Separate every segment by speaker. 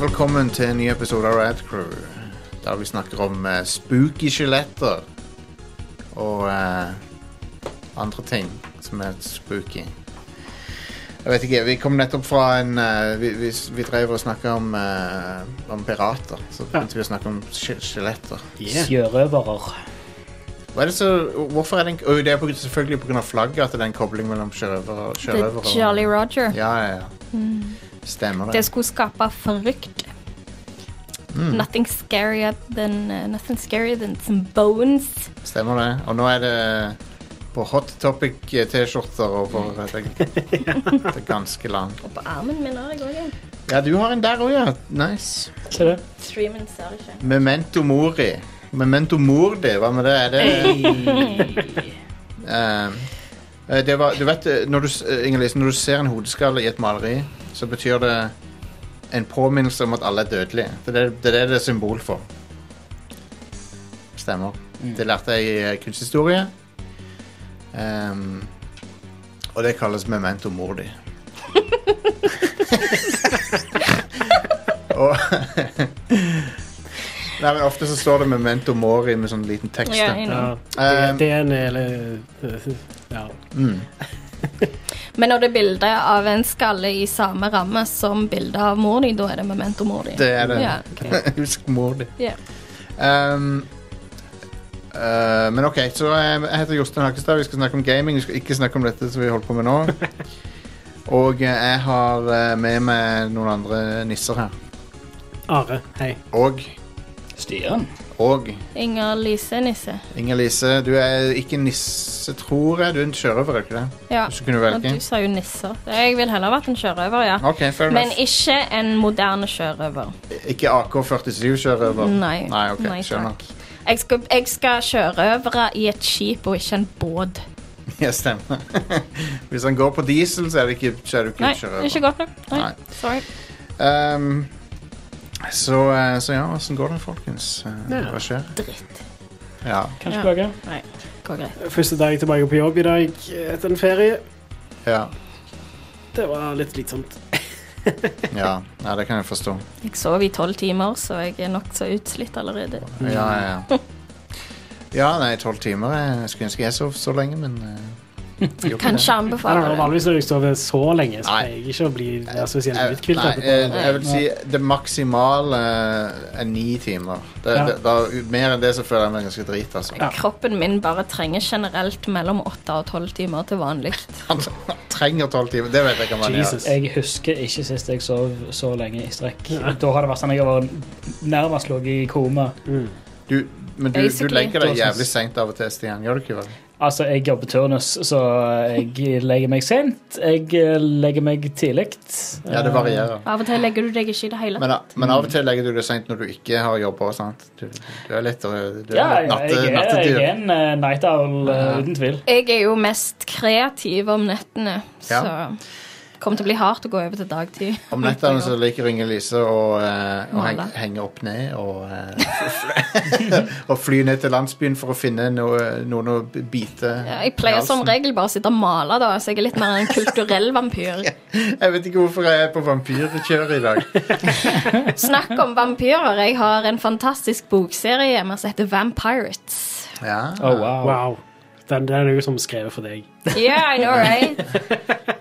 Speaker 1: Velkommen til en ny episode av Rad Crew, der vi snakker om eh, spooky skjeletter og eh, andre ting som er spooky. Jeg vet ikke, vi kom nettopp fra en eh, Vi, vi, vi drev og snakka om, eh, om pirater, så begynte vi å snakke om skje- skjeletter.
Speaker 2: Yeah.
Speaker 3: Sjørøverer.
Speaker 1: Hva er det så, hvorfor er den Og det er på, grunn- selvfølgelig pga. flagget at det er en kobling mellom sjørøvere og
Speaker 4: The
Speaker 1: sjørøvere.
Speaker 4: Jolly Roger.
Speaker 1: Ja, ja, ja. Stemmer
Speaker 4: Det
Speaker 1: det.
Speaker 4: skulle skape frykt.
Speaker 1: Mm.
Speaker 4: Nothing scarier than uh, Nothing scarier than some bones.
Speaker 1: Stemmer det. Og nå er det på Hot eh, Topic-T-skjorter over eh, det, det ganske land.
Speaker 4: Og på armen min har jeg òg en.
Speaker 1: Ja, du har en der òg, ja. Nice.
Speaker 3: Se det.
Speaker 4: Streamen ser ikke.
Speaker 1: Memento mori. Memento mordi, hva med det? Er det Eh, det var, Du vet, eh, når du, s- eh, Inge-Lise, når du ser en hodeskalle i et maleri, så betyr det en påminnelse om at alle er dødelige. Det er det det er, det det er symbol for. Stemmer. Det lærte jeg i eh, kunsthistorie. Ehm, og det kalles memento mordi. og Nei, men Ofte så står det 'memento mori' med sånn liten tekst.
Speaker 4: Ja,
Speaker 1: da.
Speaker 4: jeg er
Speaker 2: Ja.
Speaker 4: enig.
Speaker 1: Eh,
Speaker 2: Det- Det er en hele ja.
Speaker 1: mm.
Speaker 4: Men når det er bilde av en skalle i samme ramme som bilde av mor di, da er det memento mor di.
Speaker 1: Det er det.
Speaker 4: Ja, ok.
Speaker 1: Husk mor di.
Speaker 4: Ja.
Speaker 1: Ehm, eh, men OK, så eh, jeg heter Jostein Hakkestad. Vi skal snakke om gaming. Vi skal ikke snakke om dette som vi holder på med nå. Og eh, jeg har eh, med meg noen andre nisser her.
Speaker 2: Are, hei.
Speaker 1: Og
Speaker 3: Stian.
Speaker 1: og
Speaker 4: Inger Lise Nisse.
Speaker 1: Inger-Lise, du er ikke nisse, tror jeg. Du er en sjørøver, er du ikke det?
Speaker 4: Ja.
Speaker 1: Hvis du kunne
Speaker 4: Og
Speaker 1: velge.
Speaker 4: du sa jo nisser. Jeg vil heller vært en sjørøver, ja.
Speaker 1: OK, fair
Speaker 4: Men
Speaker 1: enough.
Speaker 4: ikke en moderne sjørøver.
Speaker 1: Ikke AK-47-sjørøver?
Speaker 4: Nei.
Speaker 1: Nei, ok,
Speaker 4: Nei,
Speaker 1: skjønner.
Speaker 4: takk. Jeg skal, jeg skal sjørøvere i et skip og ikke en båt.
Speaker 1: Ja, stemmer. Hvis han går på diesel, så er det ikke, så er du ikke
Speaker 4: Nei,
Speaker 1: en sjørøver.
Speaker 4: ikke godt nok. Nei,
Speaker 1: Nei.
Speaker 4: Sorry.
Speaker 1: Ehm, så, eh, så ja, åssen går det, folkens? Eh,
Speaker 2: Ja.
Speaker 1: Hva skjer?
Speaker 4: Dritt.
Speaker 1: Ja.
Speaker 3: Kanskje
Speaker 4: Ja.
Speaker 3: klage.
Speaker 4: Nei, går greit.
Speaker 2: Første dag tilbake på jobb i dag etter en ferie.
Speaker 1: Ja.
Speaker 2: Det var litt slitsomt.
Speaker 1: ja. ja det kan jeg forstå.
Speaker 4: Jeg sov i tolv timer, så jeg er nokså utslitt allerede.
Speaker 1: Ja, ja, ja. Ja, nei, tolv timer. Jeg skulle ønske jeg sov så lenge, men eh, jeg gjorde ikke
Speaker 4: Kanskje
Speaker 2: Nei, nei, nei,
Speaker 4: anbefaler det.
Speaker 2: vanligvis når jeg sover så lenge, så
Speaker 1: Nei.
Speaker 2: pleier jeg ikke å bli altså, ja,
Speaker 1: det.
Speaker 2: spesielt
Speaker 1: Jeg,
Speaker 2: uthvilt
Speaker 1: Eh, nei, jeg,
Speaker 2: etterpå.
Speaker 1: jeg vil si det maksimale eh, er ni timer. Det,
Speaker 2: Ja.
Speaker 1: det, da, mer enn det så føler jeg meg ganske drit, altså.
Speaker 2: Ja.
Speaker 4: Kroppen min bare trenger generelt mellom åtte og tolv timer til vanlig.
Speaker 1: Han trenger tolv timer. Det vet jeg hva man gjør.
Speaker 2: Jesus.
Speaker 3: Jeg husker ikke sist jeg sov så lenge i strekk. Da har det vært sånn at jeg var nærmest ligget i koma.
Speaker 2: Mm.
Speaker 1: Du, men du, du
Speaker 4: Basically.
Speaker 1: legger deg jævlig seint av og til, Stian. Gjør du ikke det?
Speaker 3: Altså, jeg jobber turnus, så jeg legger meg sent. Jeg eh, legger meg tidlig.
Speaker 1: Ja, det varierer.
Speaker 4: Av og til legger du deg ikke i det hele
Speaker 1: Men, men av og til legger du det seint når du ikke har jobba. sant? Du, du er litt, øh, du er litt
Speaker 3: Eh, Ja, ja,
Speaker 1: natte,
Speaker 3: jeg er, jeg
Speaker 1: nattedyr.
Speaker 3: er en eh, night owl, eh,
Speaker 1: Ja.
Speaker 3: uten tvil.
Speaker 4: Jeg er jo mest kreativ om nettene, så
Speaker 1: Ja.
Speaker 4: det kommer til å bli hardt å gå over til dagtid.
Speaker 1: Om nettene så liker Inger-Lise å, øh, å henge,
Speaker 4: Male.
Speaker 1: henge opp ned og, øh, og fly ned til landsbyen for å finne noe, noen å bite
Speaker 4: Ja, Jeg pleier
Speaker 1: i halsen.
Speaker 4: som regel bare å sitte og male, da, så jeg er litt mer en kulturell vampyr.
Speaker 1: Jeg vet ikke hvorfor jeg er på vampyrkjøret i dag.
Speaker 4: Snakk om vampyrer. Jeg har en fantastisk bokserie hjemme som heter Vampirates.
Speaker 1: Ja.
Speaker 3: Oh, wow.
Speaker 2: Wow. Den, den er jo som skrevet for deg.
Speaker 4: Yeah, I know, right?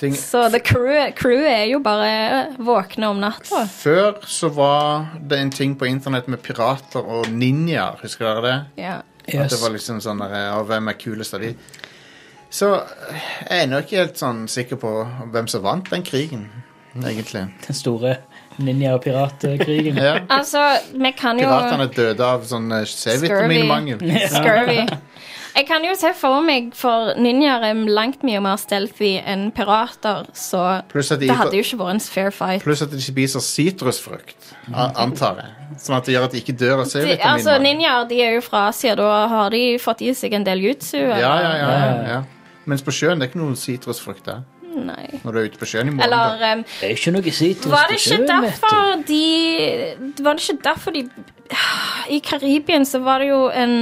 Speaker 1: Ting,
Speaker 4: Så the crew, crew er jo bare våkne om natta.
Speaker 1: før så var det en ting på internett med pirater og ninjaer. Husker dere det?
Speaker 4: Ja.
Speaker 1: At det var liksom sånn der, ja, Hvem er kulest av de? Så eh, jeg er ennå ikke helt sånn sikker på hvem som vant den krigen, egentlig.
Speaker 3: Den store ninja- og piratkrigen.
Speaker 1: Ja.
Speaker 4: Altså, vi kan jo
Speaker 1: Piratene døde av sånn eh, C-vitaminmangel.
Speaker 4: Scurvy. Jeg kan jo se for meg, for ninjaer er langt mye mer stealthy enn pirater, så
Speaker 1: Pluss at, de
Speaker 4: det hadde
Speaker 1: ikke-
Speaker 4: jo ikke vært en fair fight.
Speaker 1: pluss at de ikke spiser sitrusfrukt, a- antar jeg. Sånn at det gjør at de ikke dør av
Speaker 4: De, altså,
Speaker 1: C-vitaminmangel.
Speaker 4: Ninjaer de er jo fra Asia, da har de fått i seg en del jutsu?
Speaker 1: Ja, ja, ja, ja,
Speaker 3: Ja.
Speaker 1: ja. Mens på sjøen det er ikke noen sitrusfrukt der.
Speaker 4: Nei.
Speaker 1: Når du er ute på sjøen i morgen.
Speaker 4: Eller
Speaker 1: da.
Speaker 4: um,
Speaker 3: Det er jo ikke noe sitrus
Speaker 4: Var det ikke derfor de Var det ikke derfor de
Speaker 5: I Karibien så var det jo en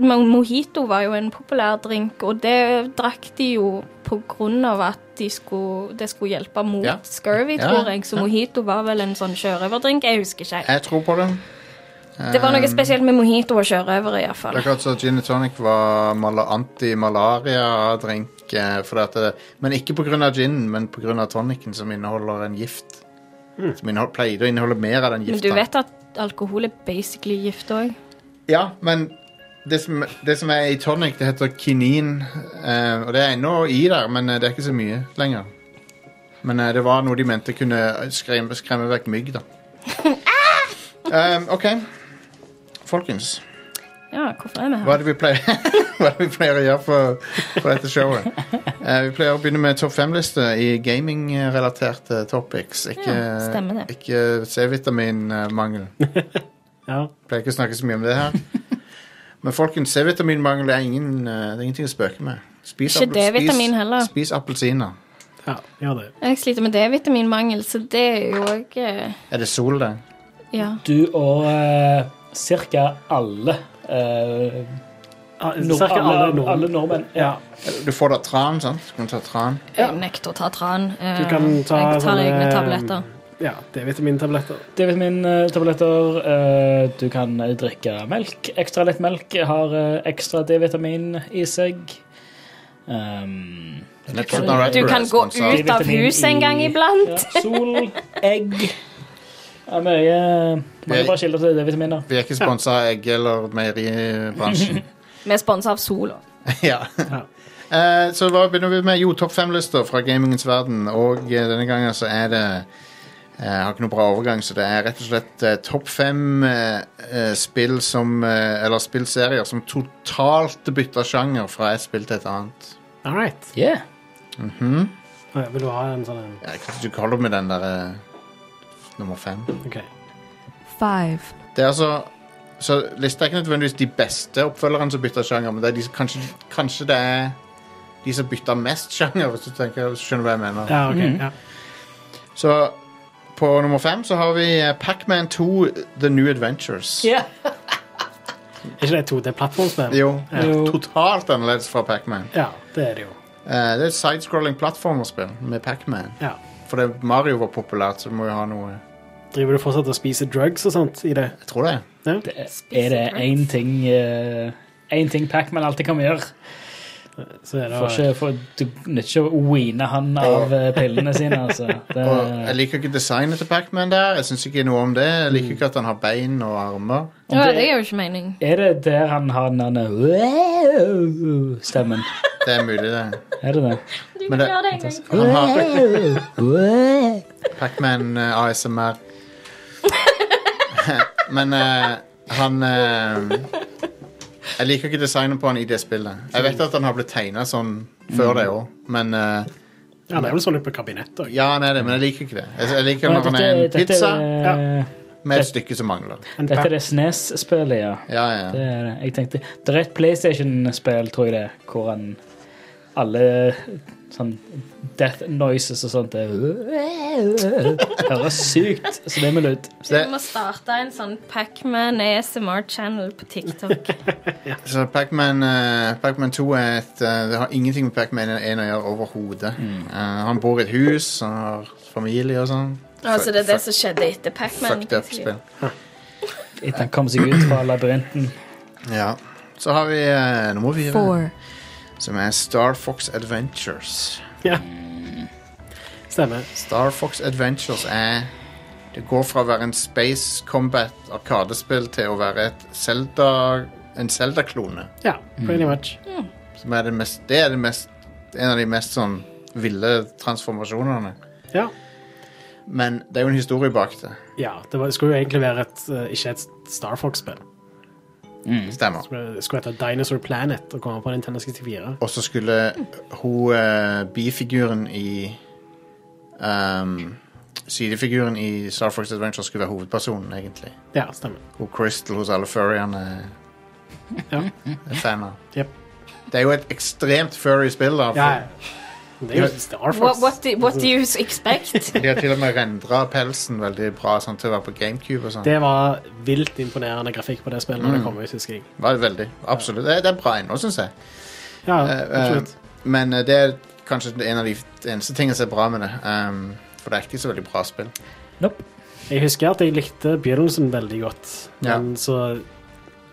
Speaker 5: mo- Mojito var jo en populær drink, og det drakk de jo på grunn av at de skulle, det skulle hjelpe mot
Speaker 1: Ja.
Speaker 5: scurvy,
Speaker 1: Ja,
Speaker 5: tror jeg. Så
Speaker 1: ja.
Speaker 5: mojito var vel en sånn sjørøverdrink. Jeg husker ikke.
Speaker 1: Jeg tror på Ehm, det.
Speaker 5: Det var noe spesielt med mojito og sjørøvere,
Speaker 1: Eh, Det er
Speaker 5: iallfall.
Speaker 1: akkurat som gin and tonic var mala- anti-malaria-drink. eh, fordi at det- Men ikke pga. gin, men pga. tonicen som inneholder en gift. Som innehold, pleide å inneholde mer av den
Speaker 5: Men du
Speaker 1: gifta.
Speaker 5: vet at alkohol er basically gift òg?
Speaker 1: Ja, men det som, det som er i tonic, det heter kinin. eh, og det er ennå i der, men eh, det er ikke så mye lenger. Men eh, det var noe de mente kunne skremme, skremme vekk mygg, da. Eh, OK. Folkens.
Speaker 5: Ja, hvorfor er vi
Speaker 1: Hva
Speaker 5: her?
Speaker 1: er det vi pleier, hva er det vi pleier å gjøre på, på dette showet? Eh, vi pleier å begynne med topp fem-liste i gaming-relaterte topics. Ikke,
Speaker 5: Ja, stemmer det.
Speaker 1: ikke C-vitaminmangel.
Speaker 2: Ja.
Speaker 1: Pleier ikke å snakke så mye om det her. Men folkens, C-vitaminmangel er, ingen, eh, det er ingenting å spøke med. Spis
Speaker 5: Ikke
Speaker 1: appel-
Speaker 5: D-vitamin
Speaker 1: spis-
Speaker 5: heller.
Speaker 1: Spis appelsiner.
Speaker 2: ja, gjør det.
Speaker 5: Jeg sliter med D-vitaminmangel, så det er jo òg
Speaker 1: Er det sol der?
Speaker 5: Ja.
Speaker 3: Du og eh, cirka alle eh,
Speaker 2: Ah,
Speaker 3: nord,
Speaker 2: cirka
Speaker 3: alle,
Speaker 2: alle
Speaker 3: alle
Speaker 2: nordmenn.
Speaker 3: nordmenn. Ja.
Speaker 1: Du får da tran, sant? Du kan ta tran.
Speaker 5: Jeg nekter å ta tran. Eh,
Speaker 2: Du kan ta eh,
Speaker 5: jeg tar
Speaker 2: sånne- eh,
Speaker 5: egne tabletter.
Speaker 2: Ja, D-vitamintabletter.
Speaker 3: D-vitamintabletter. eh, du kan eh, drikke melk. Ekstra lett melk har eh, ekstra D-vitamin i seg. Um,
Speaker 1: Netflix and Red
Speaker 5: Du kan
Speaker 1: Bull
Speaker 5: gå
Speaker 1: er sponset.
Speaker 5: ut av
Speaker 3: D-vitamin
Speaker 5: huset en
Speaker 2: E.
Speaker 3: i-
Speaker 5: gang iblant.
Speaker 3: Ja, sol, egg Det er mye, mange bra kilder til D-vitaminer.
Speaker 1: Vi er ikke sponsa av egg- eller meieribransjen.
Speaker 5: Vi er sponsa av Solo.
Speaker 1: ja. Eh, så hva begynner vi med? Jo, topp fem-lister fra gamingens verden. Og eh, denne gangen så er det eh, Jeg har ikke noe bra overgang, så det er rett og slett eh, topp fem eh, eh, spill som eh, Eller spillserier som totalt bytter sjanger fra et spill til et annet.
Speaker 2: All right.
Speaker 3: Yeah.
Speaker 2: Ah, ja, Vil du ha en sånn en?
Speaker 1: Jeg kan ikke holde med den der eh, nummer fem.
Speaker 2: OK.
Speaker 5: Five.
Speaker 1: Det er altså Så lista er ikke nødvendigvis de beste oppfølgerne som bytter sjanger, men det er de som kanskje, kanskje det er de som bytter mest sjanger, hvis du tenker, hvis du skjønner hva jeg mener.
Speaker 2: Ja, OK. Ja.
Speaker 1: Så på nummer fem så har vi eh, Pac-Man 2 The New Adventures.
Speaker 3: Yeah.
Speaker 2: Er ikke det 2D-plattformspill?
Speaker 1: Jo.
Speaker 3: Jo.
Speaker 1: Totalt annerledes fra Pac-Man.
Speaker 2: Ja, det er det jo.
Speaker 1: Eh, det er et sidescrolling plattformerspill med Pac-Man.
Speaker 2: Ja.
Speaker 1: For det, Mario var populært, så du må jo ha noe
Speaker 2: Driver du fortsatt og spiser drugs og sånt i det?
Speaker 1: Jeg tror det.
Speaker 2: Ja.
Speaker 3: Det er, er det én ting uh, En ting Pac-Man alltid kan gjøre.
Speaker 2: Så er
Speaker 3: Får
Speaker 2: det
Speaker 3: ikke, får, du nytter ikke å weene han av eh, pillene sine, altså. Det,
Speaker 1: Og jeg liker ikke designet til Pac-Man der. Jeg syns ikke noe om det. Jeg liker ikke at han har bein og armer.
Speaker 5: Ja, det gir jo ikke mening.
Speaker 3: er det der han har den der wow-stemmen?
Speaker 1: Det er mulig, det.
Speaker 3: Er det det?
Speaker 5: Du
Speaker 1: Men det-
Speaker 5: gjør det en gang.
Speaker 1: Han
Speaker 3: Eh.
Speaker 1: har
Speaker 3: Wow.
Speaker 1: Pac-Man eh, ASMR. Men eh, han eh, Jeg liker ikke designet på han i det spillet. Jeg vet at han har blitt tegna sånn før det òg, men eh,
Speaker 2: Ja, det er vel sånn ute på kabinettet òg.
Speaker 1: Ja, han er det, men jeg liker ikke det. Jeg, jeg liker
Speaker 3: Men
Speaker 1: når han er en
Speaker 3: dette- dette
Speaker 1: pizza
Speaker 3: er-
Speaker 2: Ja.
Speaker 1: med et stykke som mangler.
Speaker 3: Dette er det SNES-spillet, ja.
Speaker 1: Ja,
Speaker 3: Det
Speaker 1: ja.
Speaker 3: er det. Jeg tenkte, det er et PlayStation-spill, tror jeg det, er, hvor han alle sånn death noises og sånt det høres sykt svimmel ut.
Speaker 5: Vi må starte en sånn Pacman ASMR-channel på TikTok.
Speaker 1: Så Pac-Man eh, Pac-Man 2 er et, eh, det har ingenting med Pac-Man 1 å gjøre overhodet.
Speaker 3: Mm.
Speaker 1: Eh, han bor i et hus, han har familie og sånn.
Speaker 5: Altså, det er det som skjedde etter Pacman.
Speaker 1: Fucked up-spill.
Speaker 3: Etter han kom seg ut fra labyrinten.
Speaker 1: Ja. Så har vi eh, nummer fire, som er Star Fox Adventures.
Speaker 2: Ja. Stemmer.
Speaker 1: Star Fox Adventures er Det går fra å være en Space Combat arkadespill til å være et Zelda, en Zelda-klone.
Speaker 2: Ja, pretty
Speaker 3: Mm.
Speaker 2: much.
Speaker 1: Som er det mest Det er det mest, en av de mest sånn ville transformasjonene.
Speaker 2: Ja.
Speaker 1: Men det er jo en historie bak det.
Speaker 2: ja det var, skulle jo egentlig være et, eh, ikke et Star Fox-spill.
Speaker 1: Stemmer.
Speaker 2: Det skulle hete Dinosaur Planet og komme på Nintendo 64.
Speaker 1: Og så skulle hun eh, bifiguren i ehm, Sidefiguren i Star Fox Adventure skulle være hovedpersonen, egentlig.
Speaker 2: Ja, stemmer.
Speaker 1: Hun Crystal hos alle furryene
Speaker 2: Ja.
Speaker 1: er fan av.
Speaker 2: Jep.
Speaker 1: Det er jo et ekstremt furry spill, da.
Speaker 2: Ja, ja. Det er jo Star
Speaker 5: What,
Speaker 2: Fox.
Speaker 5: what, do, what do you expect?
Speaker 1: De har til og med rendra pelsen veldig bra sånn til å være på GameCube og sånn.
Speaker 2: Det var vilt imponerende grafikk på det spillet
Speaker 3: Mm.
Speaker 2: når det kom ut, husker jeg.
Speaker 1: Var det veldig, absolutt. Det, det er bra ennå, syns jeg.
Speaker 2: Ja,
Speaker 1: Eh, eh,
Speaker 2: absolutt.
Speaker 1: men eh, det er kanskje en av de eneste tingene som er bra med det. ehm, for det er ikke så veldig bra spill.
Speaker 3: Nope.
Speaker 2: Jeg husker at jeg likte begynnelsen veldig godt,
Speaker 1: Ja.
Speaker 2: men så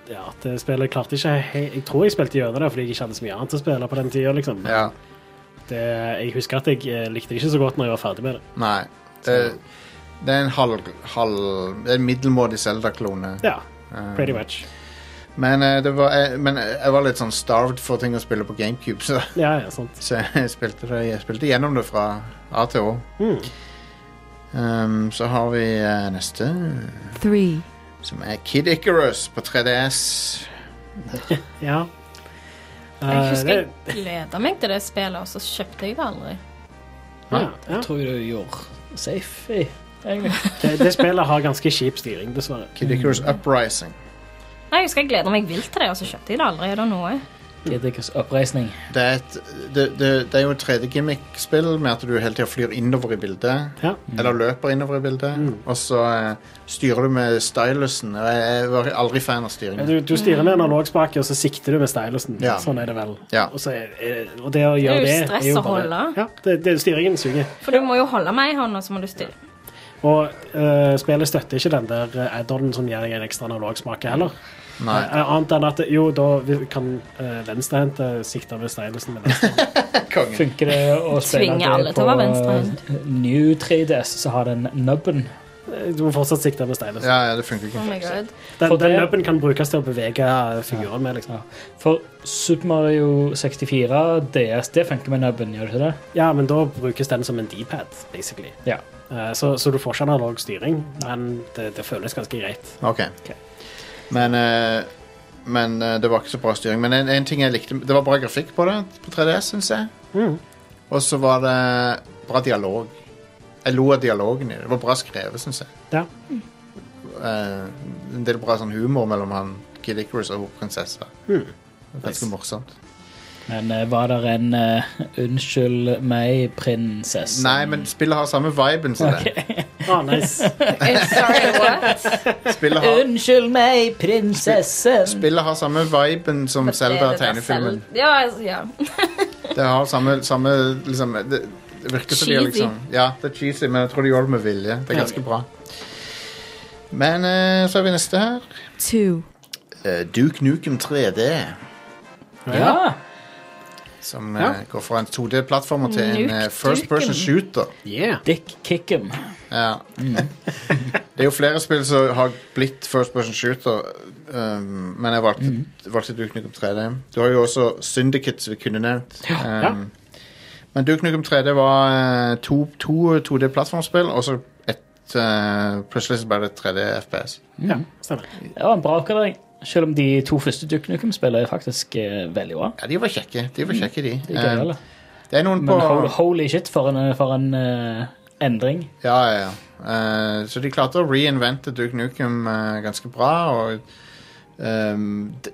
Speaker 2: Ja, det spillet klarte ikke he- Jeg tror jeg spilte gjennom det fordi jeg ikke hadde så mye annet å spille på den tida, liksom.
Speaker 1: Ja,
Speaker 2: Det, jeg husker at jeg eh, likte det ikke så godt når jeg var ferdig med det.
Speaker 1: nei. Det, det er en halv, halv Det er en middelmådig Zelda-klone.
Speaker 2: Ja,
Speaker 1: Eh,
Speaker 2: pretty much.
Speaker 1: men, eh, det var, eh, men eh, jeg var litt sånn starved for ting å spille på GameCube, så,
Speaker 2: Ja, ja, sant.
Speaker 1: så jeg, spilte det, jeg spilte gjennom det fra A til Å.
Speaker 2: Mm.
Speaker 1: Ehm, så har vi eh, neste,
Speaker 6: three,
Speaker 1: som er Kid Icarus på 3DS.
Speaker 2: Ja.
Speaker 5: Jeg
Speaker 2: Eh,
Speaker 5: husker jeg
Speaker 2: det-
Speaker 5: gleda meg til det spillet, og så kjøpte jeg det aldri.
Speaker 2: ja, ja.
Speaker 3: Tror jeg du gjorde safe i, egentlig.
Speaker 2: Det, det spillet har ganske kjip styring, dessverre.
Speaker 1: Kid Icarus Uprising.
Speaker 5: Nei, Jeg husker jeg gleda meg vilt til det, og så kjøpte jeg det aldri. Er det noe?
Speaker 3: Giddikas oppreisning.
Speaker 1: Det er, et, det, det, det er jo et 3D-gimmick-spill med at du hele tida flyr innover i bildet.
Speaker 2: Ja.
Speaker 1: Eller løper innover i bildet. Og så eh, styrer du med stylusen. Og jeg, jeg var aldri fan av styringen.
Speaker 2: Du, du styrer med en analogspake, og så sikter du med stylusen.
Speaker 1: Ja.
Speaker 2: Sånn er det vel.
Speaker 1: Ja.
Speaker 2: Og, så er, er- og det å
Speaker 5: er
Speaker 2: gjøre
Speaker 5: jo
Speaker 2: det
Speaker 5: stress å holde.
Speaker 2: Ja, det, det, styringen suger.
Speaker 5: For du må jo holde meg i hånda, så må du stille.
Speaker 2: Og eh, spillet støtter ikke den der eh, add-on som gir deg en ekstra analogsmake heller.
Speaker 1: Nei.
Speaker 2: Eh, annet enn at jo, da vi- kan eh, venstrehendte sikte med stylusen med venstre.
Speaker 1: Kongen.
Speaker 3: Funker det å spille
Speaker 5: Tvinge alle
Speaker 3: det
Speaker 5: til å
Speaker 3: på
Speaker 5: være
Speaker 3: eh, New 3DS, så har den nubben?
Speaker 2: Eh, Du må fortsatt sikte med stylusen.
Speaker 1: Ja, ja, det funker
Speaker 5: Oh my
Speaker 1: ikke.
Speaker 5: god.
Speaker 2: Den,
Speaker 3: For
Speaker 2: den
Speaker 3: det-
Speaker 2: løpen kan brukes til å bevege eh, figuren med, liksom.
Speaker 3: Ja. For Super Mario 64 DS, det funker med nubben, gjør det ikke det?
Speaker 2: Ja, men da brukes den som en D-pad, basically.
Speaker 3: Ja.
Speaker 2: Eh, Så, så du får ikke analog styring, men det, det føles ganske greit.
Speaker 1: Ok. Men, eh, men eh, det var ikke så bra styring. Men en, en ting jeg likte Det var bra grafikk på det på 3DS, syns jeg.
Speaker 3: Mm.
Speaker 2: Mhm.
Speaker 1: Og så var det bra dialog. Jeg lo av dialogen i det. Det var bra skrevet, syns jeg.
Speaker 2: Ja.
Speaker 1: Eh, en del bra sånn humor mellom han Kid Icarus og prinsessa. Ganske morsomt.
Speaker 3: Men eh, var det en eh, 'unnskyld meg-prinsesse'?
Speaker 1: Nei, men spillet har samme viben som
Speaker 2: Ah, nice.
Speaker 5: Eh, Sorry, what?
Speaker 1: det. Spillet har,
Speaker 3: Unnskyld meg, prinsessen!
Speaker 1: spillet har samme viben som
Speaker 5: Det er det der
Speaker 1: Zelda-tegnefilmen.
Speaker 5: Zelda- Ja, altså, ja.
Speaker 1: Det har samme, samme liksom, det, det virker som de har
Speaker 5: Cheesy.
Speaker 1: liksom Ja, det er cheesy, men jeg tror de gjør det med vilje. Det er ganske bra. Men eh, så har vi neste her.
Speaker 6: two,
Speaker 1: Eh, Duke Nukem 3D.
Speaker 3: Ja!
Speaker 1: Som
Speaker 2: Ja.
Speaker 1: eh, går fra en 2D-plattformer til en
Speaker 5: Nuke
Speaker 1: eh, first
Speaker 5: Nukem.
Speaker 1: person shooter.
Speaker 2: Yeah.
Speaker 3: Dick Kickem.
Speaker 1: Ja.
Speaker 2: Mm.
Speaker 1: det er jo flere spill som har blitt first person shooter, um, men jeg valgte,
Speaker 2: Mm.
Speaker 1: valgte Duke Nukem 3D. Du har jo også Syndicate, som vi kunne nevnt.
Speaker 2: Ja.
Speaker 1: Um, Men Duke Nukem 3D var eh, to, to 2D-plattformspill, og så et eh, Plutselig så ble det 3D-FPS.
Speaker 2: Ja, stemmer.
Speaker 3: Mm. Det var en bra oppgradering. Selv om de to første Duke Nukem-spillene er faktisk eh, veldig bra.
Speaker 1: Ja, de var kjekke, de. var kjekke
Speaker 2: Mm.
Speaker 1: de
Speaker 3: Det er
Speaker 1: Eh,
Speaker 3: gøyale.
Speaker 1: det er noen på
Speaker 3: Men hol- holy shit, for en, for en eh, endring.
Speaker 1: Ja, ja, ja. Eh, så de klarte å reinvente Duke Nukem eh, ganske bra, og ehm, d-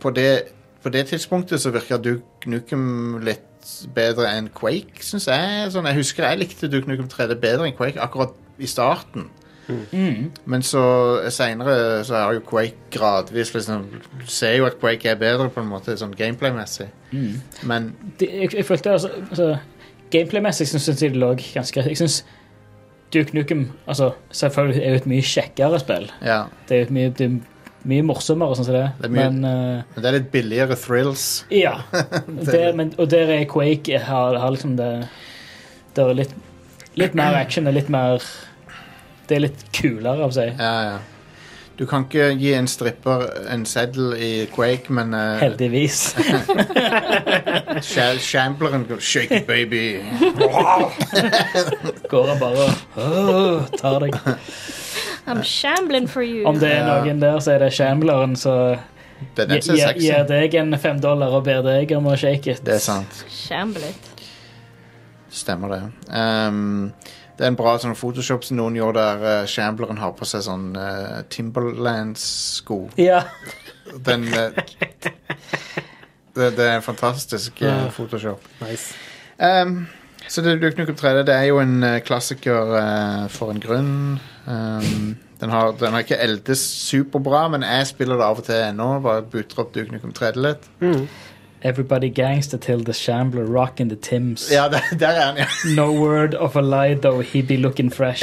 Speaker 1: på, det, på det tidspunktet så virka Duke Nukem litt bedre enn Quake, syns jeg. Sånn, jeg husker jeg likte Duke Nukem 3D bedre enn Quake akkurat i starten.
Speaker 3: Mm,
Speaker 1: Men så seinere så er jo Quake gradvis liksom Du ser jo at Quake er bedre, på en måte, sånn gameplay-messig.
Speaker 3: mm.
Speaker 1: Men
Speaker 3: Det- jeg, jeg følte altså, altså Gameplay-messig syns jeg det lå ganske greit. Jeg syns Duke Nukem altså, selvfølgelig er jo et mye kjekkere spill.
Speaker 1: ja.
Speaker 3: Det er jo et mye, det er mye morsommere, sånn som det.
Speaker 1: Det
Speaker 3: er.
Speaker 1: er mye-
Speaker 3: Men eh,
Speaker 1: Men det er litt billigere thrills.
Speaker 3: ja. Der, men, og der er Quake har, har liksom det Det er litt, litt mer action og litt mer Det er litt kulere, av seg.
Speaker 1: Ja, ja. Du kan ikke gi en stripper en seddel i Quake, men uh,
Speaker 3: Heldigvis.
Speaker 1: shambleren går Shake it, baby.
Speaker 3: Går han bare og «Åh, tar deg.
Speaker 5: I'm shambling for you.
Speaker 3: Om det er
Speaker 1: Ja.
Speaker 3: noen der, så er det Shambleren som
Speaker 1: Det er den som er
Speaker 3: gir
Speaker 1: sexy.
Speaker 3: gir deg en fem dollar og ber deg om å shake it.
Speaker 1: Det er sant.
Speaker 5: Shamblet.
Speaker 1: Stemmer det. Um, det er en bra sånn Photoshop som noen gjorde der uh, shambleren har på seg sånn uh, Timberlands-sko.
Speaker 3: Ja.
Speaker 1: Den eh, det, det er en fantastisk eh,
Speaker 2: Ja.
Speaker 1: Photoshop.
Speaker 2: Nice.
Speaker 1: Um, Så det Duke Nukem 3D det er jo en eh, klassiker eh, for en grunn. Um, den, har, den har ikke eldes superbra, men jeg spiller det av og til ennå. Bare butter opp Duke Nukem 3D litt.
Speaker 2: Mm.
Speaker 3: Everybody gangster till the shambler rocking the Tims.
Speaker 1: Ja, der, der er den, ja.
Speaker 3: No word of a lie though, he be looking fresh.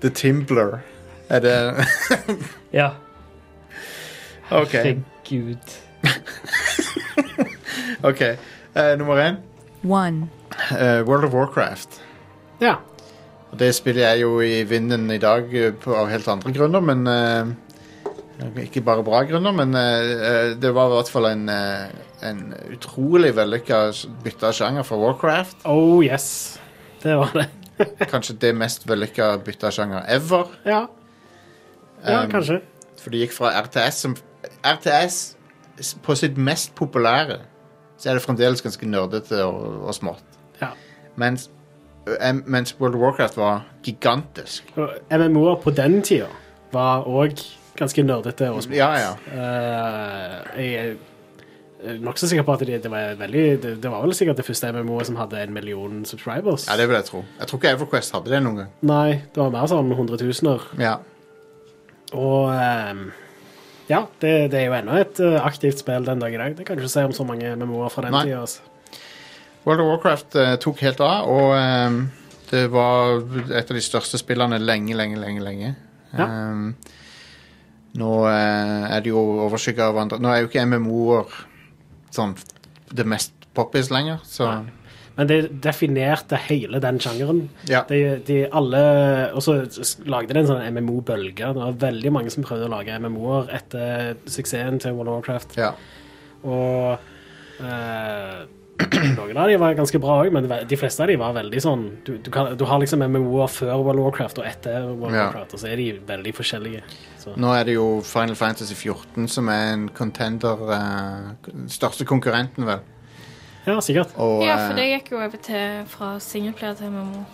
Speaker 1: The Timbler. Er det
Speaker 3: Ja,
Speaker 1: OK.
Speaker 3: herregud.
Speaker 1: ok Eh, nummer én
Speaker 6: One.
Speaker 1: eh, World of Warcraft.
Speaker 2: Ja.
Speaker 1: Og Det spillet er jo i vinden i dag eh, på, av helt andre grunner, men eh, Ikke bare bra grunner, men eh, eh, det var i hvert fall en, eh, en utrolig vellykka s- bytte av sjanger for Warcraft.
Speaker 2: Oh yes. Det var det.
Speaker 1: Kanskje det mest vellykka bytte av sjanger ever.
Speaker 2: Ja. Ja,
Speaker 1: Um,
Speaker 2: kanskje.
Speaker 1: For det gikk fra RTS som RTS s- på sitt mest populære så er det fremdeles ganske nerdete og, og smått.
Speaker 2: Ja.
Speaker 1: Mens, eh, mens World of Warcraft var gigantisk.
Speaker 2: Og MMO-er på den tida var òg ganske nerdete og små.
Speaker 1: Ja, ja.
Speaker 2: Eh, jeg er nokså sikker på at det, det, var veldig, det, det var vel sikkert det første MMO-et som hadde en million subscribers.
Speaker 1: ja, det vil jeg tro. Jeg tror ikke Everquest hadde det noen gang.
Speaker 2: Nei, det var mer sånn hundretusener.
Speaker 1: Ja.
Speaker 2: Og ehm, ja, det, det er jo ennå et eh, aktivt spill den dag i dag. Det kan du ikke si om så mange memoer fra den
Speaker 1: Nei.
Speaker 2: tida. Altså.
Speaker 1: World of Warcraft eh, tok helt av, og ehm, det var et av de største spillene lenge, lenge, lenge. lenge.
Speaker 2: Ja.
Speaker 1: Ehm, nå eh, er det jo overskygga av andre Nå er jo ikke MMO-er sånn det mest poppis lenger, så
Speaker 2: Nei. Men det definerte hele den sjangeren.
Speaker 1: ja.
Speaker 2: De, de alle, Og så s- lagde det en sånn MMO-bølge. Det var veldig mange som prøvde å lage MMO-er etter suksessen til World of Warcraft.
Speaker 1: ja.
Speaker 2: Og eh, noen av de var ganske bra òg, men ve- de fleste av de var veldig sånn Du, du, kan, du har liksom MMO-er før World of Warcraft og etter World of
Speaker 1: Ja.
Speaker 2: Warcraft, og så er de veldig forskjellige. Så.
Speaker 1: Nå er det jo Final Fantasy 14 som er en contender eh, Største konkurrenten, vel.
Speaker 2: Ja, sikkert.
Speaker 1: Og,
Speaker 5: Ja, for det
Speaker 1: eh,
Speaker 5: gikk jo over til fra singleplayer til MMO.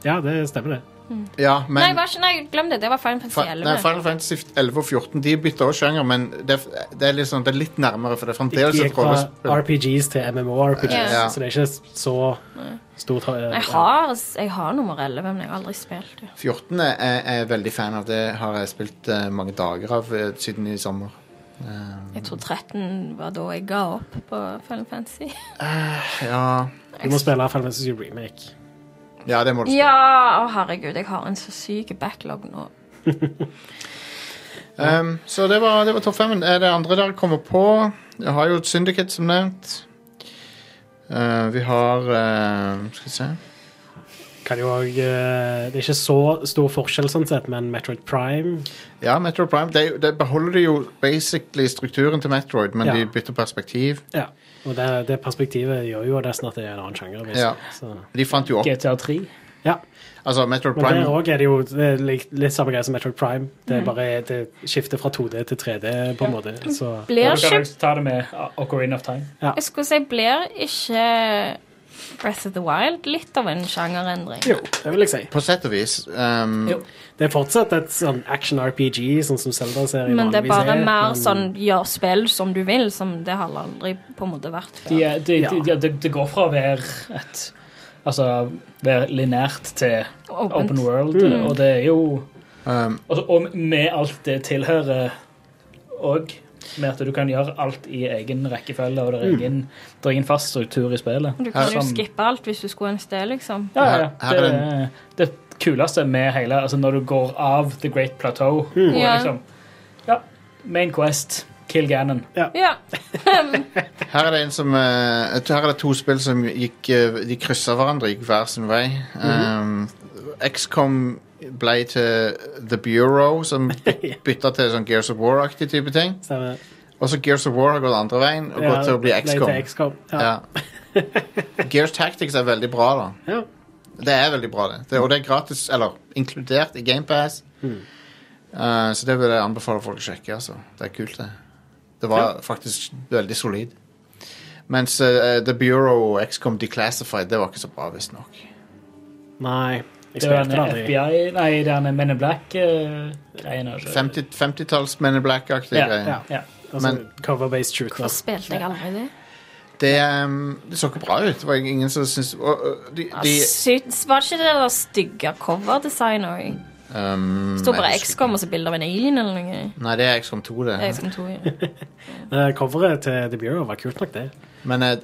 Speaker 2: Ja, det stemmer det.
Speaker 1: eh, ja, men
Speaker 5: nei, var ikke, nei, glem det. Det var Final
Speaker 1: Fa-
Speaker 5: Fantasy
Speaker 1: Nei,
Speaker 5: 11.
Speaker 1: Final Fantasy 11 og 14 De bytter også sjanger, men det, er- det, er litt sånn, det er litt nærmere, for det er
Speaker 2: De
Speaker 1: fremdeles
Speaker 2: gikk
Speaker 1: et
Speaker 2: fra
Speaker 1: rollespill.
Speaker 2: RPGs til MMO-RPGs,
Speaker 1: Ja.
Speaker 2: så det er ikke så stort eh,
Speaker 5: Jeg har, jeg har nummer 11, men jeg har aldri spilt det.
Speaker 1: 14 er jeg er veldig fan av. Det har jeg spilt eh, mange dager av eh, siden i sommer. Eh,
Speaker 5: Jeg tror 13 var da jeg ga opp på Final Fantasy.
Speaker 1: ja,
Speaker 2: Du må spille Final Fantasy Remake.
Speaker 1: ja, det må du si.
Speaker 5: Ja, å herregud, jeg har en så syk backlog nå.
Speaker 1: Um, så det var, det var topp femmen. Er det andre dere kommer på? Jeg har jo et Syndicate, som nevnt. Eh, vi har eh, Skal vi se
Speaker 2: Kan jo òg eh, Det er ikke så stor forskjell, sånn sett, men Metroid Prime
Speaker 1: Ja, Metroid Prime. Det, er jo- det beholder de jo basically strukturen til Metroid, men
Speaker 2: Ja.
Speaker 1: de bytter perspektiv.
Speaker 2: ja. Og det, det perspektivet gjør jo nesten at det er en annen sjanger.
Speaker 1: Ja.
Speaker 2: Ja. Så,
Speaker 1: De fant jo opp
Speaker 3: GTA 3.
Speaker 2: ja.
Speaker 1: Altså, Metroid
Speaker 2: Men
Speaker 1: Prime
Speaker 2: der òg er det jo det er litt, litt samme greie som Metroid Prime. Det er bare det skifter fra 2D til 3D, på en måte. Så
Speaker 5: Blir
Speaker 3: Og du kan
Speaker 5: ikke
Speaker 3: også ta det med Ocarina of Time.
Speaker 5: Jeg skulle si, blir ikke Breath of the Wild litt av en sjangerendring?
Speaker 2: jo, det vil jeg si.
Speaker 1: På sett og vis. Um,
Speaker 3: Jo.
Speaker 2: Det er fortsatt et sånn action-RPG, sånn som Zelda-serien
Speaker 5: Men det er bare
Speaker 2: vanligvis
Speaker 5: mer
Speaker 2: men-
Speaker 5: sånn gjør spill som du vil, som det har aldri på en måte vært
Speaker 3: De,
Speaker 5: før.
Speaker 3: er- de,
Speaker 2: Ja.
Speaker 3: de, ja, det det går fra å være et Altså være linært til
Speaker 5: Åpent.
Speaker 3: open world,
Speaker 1: Mm.
Speaker 3: og det er jo
Speaker 1: um,
Speaker 3: Og, så- Altså, og med alt det tilhører òg. Med at du kan gjøre alt i egen rekkefølge, og det er ingen, det er ingen fast struktur i spillet.
Speaker 5: Du kan jo
Speaker 3: Som-
Speaker 5: skippe alt hvis du skulle en sted, liksom.
Speaker 3: Ja, ja,
Speaker 1: Her- her
Speaker 3: ja.
Speaker 1: er
Speaker 3: Det, er- det kuleste med hele altså Når du går av The Great Plateau og
Speaker 5: Ja.
Speaker 3: liksom, ja, Main Quest, Kill Ganon.
Speaker 5: Ja.
Speaker 1: her, er det en som, eh, her er det to spill som gikk eh, De kryssa hverandre, gikk hver sin vei. Um, XCOM ble til The Bureau, som bytta til sånn Gears of War-aktig type ting.
Speaker 2: Stemmer.
Speaker 1: Og så Gears of War har gått andre veien og gått til å bli
Speaker 2: nei, til
Speaker 1: XCOM.
Speaker 2: XCOM. Ja.
Speaker 1: Ja. Gears Tactics er veldig bra, da.
Speaker 2: Ja.
Speaker 1: Det er veldig bra, det. det og det er gratis, eller inkludert i GamePass. Uh, så det vil jeg anbefale folk å sjekke. altså. Det er kult, det. Det var faktisk veldig solid. Mens eh, The Bureau og XCOM Declassified det var ikke så bra, visstnok.
Speaker 2: Nei. Jeg
Speaker 3: Det er
Speaker 2: spilte
Speaker 3: den
Speaker 2: det aldri.
Speaker 3: FBI Nei, det er den Men in eh, Black-greien.
Speaker 1: 50 50-talls Men in Black-aktig
Speaker 3: Ja,
Speaker 1: greie.
Speaker 2: Ja.
Speaker 3: altså. Ja.
Speaker 2: Altså,
Speaker 1: Men-
Speaker 2: Cover-based
Speaker 5: Hvorfor
Speaker 2: shooter.
Speaker 5: spilte jeg aldri det?
Speaker 1: Det, ehm, det så ikke bra ut. Det var ingen som syntes og, og, de,
Speaker 5: Ja,
Speaker 1: de,
Speaker 5: sykt- Var det ikke det der stygge coverdesign òg?
Speaker 1: um,
Speaker 5: Står bare
Speaker 1: nei, det-
Speaker 5: XCOM og så bilder av en alien eller noe.
Speaker 1: Nei, det er XCOM 2, det.
Speaker 5: Det er XCOM 2, ja.
Speaker 2: Eh, coveret til The Bureau var kult nok, det.
Speaker 1: Men eh,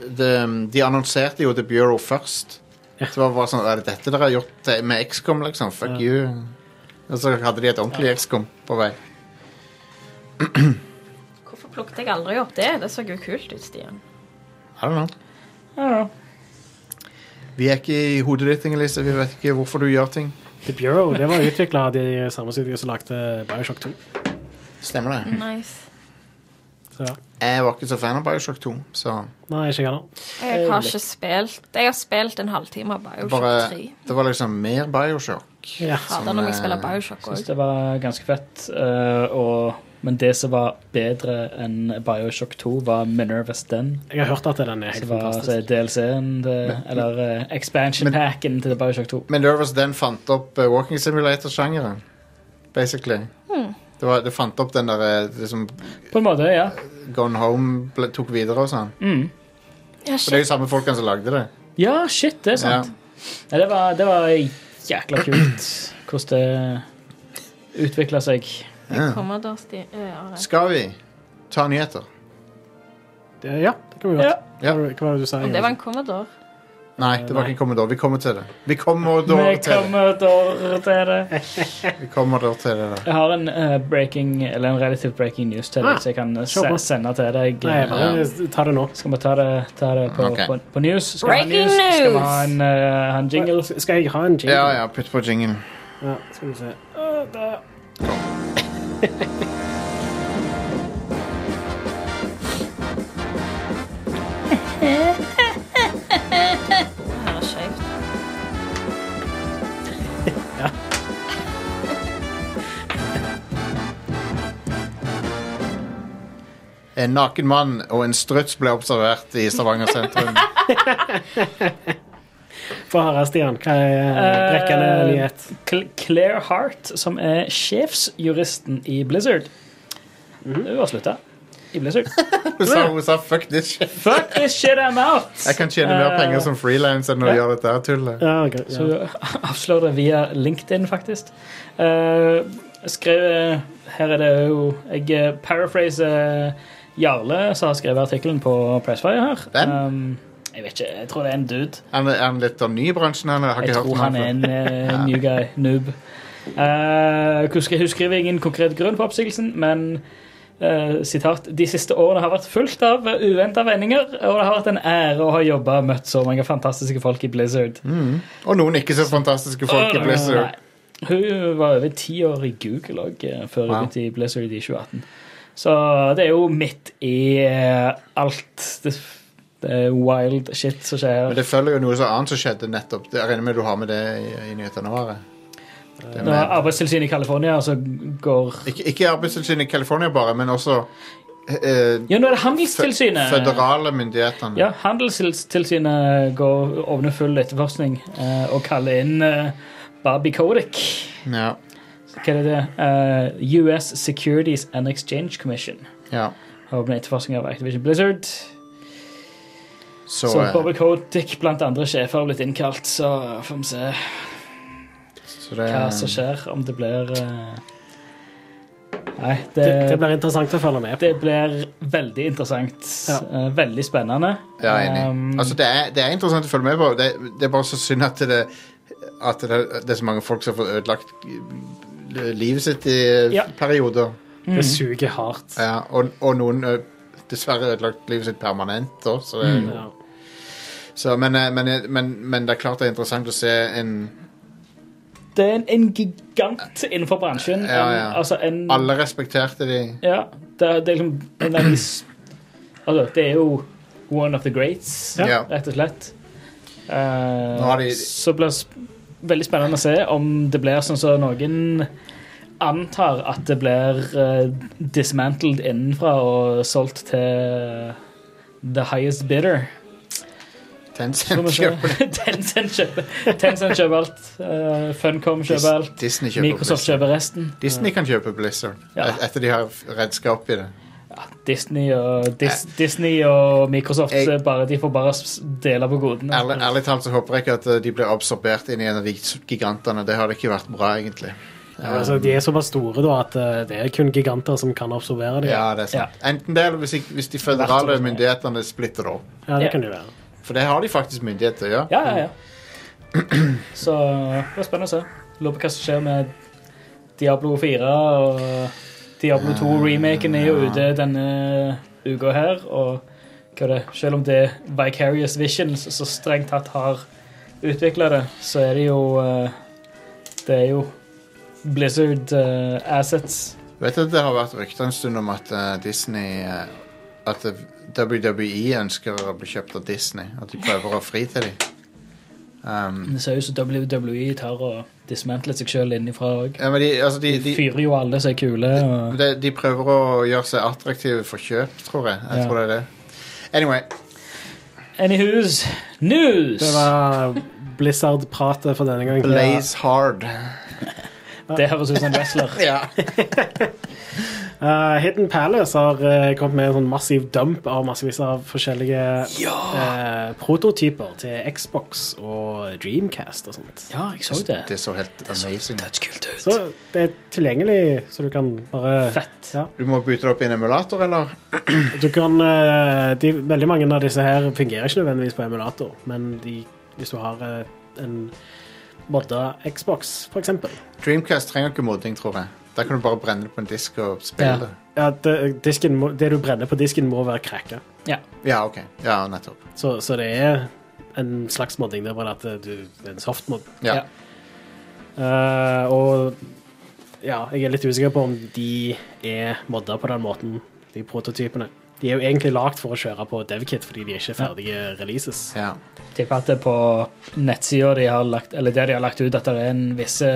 Speaker 1: de, de annonserte jo The Bureau først. Så det var bare sånn Er det dette dere har gjort eh, med XCOM, liksom? Fuck you. Og så hadde de et ordentlig XCOM på vei.
Speaker 5: Hvorfor plukket jeg aldri opp det? Det så jo kult ut, Stian.
Speaker 1: I don't know.
Speaker 3: Ja,
Speaker 1: Vi er ikke i hodet ditt, Inger-Lise. Vi vet ikke hvorfor du gjør ting.
Speaker 2: The Bureau det var utvikla av de samme studioene som lagde Bioshock 2.
Speaker 1: Stemmer det?
Speaker 4: Mm.
Speaker 5: Nice.
Speaker 2: Så ja.
Speaker 1: Jeg var ikke så fan av Bioshock 2, så
Speaker 2: Nei, ikke jeg heller.
Speaker 5: Jeg har ikke spilt Jeg har spilt en halvtime av Bioshock
Speaker 1: bare
Speaker 5: 3.
Speaker 1: Det var liksom mer Bioshock.
Speaker 2: Ja.
Speaker 5: Hater når jeg
Speaker 1: eh,
Speaker 5: spiller Bioshock
Speaker 3: Syns
Speaker 5: òg.
Speaker 3: det var ganske fett. eh, og, men det som var bedre enn Bioshock 2, var Minerva's Den.
Speaker 2: Jeg har hørt at den er helt
Speaker 3: Som var
Speaker 2: fantastisk.
Speaker 3: altså, DLC-en, det- eller eh, expansion
Speaker 1: Men-
Speaker 3: packen til Bioshock 2.
Speaker 1: Men Nervous Den fant opp eh, walking simulator-sjangeren, basically. Det, var, det fant opp den derre liksom,
Speaker 3: På en måte, ja.
Speaker 1: Gone Home ble, tok videre og sånn.
Speaker 3: Mm.
Speaker 5: Ja,
Speaker 1: For det er
Speaker 5: shit.
Speaker 1: jo samme folkene som lagde det.
Speaker 3: Ja, shit, det er sant. Nei, det, var, det var jækla kult hvordan det utvikla seg.
Speaker 1: Ja.
Speaker 5: Kommer da, Stian. Ja, ja.
Speaker 1: Skal vi ta nyheter?
Speaker 2: Det- Ja, det kan vi godt.
Speaker 1: Ja.
Speaker 2: Hva var det du sa?
Speaker 5: Om det var en Commodore.
Speaker 1: Nei, det var
Speaker 2: Nei.
Speaker 1: ikke en kommodor. Vi kommer til det. Vi kommer da
Speaker 3: Vi
Speaker 1: til det.
Speaker 3: kommer da til det.
Speaker 1: Vi kommer da til det der.
Speaker 3: Jeg har en eh, breaking, eller en relativt breaking news til
Speaker 2: Ah,
Speaker 3: deg, så jeg kan
Speaker 2: se på.
Speaker 3: se, sende til deg. eh,
Speaker 2: Nei, bare ta det nå.
Speaker 3: Skal vi ta det, ta det på,
Speaker 1: Ok.
Speaker 3: på, på news? Skal vi ha
Speaker 5: Breaking
Speaker 3: news? Skal vi ha
Speaker 5: news!
Speaker 3: en, eh, ha en jingle?
Speaker 2: Skal jeg ha en jingle?
Speaker 1: Ja, ja, putt på jingen.
Speaker 2: Ja, skal vi se. Å, der.
Speaker 5: Ja, skjevt.
Speaker 1: En naken mann og en struts ble observert i Stavanger sentrum.
Speaker 2: Få høre, Stian. Hva er brekkende
Speaker 3: Eh,
Speaker 2: nyhet?
Speaker 3: Cl- Claire Hart, som er sjefsjuristen i Blizzard.
Speaker 1: Mhm.
Speaker 3: Hun har slutta i Blizzard.
Speaker 1: Hun sa, hun sa 'fuck this shit'.
Speaker 3: Fuck this shit, I'm out!
Speaker 1: Jeg kan tjene mer
Speaker 3: Eh,
Speaker 1: penger som frilanser enn å
Speaker 3: ja.
Speaker 1: gjøre dette her tullet.
Speaker 2: Ja, ok,
Speaker 3: Så
Speaker 2: ja.
Speaker 3: hun avslører det via LinkedIn, faktisk. Eh, skrev, eh, her er det jo Jeg eh, paraphraser Jarle, som har skrevet artikkelen på Pressfire her.
Speaker 1: Hvem?
Speaker 3: Um, jeg vet ikke, jeg tror det er en dude.
Speaker 1: Er han- er han litt ny i bransjen? Eller? Jeg har
Speaker 3: Jeg
Speaker 1: ikke hørt
Speaker 3: tror
Speaker 1: om
Speaker 3: han
Speaker 1: før.
Speaker 3: er en eh, new guy, noob. Eh, hun skri- hun skriver ingen konkret grunn på oppsigelsen, men eh, sitat De siste årene har vært fullt av uventa vendinger, og det har vært en ære å ha jobba og møtt så mange fantastiske folk i Blizzard.
Speaker 1: Og noen ikke så fantastiske Mm, folk i Blizzard.
Speaker 3: Nei. Hun var over ti år i Google òg, før hun
Speaker 1: Wow.
Speaker 3: begynte i Blizzard i 2018. Så det er jo midt i eh, alt det, det er wild shit som skjer.
Speaker 1: Men det følger jo noe så annet som skjedde nettopp. Jeg regner med du har med det i, i nyhetene våre. Det
Speaker 3: Nå
Speaker 1: med,
Speaker 3: er Arbeidstilsynet i California som går
Speaker 1: ikke ikke Arbeidstilsynet i California bare, men også eh,
Speaker 3: Ja, nå er det
Speaker 1: fe-
Speaker 3: Handelstilsynet.
Speaker 1: føderale myndighetene.
Speaker 3: Ja, Handelstilsynet går åpner full etterforskning eh, og kaller inn eh, Barbie Kodik.
Speaker 1: Ja,
Speaker 3: Hva er det? Eh, US Securities and Exchange Commission
Speaker 1: ja.
Speaker 3: har åpnet etterforskning av Activision Blizzard.
Speaker 1: Så,
Speaker 3: Så,
Speaker 1: eh,
Speaker 3: Barbie Kodik blant andre sjefer har blitt innkalt, så får vi se
Speaker 1: så det,
Speaker 3: hva som skjer, om det blir eh, Nei, det,
Speaker 2: Det, det blir interessant å følge med på.
Speaker 3: det blir veldig interessant.
Speaker 2: Ja.
Speaker 3: eh, veldig spennende.
Speaker 1: Ja, jeg er enig.
Speaker 3: Um,
Speaker 1: Altså, det er, det er interessant å følge med på. Det, det er bare så synd at det, at det, det er så mange folk som får ødelagt eh, livet sitt i eh,
Speaker 3: Ja.
Speaker 1: perioder.
Speaker 3: mm.
Speaker 2: Det suger hardt.
Speaker 1: Ja, og, og noen ø, dessverre ødelagt livet sitt permanent òg, så, det-
Speaker 3: Mm.
Speaker 2: Ja.
Speaker 1: så men, ø, men, eh, men, men det er klart det er interessant å se en
Speaker 3: Det er en, en gigant innenfor bransjen.
Speaker 1: Ja,
Speaker 3: En,
Speaker 1: ja.
Speaker 3: altså en,
Speaker 1: Alle respekterte de.
Speaker 3: ja, det, er- det er liksom en av de s- altså, Det er jo one of the greats,
Speaker 2: Ja.
Speaker 1: Ja.
Speaker 3: rett og slett. Eh,
Speaker 1: Nå har de-
Speaker 3: Så blir det s- veldig spennende å se om det blir sånn som noen antar at det blir eh, dismantled innenfra og solgt til the highest bidder.
Speaker 1: Tencent
Speaker 3: Som vi ser.
Speaker 1: kjøper
Speaker 3: Tencent kjøper Tencent kjøper alt. eh, Funcom kjøper alt.
Speaker 1: Dis- Disney kjøper
Speaker 3: Microsoft
Speaker 1: Blizzard.
Speaker 3: kjøper resten.
Speaker 1: Disney kan kjøpe Blizzard
Speaker 3: Ja.
Speaker 1: et- etter de har redska opp i det.
Speaker 3: Ja, Disney og, Dis Disney og Microsoft
Speaker 1: Jeg-
Speaker 3: eh, bare, de får bare s- dele på godene.
Speaker 1: Ærlig, ærlig talt så håper jeg ikke at eh, de blir absorbert inn i en av de gigantene. Det hadde ikke vært bra, egentlig.
Speaker 2: Ja, altså, de er såpass store da, at eh, det er kun giganter som kan absorbere dem. Ja.
Speaker 1: Ja, det er sant. Enten det, eller hvis, ikke- hvis de føderale myndighetene splitter det opp.
Speaker 2: det
Speaker 3: Ja.
Speaker 2: kan det være.
Speaker 1: For det har de faktisk myndighet til å gjøre.
Speaker 3: Ja, ja, ja. Så det var spennende å se. Lurer på hva som skjer med Diablo 4 og Diablo
Speaker 1: Ah,
Speaker 3: 2-remaken er jo ute denne uka her, og hva er det? selv om det er Vicarious Visions som strengt tatt har utvikla det, så er det jo eh, Det er jo Blizzard eh, Assets.
Speaker 1: Vet du at Det har vært rykter en stund om at eh, Disney eh, At eh, WWE ønsker å bli kjøpt av Disney. At de prøver å fri til dem. Um,
Speaker 3: Det ser ut som WWE E tar og dismantler seg sjøl innifra òg.
Speaker 1: ja, men de, altså de,
Speaker 3: De
Speaker 1: de,
Speaker 3: fyrer jo alle som er kule. Og
Speaker 1: de, de prøver å gjøre seg attraktive for kjøp, tror jeg. Jeg
Speaker 3: Ja.
Speaker 1: tror det er det. Anyway.
Speaker 3: Anywho's news!
Speaker 2: Det var Blizzard-pratet for denne gangen.
Speaker 1: Blaze hard.
Speaker 3: Det høres ut som en wrestler.
Speaker 1: Ja.
Speaker 2: Eh, Hidden Palace har eh, kommet med en sånn massiv dump av massevis av forskjellige eh, prototyper til Xbox og Dreamcast og sånt.
Speaker 3: Ja, jeg så
Speaker 1: Det så helt amazing ut.
Speaker 3: kult ut.
Speaker 2: Så det er tilgjengelig, så du kan bare
Speaker 3: Fett.
Speaker 2: Ja.
Speaker 1: Du må bytte det opp i en emulator, eller?
Speaker 2: Du kan, eh, de, veldig mange av disse her fungerer ikke nødvendigvis på emulator, men de, hvis du har eh, en modda Xbox, for eksempel
Speaker 1: Dreamcast trenger ikke modding, tror jeg. Der kan du bare brenne det på en disk og
Speaker 3: Ja.
Speaker 1: spille det.
Speaker 2: ja, det, disken må, det du brenner på disken, må være krekka.
Speaker 1: Ja, ok. Ja, nettopp.
Speaker 2: Så, så det er en slags modding. Det er bare at eh, du det er en softmod.
Speaker 1: Ja.
Speaker 3: Ja.
Speaker 2: Eh, og ja, jeg er litt usikker på om de er modda på den måten, de prototypene. De er jo egentlig lagd for å kjøre på DevKit fordi de er ikke ferdige releases.
Speaker 1: ja.
Speaker 3: Tipper at det er på nettsida de har lagt Eller der de har lagt ut at det er en visse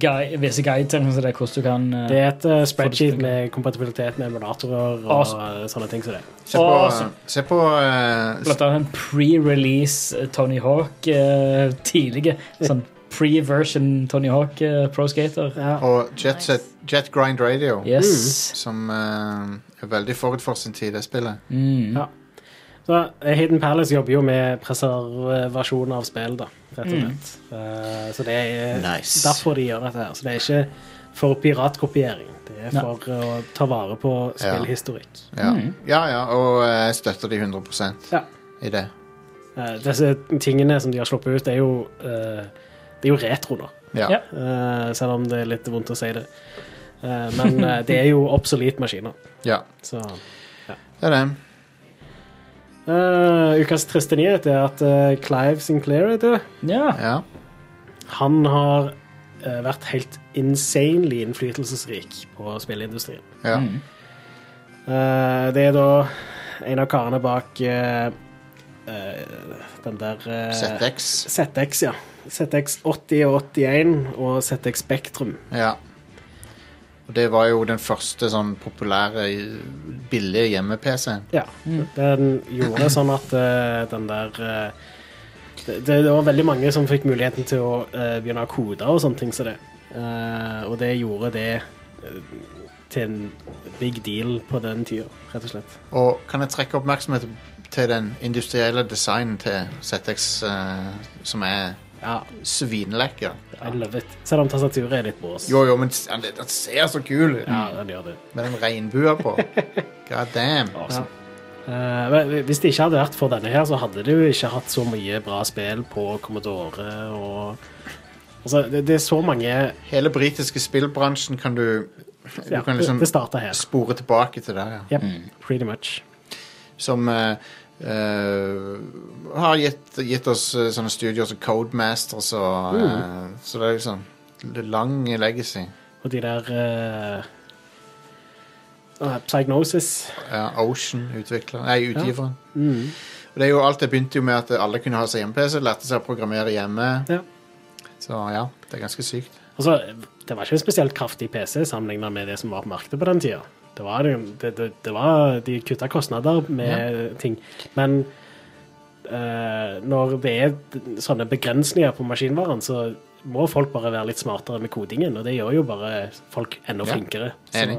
Speaker 3: gui- visse guides eller noe sånt der, hvordan du kan eh,
Speaker 2: Det er et eh,
Speaker 3: Får
Speaker 2: spreadsheet
Speaker 3: du
Speaker 2: med kompatibilitet med emulatorer og
Speaker 3: Awesome.
Speaker 2: eh, sånne ting som det.
Speaker 1: Se på,
Speaker 3: Awesome.
Speaker 1: se på eh,
Speaker 3: Blant annet en pre-release eh, Tony Hawk eh, tidlige. Sånn pre-version Tony Hawk eh, pro skater.
Speaker 1: Og Jet, Set, Jet Grind Radio,
Speaker 3: Yes.
Speaker 1: som eh, er veldig forut for sin tid, det spillet.
Speaker 3: Mm.
Speaker 2: Ja. Så eh, Hidden Palace jobber jo med preservasjon av spill, da, rett og
Speaker 3: Mm.
Speaker 2: slett. Eh, så det er
Speaker 1: Nice.
Speaker 2: derfor de gjør dette her. Så det er ikke for piratkopiering. Det er
Speaker 3: Nei.
Speaker 2: for eh, å ta vare på spillhistorikk.
Speaker 1: Ja,
Speaker 3: Mm.
Speaker 1: ja, ja og eh, jeg støtter de 100
Speaker 2: Ja.
Speaker 1: i det.
Speaker 2: Eh, disse tingene som de har sluppet ut, er jo, eh, det er jo retro nå.
Speaker 1: Ja.
Speaker 3: Ja.
Speaker 2: Eh, selv om det er litt vondt å si det. Eh, men eh, det er jo obsolete maskiner.
Speaker 1: ja.
Speaker 2: Så
Speaker 1: Det er det.
Speaker 2: Eh, ukas triste nyhet er at eh, Clive Sinclair er død.
Speaker 3: ja.
Speaker 1: Ja.
Speaker 2: Han har eh, vært helt insanely innflytelsesrik på spilleindustrien.
Speaker 1: ja.
Speaker 3: Mm.
Speaker 2: Eh, det er da en av karene bak eh, eh, den der eh,
Speaker 1: ZX.
Speaker 2: ZX, ja. ZX 80 og 81 og ZX Spektrum.
Speaker 1: Ja. Og det var jo den første sånn populære, eh, billige hjemme-PC-en.
Speaker 2: Ja. Den gjorde sånn at eh, den der eh, det, det var veldig mange som fikk muligheten til å eh, begynne å kode og sånne ting som det. Eh, og det gjorde det eh, til en big deal på den tida, rett og slett.
Speaker 1: Og kan jeg trekke oppmerksomhet til den industrielle designen til ZX, eh, som er
Speaker 2: Ja,
Speaker 1: svinlekker?
Speaker 2: I love it. Selv om tastaturet er litt bås.
Speaker 1: Jo, jo, men s- den, den ser så kul ut!
Speaker 2: Ja, den gjør det.
Speaker 1: Med den regnbua på. God damn.
Speaker 2: Ja. Eh, men hvis det ikke hadde vært for denne her, så hadde du ikke hatt så mye bra spill på Commodore og Altså, det, det er så mange Ja,
Speaker 1: Hele britiske spillbransjen kan du Du kan liksom
Speaker 2: det, det starta her.
Speaker 1: spore tilbake til der, ja.
Speaker 2: Yep, Pretty much.
Speaker 1: Som eh, eh, har gitt, gitt oss eh, sånne studioer som Codemasters og eh,
Speaker 2: Mm.
Speaker 1: Så det er liksom lang legacy.
Speaker 2: Og de der eh, eh, Psygnosis. Mm.
Speaker 1: Ja, Ocean, utvikler Nei, utgiveren. Og det er jo, alt det begynte jo med at alle kunne ha seg hjemme-PC, lærte seg å programmere hjemme.
Speaker 2: Ja.
Speaker 1: Så ja, det er ganske sykt.
Speaker 2: Altså, det var ikke en spesielt kraftig PC sammenlignet med det som var på markedet på den tida. Det var, det, det, det var, de kutta kostnader med ting. Men eh, når det er sånne begrensninger på maskinvaren, så må folk bare være litt smartere med kodingen, og det gjør jo bare folk enda
Speaker 1: Ja.
Speaker 2: flinkere.
Speaker 1: Enig.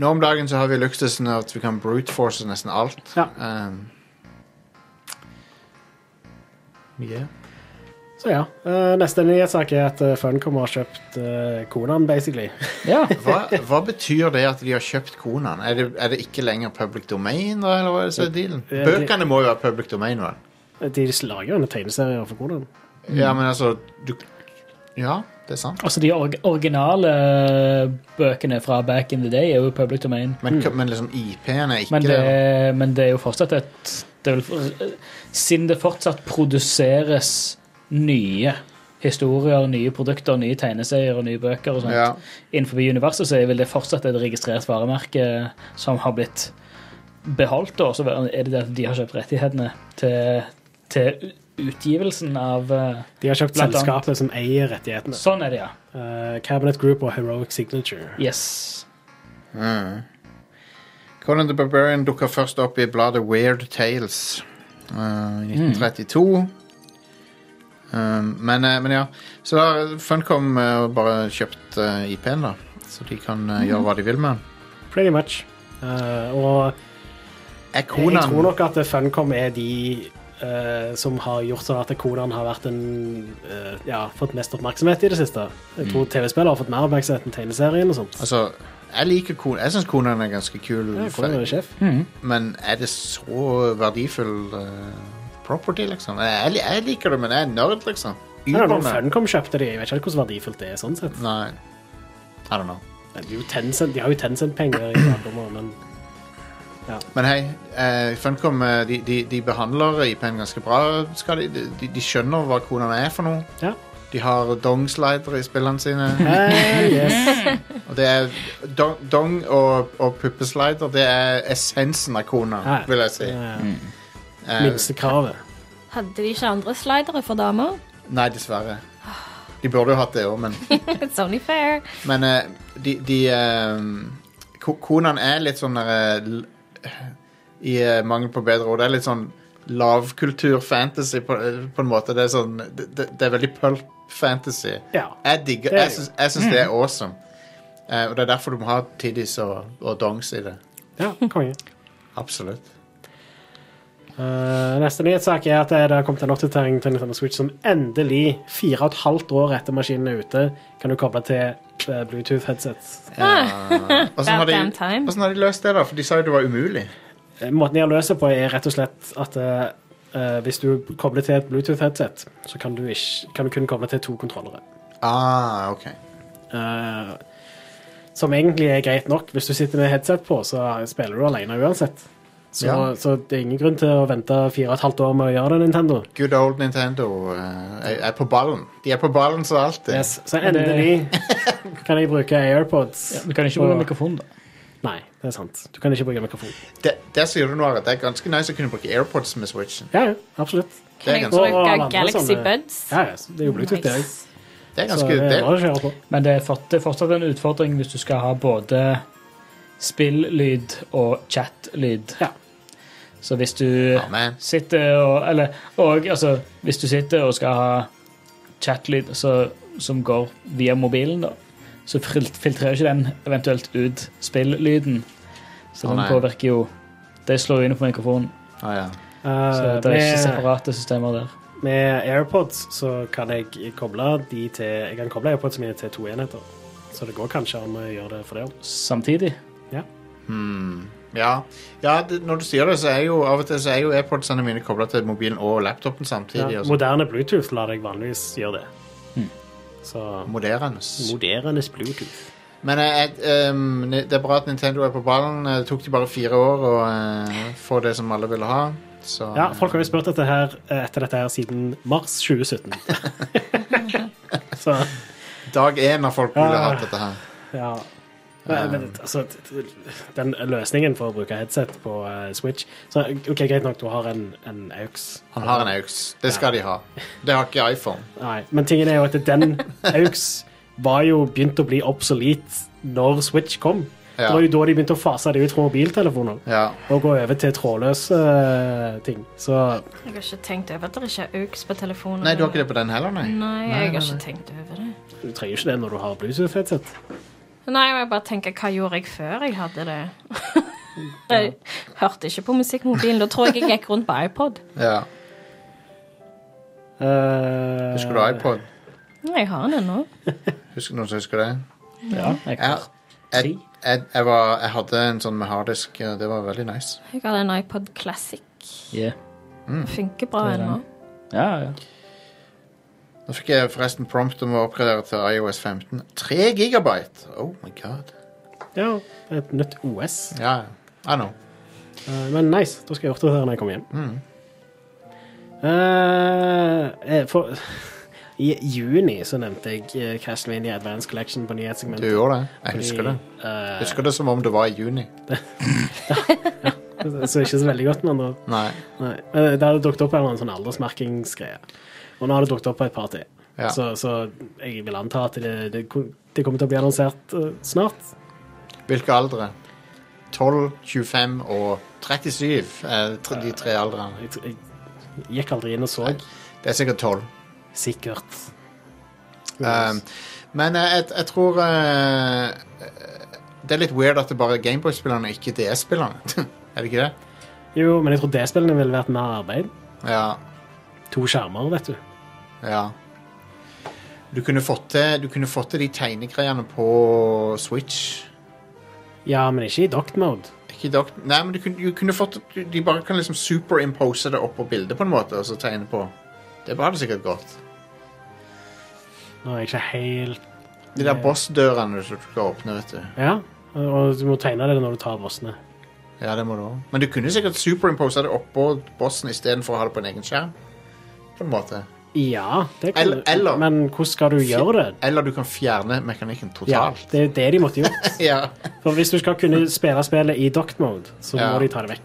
Speaker 1: Nå om dagen så har vi luksusen av at vi kan bruteforce nesten alt.
Speaker 2: Ja.
Speaker 1: Um, yeah.
Speaker 2: Så ja. eh, neste nyhetssak er at eh, Funcom har kjøpt eh, Konan, basically.
Speaker 3: Ja.
Speaker 1: hva, hva betyr det at de har kjøpt konaen? Er det, er det ikke lenger public domain, da, eller hva er det som er dealen?
Speaker 2: Ja, det-
Speaker 1: Bøkene må jo være public domain, vel?
Speaker 2: De lager jo en tegneserie for Konan.
Speaker 1: Ja,
Speaker 2: Mm.
Speaker 1: men altså du, Ja, det er sant.
Speaker 3: Altså, de org originale eh, bøkene fra back in the day er jo public domain.
Speaker 2: Mm.
Speaker 1: Men, k- men liksom IP-en er ikke
Speaker 3: Men det,
Speaker 1: det. da.
Speaker 3: men det er jo fortsatt et det er vel, Siden det fortsatt produseres nye historier, nye produkter, nye tegneserier og nye bøker og sånt
Speaker 1: Ja.
Speaker 3: innenfor universet, så er vel det fortsatt et registrert varemerke som har blitt beholdt. da. så er det det at de har kjøpt rettighetene til, til utgivelsen av eh,
Speaker 2: De har kjøpt
Speaker 3: Blant annet.
Speaker 2: selskapet som eier rettighetene.
Speaker 3: Sånn er det, ja.
Speaker 2: Eh, Cabinet Group og Heroic Signature.
Speaker 3: Yes.
Speaker 1: Mm. Conan the Barbarian dukka først opp i bladet Weird Tales eh, i 1932.
Speaker 2: Mm.
Speaker 1: Um, men, eh, men ja, så da har Funcom eh, bare kjøpt eh, IP-en, da. Så de kan eh,
Speaker 2: Mm.
Speaker 1: gjøre hva de vil med den.
Speaker 2: Pretty much. Eh, og
Speaker 1: Er
Speaker 2: jeg tror
Speaker 1: Conan
Speaker 2: nok at Funcom er de eh, som har gjort sånn at Konan har vært en, eh, ja, fått mest oppmerksomhet i det siste. Jeg tror TV-spillere har fått mer oppmerksomhet enn tegneserien og sånt.
Speaker 1: Altså, jeg liker Conan. Jeg syns Conan er ganske kul,
Speaker 2: Ja, Conan er sjef.
Speaker 1: men er det så verdifull eh, property, liksom? Jeg, jeg- jeg liker det, men jeg er nerd, liksom.
Speaker 2: Ja, men
Speaker 1: Ubernerd.
Speaker 2: Funcom kjøpte de. Jeg vet ikke helt hvor verdifullt det er sånn sett.
Speaker 1: Nei. I don't know.
Speaker 2: Det er jo Tencent, de har jo Tencent-penger i bakgrunnen, men
Speaker 1: Men hei, eh, Funcom eh, de, de, de behandler IP-en ganske bra. Skal de, de, de skjønner hva konene er for noe.
Speaker 2: ja.
Speaker 1: De har dong-slidere i spillene sine.
Speaker 2: Eh, yes.
Speaker 1: Og det er dong, dong og, og puppeslider det er essensen av kona,
Speaker 2: Ja.
Speaker 1: vil jeg si.
Speaker 2: Eh,
Speaker 1: Eh,
Speaker 2: Minste kravet.
Speaker 5: Hadde de ikke andre slidere for damer?
Speaker 1: nei, dessverre. De burde jo hatt det òg, men
Speaker 5: It's only fair.
Speaker 1: Men eh, de, de eh, ko- Konan er litt sånn der eh, l- I eh, mangel på bedre ord. Det er litt sånn lavkultur-fantasy på, eh, på en måte. Det er, sånn, det, det- det er veldig pulp-fantasy.
Speaker 2: Ja.
Speaker 1: Jeg digger
Speaker 2: Det er
Speaker 1: Jeg
Speaker 2: det.
Speaker 1: syns, jeg syns det er awesome. Eh, og det er derfor du må ha tiddies og, og dongs i det.
Speaker 2: ja konge.
Speaker 1: Absolutt.
Speaker 2: Eh, neste nyhetssak er at det har kommet en oppdatering til Nintendo Switch som endelig, fire og et halvt år etter maskinen er ute, kan du koble til eh, Bluetooth-headsets.
Speaker 1: Ja. Åssen har, de-
Speaker 5: About damn time.
Speaker 1: hvordan har de løst det, da? For de sa jo det var umulig.
Speaker 2: Eh, Måten de har løst det på, er rett og slett at eh, eh, hvis du kobler til et Bluetooth-headset, så kan du, ikke, kan du kun koble til to kontrollere.
Speaker 1: Ah, ok.
Speaker 2: Eh, som egentlig er greit nok. Hvis du sitter med headset på, så spiller du alene uansett. Så,
Speaker 1: Ja.
Speaker 2: så det er ingen grunn til å vente fire og et halvt år med å gjøre det, Nintendo.
Speaker 1: Good old Nintendo eh, er, er på ballen. De er på ballen så alltid.
Speaker 2: Yes. Så endelig kan jeg bruke AirPods.
Speaker 3: Ja, vi kan ikke bruke
Speaker 2: Og-
Speaker 3: mikrofon, da.
Speaker 2: Nei, det er sant. Du kan ikke bruke mikrofon.
Speaker 1: Det, det som gjør det noe, er at det er ganske nice å kunne bruke AirPods med Switchen.
Speaker 2: Ja, ja, absolutt.
Speaker 1: Det er
Speaker 5: Kan jeg
Speaker 1: ganske- sånn, eh,
Speaker 2: Og alle
Speaker 5: bruke
Speaker 2: andre
Speaker 5: Galaxy
Speaker 2: sånne-
Speaker 5: Buds?
Speaker 2: Ja, ja, så det er jo Bluetooth, det òg.
Speaker 5: Nice.
Speaker 1: Det er
Speaker 2: Så
Speaker 1: ganske
Speaker 2: det er bare
Speaker 1: det,
Speaker 2: å kjøre på.
Speaker 3: Men det er, fort, det er fortsatt en utfordring hvis du skal ha både spilllyd og chatlyd.
Speaker 2: Ja.
Speaker 3: Så hvis du
Speaker 1: Amen.
Speaker 3: sitter og Eller og, altså, hvis du sitter og skal ha chatlyd så, som går via mobilen, da, så fil- filtrerer ikke den eventuelt ut spilllyden. Så
Speaker 1: Å,
Speaker 3: den
Speaker 1: nei.
Speaker 3: påvirker jo Det slår jo inn på mikrofonen.
Speaker 1: Ah, ja.
Speaker 3: Så
Speaker 2: Eh,
Speaker 3: det er ikke
Speaker 2: med,
Speaker 3: separate systemer der.
Speaker 2: med AirPods så kan jeg koble de til Jeg kan koble AirPods mine til to enheter. Så det går kanskje an å gjøre det for det òg.
Speaker 3: Samtidig.
Speaker 1: Hmm. ja. ja det, når du sier det, så er jo av og til så er jo AirPodsene mine kobla til mobilen og laptopen samtidig.
Speaker 2: Ja,
Speaker 1: og så-
Speaker 2: moderne Bluetooth lar deg vanligvis gjøre det.
Speaker 3: Hmm.
Speaker 2: Så
Speaker 1: Modererende.
Speaker 2: Moderne Bluetooth.
Speaker 1: Men eh, et, ehm, ni- det er bra at Nintendo er på ballen. Eh, Det tok de bare fire år å eh, få det som alle ville ha. Så
Speaker 2: Ja, folk har jo spurt dette her, eh, etter dette her siden mars 2017. så
Speaker 1: dag én av folk ville
Speaker 2: Ah.
Speaker 1: hatt dette her.
Speaker 2: ja. Men, men, altså, t- t- den løsningen for å bruke headset på eh, Switch så, OK, greit nok, du har en, en AUX.
Speaker 1: Han har en AUX. Det skal de ha. Det har ikke iPhone.
Speaker 2: Nei, men tingen er jo at den AUX var jo begynt å bli obsolet når Switch kom.
Speaker 1: Ja.
Speaker 2: Det var jo da de begynte å fase det ut fra mobiltelefoner.
Speaker 1: Ja.
Speaker 2: og gå over til trådløse eh, ting. Så
Speaker 5: Jeg har ikke tenkt over at det ikke er AUX på telefonen.
Speaker 1: Nei, du
Speaker 2: Mm.
Speaker 1: har ikke det på den heller, nei?
Speaker 5: Nei,
Speaker 1: Nei,
Speaker 5: jeg har
Speaker 1: nei,
Speaker 5: ikke tenkt over det.
Speaker 2: du trenger jo ikke det når du har Bluetooth-headset.
Speaker 5: Nei, jeg bare tenker, hva gjorde jeg før jeg hadde det? jeg hørte ikke på musikkmobilen. Da tror jeg jeg gikk rundt på iPod.
Speaker 1: Ja.
Speaker 2: Eh,
Speaker 1: Husker du iPod?
Speaker 5: Nei, jeg har den ennå.
Speaker 1: Husker noen som husker det?
Speaker 3: Ja,
Speaker 1: Jeg,
Speaker 3: jeg
Speaker 1: jeg,
Speaker 3: Tre.
Speaker 1: jeg, jeg, var, jeg hadde en sånn med harddisk. og Det var veldig nice.
Speaker 5: Jeg har en iPod Classic.
Speaker 3: Yeah.
Speaker 5: Funker bra
Speaker 3: Det er den.
Speaker 5: ennå.
Speaker 3: Ja, ja.
Speaker 1: Nå fikk jeg forresten prompt om å oppgradere til IOS 15. 3 gigabyte! Oh my god.
Speaker 2: Eh, ja, et nytt OS.
Speaker 1: Ja, I know. Mm.
Speaker 2: Eh, men nice, da skal jeg oppdatere når jeg kommer hjem. Eh, eh, for, I juni så nevnte jeg eh, Castlevania Advance Collection på
Speaker 1: Du
Speaker 2: nyhetssegmentet.
Speaker 1: gjorde det. Jeg husker det.
Speaker 2: Eh,
Speaker 1: Husker det som om det var i juni.
Speaker 2: så ikke så veldig godt, men da
Speaker 1: Nei.
Speaker 2: Nei. eh, Det hadde dukket opp en eller annen sånn aldersmerkingsgreie. Og nå har det dukket opp på et par til.
Speaker 1: Ja.
Speaker 2: Så, så jeg vil anta at det, det, kom- det kommer til å bli annonsert eh, snart.
Speaker 1: Hvilke aldre? 12, 25 og 37 er tre- de tre aldrene.
Speaker 2: Jeg, tr- jeg gikk aldri inn og så.
Speaker 1: Det er sikkert 12.
Speaker 2: Sikkert.
Speaker 1: Um, men eh, jeg, jeg tror eh, Det er litt weird at det bare er Gameboy-spillerne, ikke DS-spillerne. er det ikke det?
Speaker 2: jo, men jeg tror D-spillene ville vært mer arbeid.
Speaker 1: Ja.
Speaker 2: To skjermer, vet du.
Speaker 1: ja. Du kunne fått til, du kunne fått til de tegnegreiene på Switch.
Speaker 2: Ja, men ikke i docked mode.
Speaker 1: Ikke dokt... Nei, men du kunne, du kunne fått du- De bare kan liksom superimpose det opp på bildet, på en måte, og så tegne på. Det var det sikkert godt.
Speaker 2: Nå er jeg ikke helt
Speaker 1: De der boss-dørene som du skal åpne, vet du.
Speaker 2: Ja, og du må tegne det når du tar bossene.
Speaker 1: Ja, det må du også. Men du kunne sikkert superimpose det oppå bossen istedenfor å ha det på en egen skjerm. På en måte.
Speaker 2: Ja, det kan
Speaker 1: Eller-
Speaker 2: du.
Speaker 1: eller-
Speaker 2: Men hvordan skal du gjøre det?
Speaker 1: Eller du kan fjerne mekanikken
Speaker 2: Ja,
Speaker 1: totalt.
Speaker 2: det er jo det de måtte gjort.
Speaker 1: Ja.
Speaker 2: For hvis du skal kunne spille spillet i docked mode, så må
Speaker 1: Ja.
Speaker 2: de ta det vekk.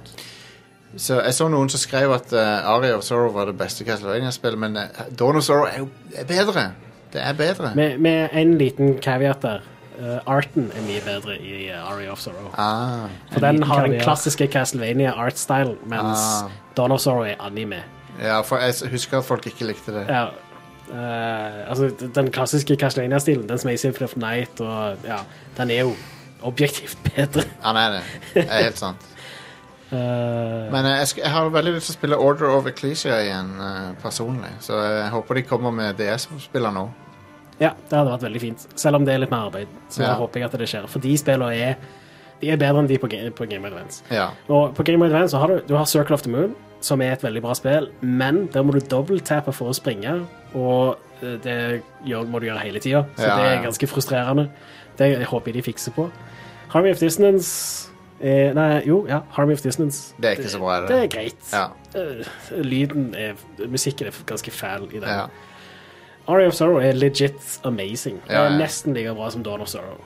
Speaker 1: Så jeg så noen som skrev at eh, Aria of Sorrow var det beste Castlevania-spillet, men eh, Dawn of Sorrow er jo er bedre. Det er bedre.
Speaker 2: Med, med en liten caveat der. Eh, arten er mye bedre i uh, Aria of Sorrow.
Speaker 1: Ah,
Speaker 2: For den
Speaker 3: liten
Speaker 2: har den
Speaker 3: caveat.
Speaker 2: klassiske Castlevania art-style, mens
Speaker 1: Ah.
Speaker 2: Dawn of Sorrow er anime.
Speaker 1: ja, for jeg s- husker at folk ikke likte det.
Speaker 2: Ja. Eh, altså, d- den klassiske Castlevania-stilen, den som er i Symphony of Night, og, ja, den er jo objektivt bedre.
Speaker 1: Han er det. Det er helt sant.
Speaker 2: Eh,
Speaker 1: Men eh, jeg, sk- jeg har veldig lyst til å spille Order of Ecclesia igjen, eh, personlig. Så jeg håper de kommer med DS-spiller nå.
Speaker 2: ja, det hadde vært veldig fint. Selv om det er litt mer arbeid, så
Speaker 1: Ja.
Speaker 2: håper jeg at det skjer. For de spillene er, de er bedre enn de på, Ga- på Game of Advance.
Speaker 1: Ja.
Speaker 2: Og på Game Boy Advance så har du, du har Circle of the Moon, som er et veldig bra spill, men der må du dobbelttappe for å springe, og eh, det gjør, må du gjøre hele tida, så
Speaker 1: Ja,
Speaker 2: det
Speaker 1: ja.
Speaker 2: er ganske frustrerende. Det håper jeg de fikser på. Harmony of Dissonance eh, Nei, jo, ja, Harmony of Dissonance.
Speaker 1: Det er ikke så bra, er det?
Speaker 2: Det er greit.
Speaker 1: Ja.
Speaker 2: Eh, lyden er Musikken er ganske fæl i den.
Speaker 1: ja.
Speaker 2: Aria of Sorrow er legit amazing. Det
Speaker 1: Ja,
Speaker 2: er
Speaker 1: ja.
Speaker 2: nesten like bra som Dawn of Sorrow.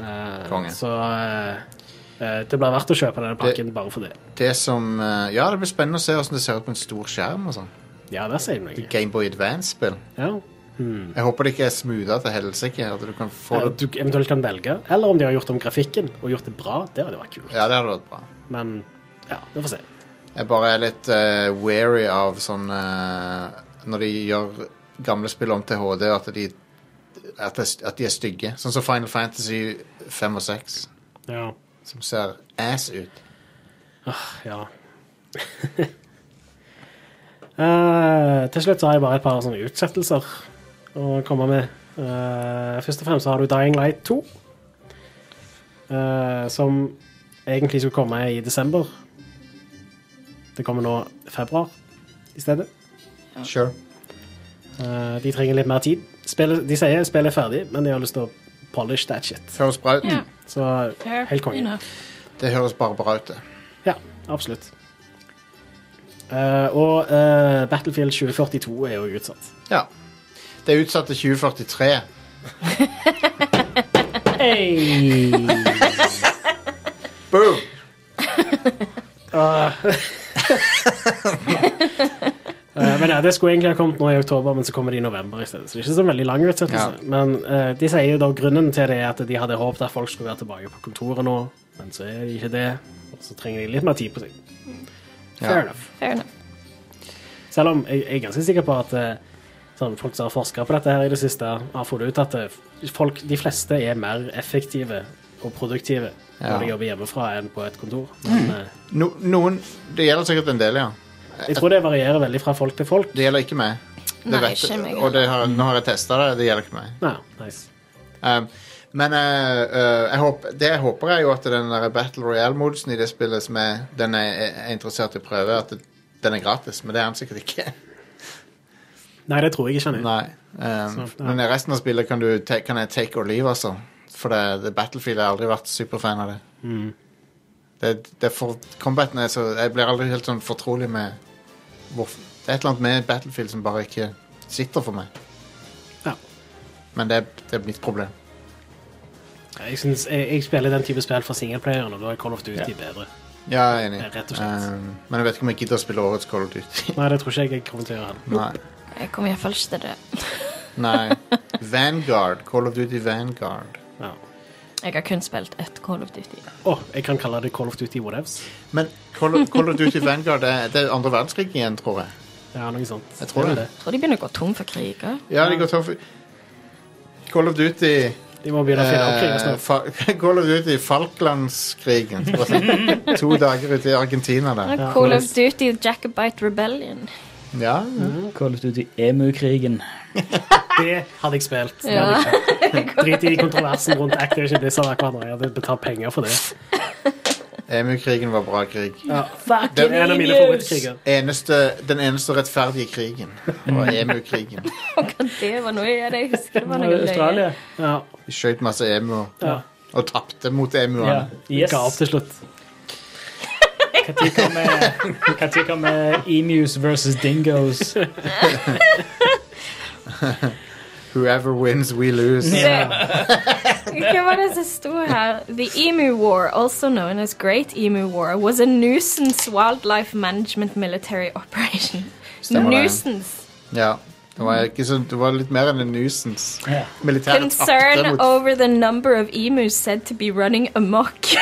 Speaker 2: Eh,
Speaker 1: Konge.
Speaker 2: Så eh, eh, det blir verdt å kjøpe denne pakken bare for det.
Speaker 1: det som eh, Ja, det blir spennende å se hvordan det ser ut på en stor skjerm. og sånn
Speaker 2: Ja, der sier du noe.
Speaker 1: Gameboy Advance-spill.
Speaker 2: Ja.
Speaker 1: Jeg håper det ikke er smootha til helsike. At du kan få
Speaker 2: Eller
Speaker 1: det
Speaker 2: Eh, du eventuelt kan velge. Eller om de har gjort om grafikken og gjort det bra. Det hadde vært kult.
Speaker 1: Ja, det hadde vært bra.
Speaker 2: Men ja, vi får se.
Speaker 1: Jeg bare er litt eh, wary av sånn eh, Når de gjør gamle spill om til HD, at de, at det- at de er stygge. Sånn som Final Fantasy 5 og 6,
Speaker 2: Ja.
Speaker 1: som ser ass ut.
Speaker 2: ja. Eh, til slutt så har jeg bare et par sånne utsettelser å komme med. Eh, først og fremst så har du Dying Light 2, eh, som egentlig skulle komme i desember. Det kommer nå februar i stedet.
Speaker 1: Sure.
Speaker 2: Eh, de trenger litt mer tid. Spillet, de sier spillet er ferdig, men de har lyst til å polish that shit.
Speaker 1: Høres bra ut.
Speaker 5: Ja.
Speaker 2: Så
Speaker 5: Fair
Speaker 2: helt konge.
Speaker 5: enough.
Speaker 1: Det høres bare bra ut, det.
Speaker 2: Ja, absolutt. Eh, og eh, Battlefield 2042 er jo utsatt.
Speaker 1: Ja. Det er utsatt til 2043.
Speaker 3: Hey.
Speaker 1: Boom!
Speaker 2: Ah. Eh, men ja, Det skulle egentlig ha kommet nå i oktober, men så kommer det i november i stedet. Så det er ikke så veldig lang utsettelse. Men eh, de sier jo da grunnen til det er at de hadde håpet at folk skulle være tilbake på kontoret nå, men så er de ikke det. Og så trenger de litt mer tid på seg.
Speaker 1: Ja.
Speaker 2: Fair enough.
Speaker 5: Fair enough.
Speaker 2: Selv om jeg, jeg er ganske sikker på at eh, sånn, folk som har forska på dette her i det siste, har funnet ut at det- folk, de fleste er mer effektive og produktive
Speaker 1: Ja. Mm.
Speaker 2: når de jobber hjemmefra enn på et kontor. Men, eh,
Speaker 1: No, noen Det gjelder sikkert en del, ja.
Speaker 2: jeg tror det varierer veldig fra folk til folk.
Speaker 1: Det gjelder ikke meg. Det
Speaker 5: Nei,
Speaker 1: vet-
Speaker 5: ikke meg
Speaker 1: Og det har, nå har jeg testa det. Det gjelder ikke meg.
Speaker 2: Ja, nice.
Speaker 1: Um, men eh, eh, jeg håper, det jeg håper er jo at den der Battle Royale-modusen i det spillet som jeg, den jeg er interessert i å prøve, at det, den er gratis. Men det er den sikkert ikke.
Speaker 2: Nei, det tror jeg ikke. Nei.
Speaker 1: Nei. Um,
Speaker 2: Så, ja.
Speaker 1: Men resten av spillet kan, du ta, kan jeg take or leave, altså. For det, det Battlefield har jeg aldri vært superfan av det.
Speaker 2: Mm.
Speaker 1: det, det er for, combaten er så Jeg blir aldri helt sånn fortrolig med hvorfor Det er et eller annet med Battlefield som bare ikke sitter for meg.
Speaker 2: Ja.
Speaker 1: Men det, er- det er mitt problem.
Speaker 2: Jeg, synes, jeg, jeg spiller den type spill for singelplayeren, og da er Call of Duty bedre.
Speaker 1: Ja, jeg er enig.
Speaker 2: Ja, rett og slett.
Speaker 1: Um, men jeg vet ikke om jeg gidder å spille årets Call of Duty.
Speaker 2: Nei, det tror ikke jeg jeg kommer til å gjøre. heller.
Speaker 1: Nei.
Speaker 5: Jeg kommer iallfall ikke til det.
Speaker 1: Nei. Vanguard. Call of Duty Vanguard.
Speaker 2: Ja.
Speaker 5: Jeg har kun spilt ett Call of Duty.
Speaker 2: Å, jeg kan kalle det Call of Duty whatevs.
Speaker 1: Men Call of, Call of Duty Vanguard er, det er andre verdenskrig igjen, tror jeg.
Speaker 2: Ja, noe sånt.
Speaker 1: Jeg tror
Speaker 2: er vel
Speaker 1: det.
Speaker 5: Jeg tror de begynner å gå tom for kriger.
Speaker 1: Ja, det går tøft. Call of Duty
Speaker 2: De må begynne å finne opp kriger
Speaker 1: eh,
Speaker 2: snart.
Speaker 1: Fa- Call of Duty Falklandskrigen. Bare sånn To dager ute i Argentina der.
Speaker 5: Call of Duty Jacobite Rebellion.
Speaker 1: Ja, ja.
Speaker 3: Call of Duty Emu-krigen.
Speaker 1: Eh.
Speaker 2: Det hadde jeg spilt. Det
Speaker 5: Ja.
Speaker 2: hadde jeg spilt. Drit i kontroversen rundt Activision Blizzard og hverandre. Jeg hadde betalt penger for det.
Speaker 1: Emu-krigen var bra krig.
Speaker 3: Fucking
Speaker 2: Det er en av mine favorittkriger.
Speaker 1: Eneste, den eneste rettferdige krigen var emu-krigen.
Speaker 5: Det var noe jeg, jeg husker det var noe løye.
Speaker 3: Australia.
Speaker 2: Ja.
Speaker 1: De skjøt masse emuer.
Speaker 2: Ja.
Speaker 1: Og tapte mot emuene.
Speaker 3: Ja. Yes.
Speaker 2: Ga opp til slutt.
Speaker 3: Når kommer- når kommer eh, emus versus dingoes?
Speaker 1: Whoever wins, we lose.
Speaker 5: Det- Hva var det som sto her? The Emu War, also known as Great Emu War, was a nuisance wildlife management military operation.
Speaker 1: Stemmer det.
Speaker 5: nuisance.
Speaker 1: Ja. Det var, ikke så, det var litt mer enn en nuisance.
Speaker 3: Ja.
Speaker 1: Militæret tapte
Speaker 5: Concern
Speaker 1: mot
Speaker 5: over the number of emus said to be running amok.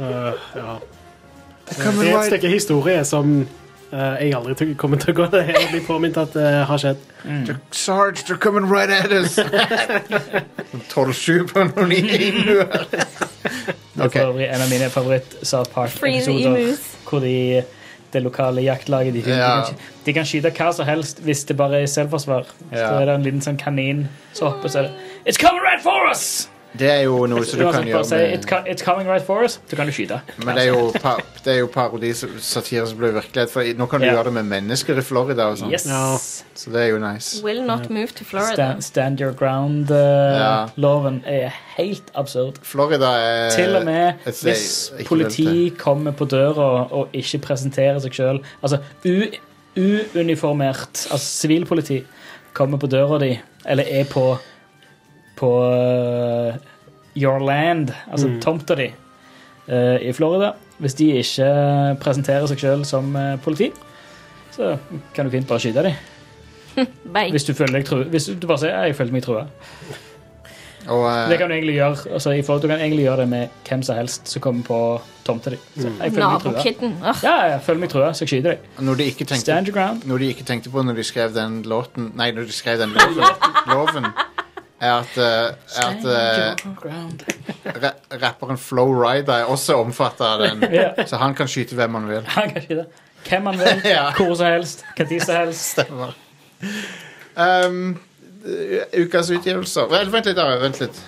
Speaker 2: Uh, ja.
Speaker 1: Common
Speaker 2: Det er et
Speaker 1: right-
Speaker 2: stykke historie som eh, jeg aldri tror- kommer til å gå ned og bli påminnet at det har skjedd.
Speaker 1: Sarge, they're coming right at us! 12-7 på noen emuer.
Speaker 3: Det er
Speaker 1: Ok.
Speaker 3: for øvrig en av mine favoritt-South
Speaker 5: Free the
Speaker 3: Park-episoder.
Speaker 5: emus.
Speaker 3: Hvor de, det lokale jaktlaget de,
Speaker 1: Ja.
Speaker 3: de, kan, de kan skyte hva som helst hvis det bare er selvforsvar. Hvis
Speaker 1: Ja.
Speaker 3: det er en liten sånn kanin som hopper, så er det It's coming right for us!
Speaker 1: Det er jo noe som du kan
Speaker 3: Uansett, bare
Speaker 1: gjøre
Speaker 3: si
Speaker 1: med
Speaker 3: it's, co- it's coming right for us, så kan du skyte.
Speaker 1: Men det er jo, pa- det er jo parodi, satire som blir virkelighet. For i- nå kan du
Speaker 3: Ja.
Speaker 1: gjøre det med mennesker i Florida og sånn.
Speaker 3: Yes.
Speaker 2: Ja.
Speaker 1: Så det er jo nice.
Speaker 5: Will not move to Florida.
Speaker 3: Stand, stand your
Speaker 1: Ja.
Speaker 3: ground-loven er helt absurd.
Speaker 1: Florida er
Speaker 3: Til og med
Speaker 1: et sted
Speaker 3: hvis
Speaker 1: jeg ikke vil til.
Speaker 3: politi kommer på døra og ikke presenterer seg sjøl Altså u, uuniformert, altså sivilpoliti, kommer på døra di, eller er på på uh, your land, altså tomta di, eh, i Florida. Hvis de ikke presenterer seg sjøl som eh, politi, så kan du fint bare skyte dem.
Speaker 5: Bye.
Speaker 3: Hvis du føler deg trua. Hvis du bare sier «Ja, 'jeg følte meg trua'.
Speaker 1: Og,
Speaker 3: Det
Speaker 1: eh,
Speaker 3: kan du egentlig gjøre altså, i forhold, Du kan egentlig gjøre det med hvem som helst som kommer på tomta di. Så
Speaker 1: Mm.
Speaker 3: Jeg føler meg trua.
Speaker 5: Nabokidden. Åh,
Speaker 3: Ja, jeg føler meg trua, så jeg skyter deg.
Speaker 1: når de ikke tenkte
Speaker 3: Stand your ground.
Speaker 1: noe de ikke tenkte på når de skrev den låten Nei, når de skrev den loven, loven er at, eh, er at eh, ra- rapperen Flo Rida er også omfattet av den.
Speaker 3: Ja,
Speaker 1: Så han kan skyte hvem han vil.
Speaker 3: han kan skyte. Hvem han vil,
Speaker 1: Ja.
Speaker 3: hvor som helst, når som helst.
Speaker 1: Stemmer. Um, eh, ukas utgivelser Vel, Vent litt, da. Vent litt.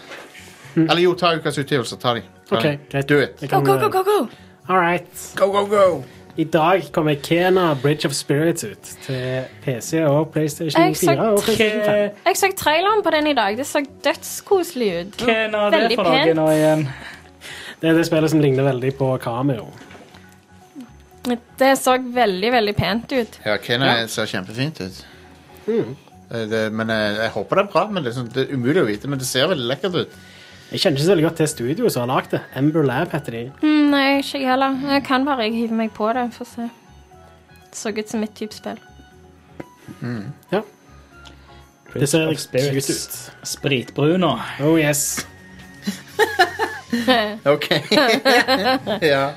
Speaker 1: Eller jo, ta ukas utgivelser. Ta de. Ta
Speaker 2: Ok,
Speaker 1: de.
Speaker 2: greit.
Speaker 1: Do it.
Speaker 2: Jeg
Speaker 5: Go,
Speaker 2: kan,
Speaker 5: go, go, go, go!
Speaker 2: All right.
Speaker 1: Go, go, go.
Speaker 2: I dag kommer Kena Bridge of Spirits ut til PC og PlayStation
Speaker 5: Jeg sa
Speaker 2: 4 og PlayStation 5.
Speaker 3: Hva
Speaker 5: Jeg så traileren på den i dag. Det så dødskoselig ut.
Speaker 3: hva er det
Speaker 5: Veldig
Speaker 3: for noe
Speaker 5: pent.
Speaker 3: nå igjen?
Speaker 2: Det er det spillet som ligner veldig på Cameo.
Speaker 5: Det så veldig, veldig pent ut.
Speaker 1: Ja, Kena ser kjempefint ut. Eh, Det, men jeg, jeg håper det er bra. Men det, er sånn- det er umulig å vite. Men det ser veldig lekkert ut.
Speaker 2: Jeg kjenner ikke så veldig godt til studioet som har lagd det. Ember Lab heter de.
Speaker 5: Mm, nei, ikke jeg heller. Jeg kan bare jeg hiver meg på det. Få se. Det så ut som mitt type spill.
Speaker 2: Det ser
Speaker 3: Bridge of
Speaker 2: cute
Speaker 3: Spirits.
Speaker 2: ut.
Speaker 3: Spritbruno.
Speaker 2: Oh yes.
Speaker 1: OK. ja.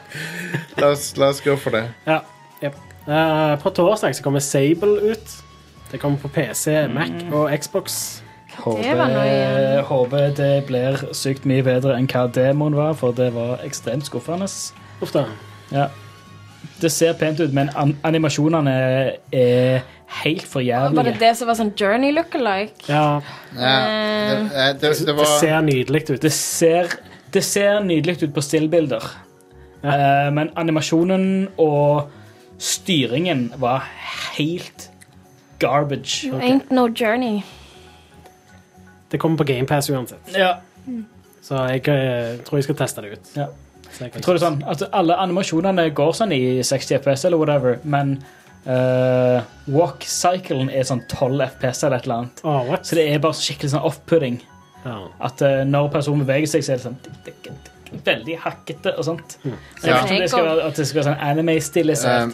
Speaker 1: La oss, la oss gå for det.
Speaker 2: Ja. Yep. Eh, på torsdag så kommer Sable ut. Det kommer på
Speaker 5: Mm.
Speaker 2: PC, Mac og Xbox.
Speaker 5: Det var noe
Speaker 3: Håper, håper det eh, blir sykt mye bedre enn hva demoen var, for det var ekstremt skuffende.
Speaker 2: Uff da.
Speaker 3: Ja. Det ser pent ut, men an animasjonene er helt for
Speaker 5: Var det
Speaker 3: jævlige.
Speaker 5: det som var sånn Journey look-alike?
Speaker 2: Ja,
Speaker 1: Ja, det, eh, det, det
Speaker 2: det
Speaker 1: var
Speaker 2: ser nydelig ut.
Speaker 3: Det ser, det ser nydelig ut på stillbilder, Eh, men animasjonen og styringen var helt garbage.
Speaker 5: Ain't no journey.
Speaker 2: Det kommer på GamePass uansett,
Speaker 3: Ja.
Speaker 2: så jeg eh, tror jeg skal teste det ut.
Speaker 3: Ja.
Speaker 2: Så jeg kan-
Speaker 3: Jeg tror det er sånn at alle animasjonene går sånn i 60 FPS eller whatever, men eh, walk-cyclen er sånn 12 FPS eller et eller annet.
Speaker 2: Åh, Ah, what?
Speaker 3: Så det er bare skikkelig sånn off-putting.
Speaker 2: Ja.
Speaker 3: At eh, når personen beveger seg, så er det sånn tikk, tikk, tikk, veldig hakkete og sånt.
Speaker 1: Mm.
Speaker 3: Jeg vet ikke om det skal være, at det skal være sånn anime-stilisert,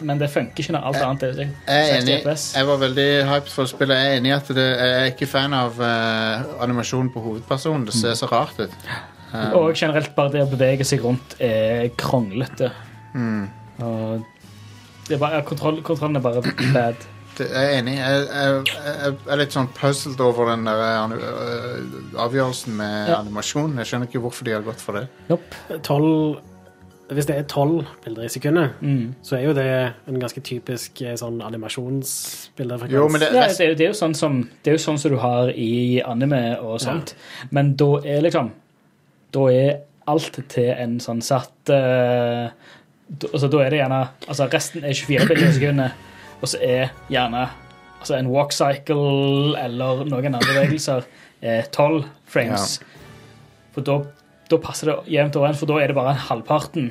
Speaker 1: Um,
Speaker 3: men det funker ikke når alt annet er
Speaker 1: jeg er
Speaker 3: 60
Speaker 1: enig. Eh,
Speaker 3: FPS.
Speaker 1: Jeg var veldig hyped for spillet. Jeg er enig i at det, jeg er ikke fan av eh, animasjonen på hovedpersonen. Det ser så rart ut. Eh,
Speaker 3: Og generelt bare det å bevege seg rundt er kronglete.
Speaker 1: Mm.
Speaker 3: Og det er bare, ja, kontroll, kontrollen er bare bad.
Speaker 1: det, jeg er enig. Jeg, jeg, jeg jeg er litt sånn puzzled over den der, eh, anu- eh, avgjørelsen med
Speaker 3: Ja.
Speaker 1: animasjonen. Jeg skjønner ikke hvorfor de har gått for det.
Speaker 2: 12 Hvis det er 12 bilder i sekundet,
Speaker 3: Mm.
Speaker 2: så er jo det en ganske typisk eh, sånn animasjonsbildefrekvens.
Speaker 1: Jo, men det,
Speaker 3: Ja,
Speaker 1: rest-
Speaker 3: det, er jo, det, er jo sånn som, det er jo sånn som du har i anime og sånt, men da er liksom Da er alt til en sånn satt eh, da- altså, Da er det gjerne Altså, resten er 24 bilder i sekundet, og så er gjerne altså, en walk cycle eller noen andre bevegelser eh, 12 frames. For da, da passer det jevnt overens, for da er det bare en halvparten.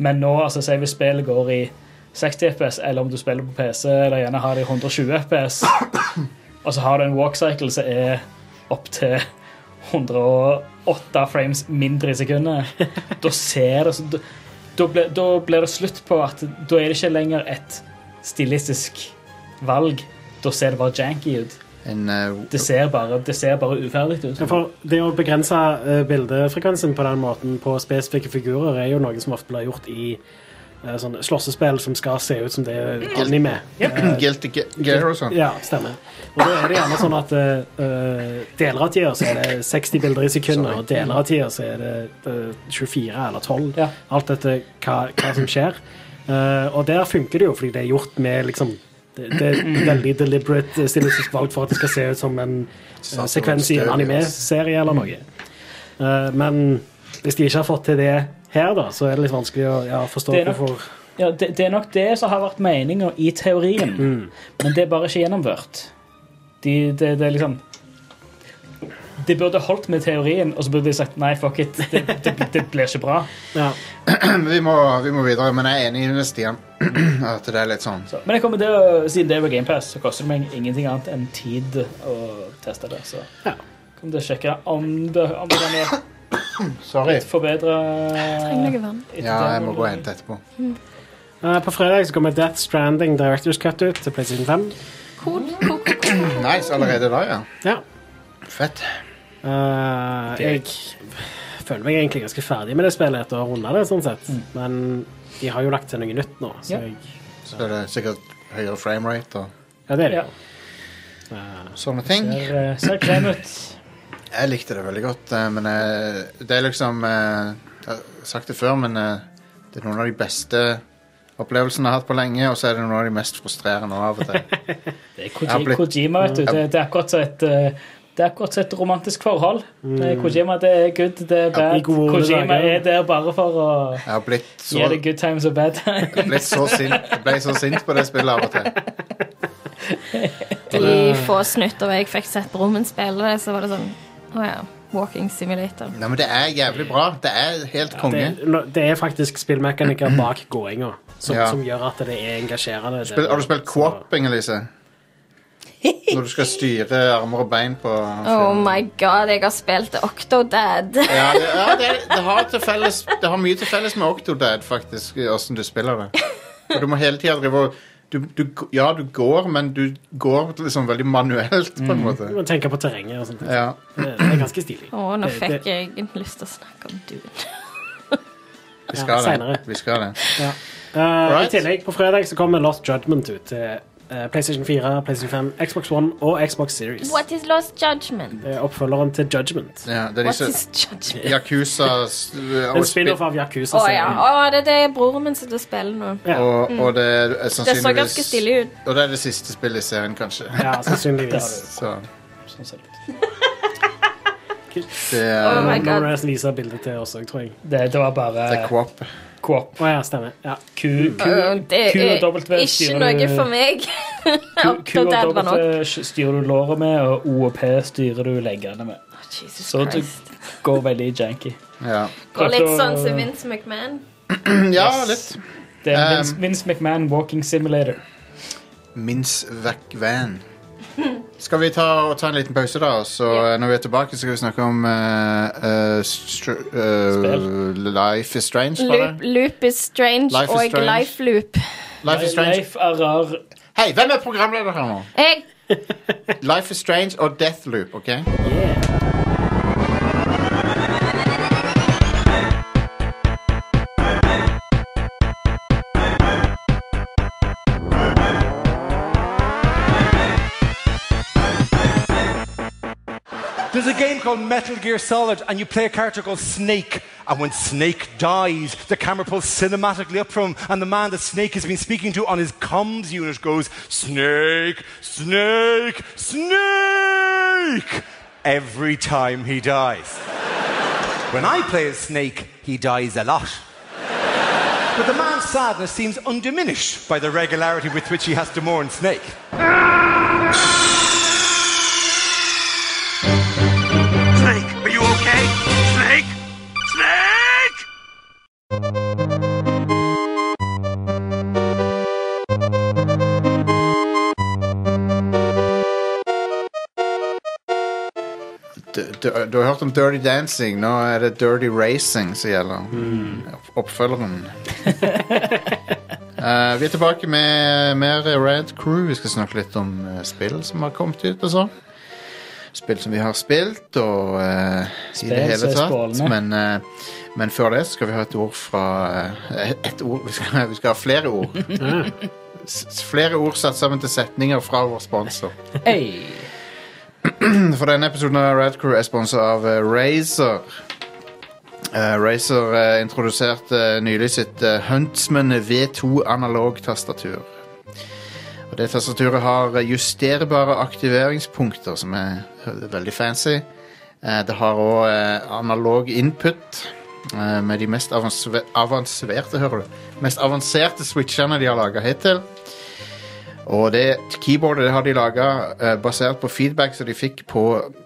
Speaker 3: Men nå, altså, si hvis spillet går i 60 FPS, eller om du spiller på PC, eller gjerne har det i 120 FPS, og så har du en walk cycle som er opp til 108 frames mindre i sekundet, da ser det så, da, da, blir, da blir det slutt på at da er det ikke lenger et stilistisk valg. Da ser det bare janky ut.
Speaker 1: en, eh,
Speaker 3: Det ser bare, det ser bare uferdig ut.
Speaker 2: Ja, For det å begrense eh, bildefrekvensen på den måten på spesifikke figurer er jo noe som ofte blir gjort i eh, sånne slåssespill som skal se ut som det er anime.
Speaker 1: Guilty Ge- Gear og sånn.
Speaker 2: Ja, stemmer. Og da er det gjerne sånn at eh, eh, deler av tida så er det 60 bilder i sekundet, og deler av tida så er det eh, 24 eller 12.
Speaker 3: Ja.
Speaker 2: Alt etter hva, hva som skjer. Eh, og der funker det jo, fordi det er gjort med liksom det, det er et veldig deliberate eh, stilistisk valg for at det skal se ut som en eh, sekvens i en anime-serie eller noe. Eh, men hvis de ikke har fått til det her, da, så er det litt vanskelig å ja, forstå
Speaker 3: Det er nok-
Speaker 2: hvorfor
Speaker 3: Ja, det, det er nok det som har vært meninga i teorien,
Speaker 1: Mm.
Speaker 3: men det er bare ikke gjennomført. De, det, det er liksom De burde holdt med teorien, og så burde de sagt nei, fuck it, det, det, det blir ikke bra.
Speaker 2: ja.
Speaker 1: vi, må, vi må videre, men jeg er enig med Stian at det er litt sånn
Speaker 3: Så, men jeg kommer til å, siden det er på GamePass, så koster det meg ingenting annet enn tid å teste det. Så
Speaker 2: Ja.
Speaker 3: kommer til å sjekke om det, om det kan være
Speaker 1: Sorry.
Speaker 3: forbedra
Speaker 5: Trenger noe vann.
Speaker 1: Ja, jeg må gå og hente etterpå.
Speaker 2: Eh, På fredag så kommer Death Stranding Directors Cut ut til PlayStation 5.
Speaker 5: Cool, cool, cool, cool.
Speaker 1: Nice, allerede da, ja.
Speaker 2: Ja.
Speaker 1: Fett.
Speaker 2: Eh, jeg føler meg egentlig ganske ferdig med det spillet etter å ha runda det, sånn sett. Men de har jo lagt til noe nytt nå, så
Speaker 3: Mm. Ja.
Speaker 2: jeg
Speaker 1: Så det er sikkert høyere framerate og
Speaker 2: Ja, det er det
Speaker 3: Ja.
Speaker 2: jo. Eh,
Speaker 1: sånne ting.
Speaker 3: Ser, eh, ser krem ut.
Speaker 1: Jeg likte det veldig godt, eh, men eh, det er liksom eh, Jeg har sagt det før, men eh, det er noen av de beste opplevelsene jeg har hatt på lenge, og så er det noen av de mest frustrerende av og til.
Speaker 3: Det er
Speaker 1: Jeg har
Speaker 3: Koji-
Speaker 1: blitt-
Speaker 3: Kojima, vet du. Det, det er akkurat som et eh, det er akkurat som et romantisk forhold. Det er Kojima det er good, det er
Speaker 2: I
Speaker 3: bad.
Speaker 2: Mm. gode
Speaker 3: Kojima
Speaker 2: dager.
Speaker 3: er der bare for å
Speaker 1: Jeg har blitt så,
Speaker 3: gi det good times og bad times.
Speaker 1: blitt så sint, jeg ble så sint på det spillet av og til.
Speaker 5: De få snutter jeg fikk sett Brumund spille det, så var det sånn Å ja. Walking simulator.
Speaker 1: Nei, men det er jævlig bra. Det er helt konge. Mm.
Speaker 2: det, nå- det er faktisk spillmekanikker bak gåinga som,
Speaker 1: Ja.
Speaker 2: som gjør at det er engasjerende. Det-
Speaker 1: Spill, har du spilt
Speaker 2: så-
Speaker 1: co-oping, Elise? Når du skal styre armer og bein på
Speaker 5: Oh my god, jeg har spilt Octodad.
Speaker 1: Ja, det, ja det, det, har til felles, det har mye til felles med Octodad, faktisk, åssen du spiller det. Og du må hele tida drive og du, du, Ja, du går, men du går liksom veldig manuelt, på
Speaker 5: Mm.
Speaker 1: en måte.
Speaker 2: Du må tenke på terrenget og sånt. Det,
Speaker 1: Ja.
Speaker 2: det er ganske stilig.
Speaker 5: Å, nå
Speaker 2: Det- det-
Speaker 5: fikk jeg lyst til å snakke om Dune.
Speaker 1: Vi
Speaker 2: Ja,
Speaker 1: skal det.
Speaker 2: senere.
Speaker 1: Vi skal det.
Speaker 2: Ja. Eh,
Speaker 1: Right.
Speaker 2: I tillegg, på fredag så kommer Lost Judgment ut til eh, PlayStation 4, PlayStation 5, Xbox One og Xbox Series.
Speaker 5: What is lost judgment?
Speaker 2: Det er oppfølgeren til Judgment.
Speaker 1: Ja, det er
Speaker 5: What
Speaker 1: disse
Speaker 5: is judgment?
Speaker 1: Yakuza s-
Speaker 2: En
Speaker 1: og,
Speaker 2: spin-off
Speaker 1: spin-
Speaker 2: av
Speaker 5: Å ja.
Speaker 2: Yakuza-serien.
Speaker 5: Å, det er det broren min sitter og spiller nå.
Speaker 2: ja.
Speaker 1: og, og det er
Speaker 5: Mm. Det så
Speaker 1: sannsynligvis
Speaker 5: ganske stilig ut.
Speaker 1: Og det er det siste spillet i serien, kanskje.
Speaker 2: ja, sannsynligvis.
Speaker 1: Så
Speaker 3: Sånn ser det ut.
Speaker 1: det
Speaker 5: Oh
Speaker 1: er, eh,
Speaker 5: my
Speaker 2: Nå
Speaker 5: god.
Speaker 2: må jeg vise bildet til oss òg, tror jeg.
Speaker 3: Det, det var
Speaker 1: det er
Speaker 3: bare
Speaker 1: co-op.
Speaker 3: Coop.
Speaker 2: Å ja, stemmer. Ja.
Speaker 3: Q,
Speaker 2: Mm.
Speaker 3: Q,
Speaker 5: Øh, Det
Speaker 3: Q
Speaker 5: er
Speaker 3: og W
Speaker 5: ikke noe for meg.
Speaker 3: Q, Q og
Speaker 5: Opptatt av
Speaker 3: W
Speaker 5: nok.
Speaker 3: styrer du låret med, og O og P styrer du leggene med.
Speaker 5: Å, Jesus
Speaker 3: Så du-
Speaker 5: Christ.
Speaker 3: Går veldig janky.
Speaker 1: Ja.
Speaker 5: Går litt
Speaker 3: Prøvde å-
Speaker 5: sånn som Vince McMahon.
Speaker 1: ja,
Speaker 3: Yes.
Speaker 1: litt.
Speaker 3: Det er
Speaker 1: Um,
Speaker 3: Vince, Vince McMahon Walking Simulator.
Speaker 1: Mince vekk van. Skal vi ta, og ta en liten pause, da? og Så
Speaker 5: Ja.
Speaker 1: eh, når vi er tilbake, så skal vi snakke om eh, eh, str eh, Life is Strange. var det?
Speaker 5: Loop, loop is strange
Speaker 1: Life is
Speaker 5: og
Speaker 1: strange.
Speaker 5: life loop.
Speaker 1: Life is Strange.
Speaker 3: Leif er rar.
Speaker 1: Hei, hvem er programleder her nå?
Speaker 5: Jeg
Speaker 1: Life is Strange og Deathloop, OK?
Speaker 6: There's a game called Metal Gear Solid, and you play a character called Snake. And when Snake dies, the camera pulls cinematically up from him, and the man that Snake has been speaking to on his comms unit goes, Snake, Snake, Snake! Every time he dies. when I play as Snake, he dies a lot. But the man's sadness seems undiminished by the regularity with which he has to mourn Snake.
Speaker 7: Snake, are you okay? Snake? Snake!
Speaker 1: Du, du, du har hørt om Dirty Dancing. Nå er det Dirty Racing som gjelder.
Speaker 3: Mm.
Speaker 1: Opp- Oppfølgeren. Eh, vi er tilbake med mer Red Crew. Vi skal snakke litt om eh, spill som har kommet ut. og sånn. Spill som vi har spilt, og eh, i det
Speaker 3: Spill som
Speaker 1: hele
Speaker 3: er
Speaker 1: tatt.
Speaker 3: skålene.
Speaker 1: Men, eh, men før det så skal vi ha et ord fra eh, Et ord? Vi skal, vi skal ha flere ord. S- s- flere ord satt sammen til setninger fra vår sponsor.
Speaker 3: Hey.
Speaker 1: For denne episoden av Red Crew er sponset av uh, Razer. Uh, Razer eh, introduserte nylig sitt eh, Huntsman V2 analog-tastatur. Og Det tastaturet har eh, justerbare aktiveringspunkter, som er eh, veldig fancy. Eh, det har òg analog input eh, med de mest avanse- avanserte, hører du, mest avanserte switchene de har laga hittil. Og det keyboardet det har de laga basert på feedback som de fikk på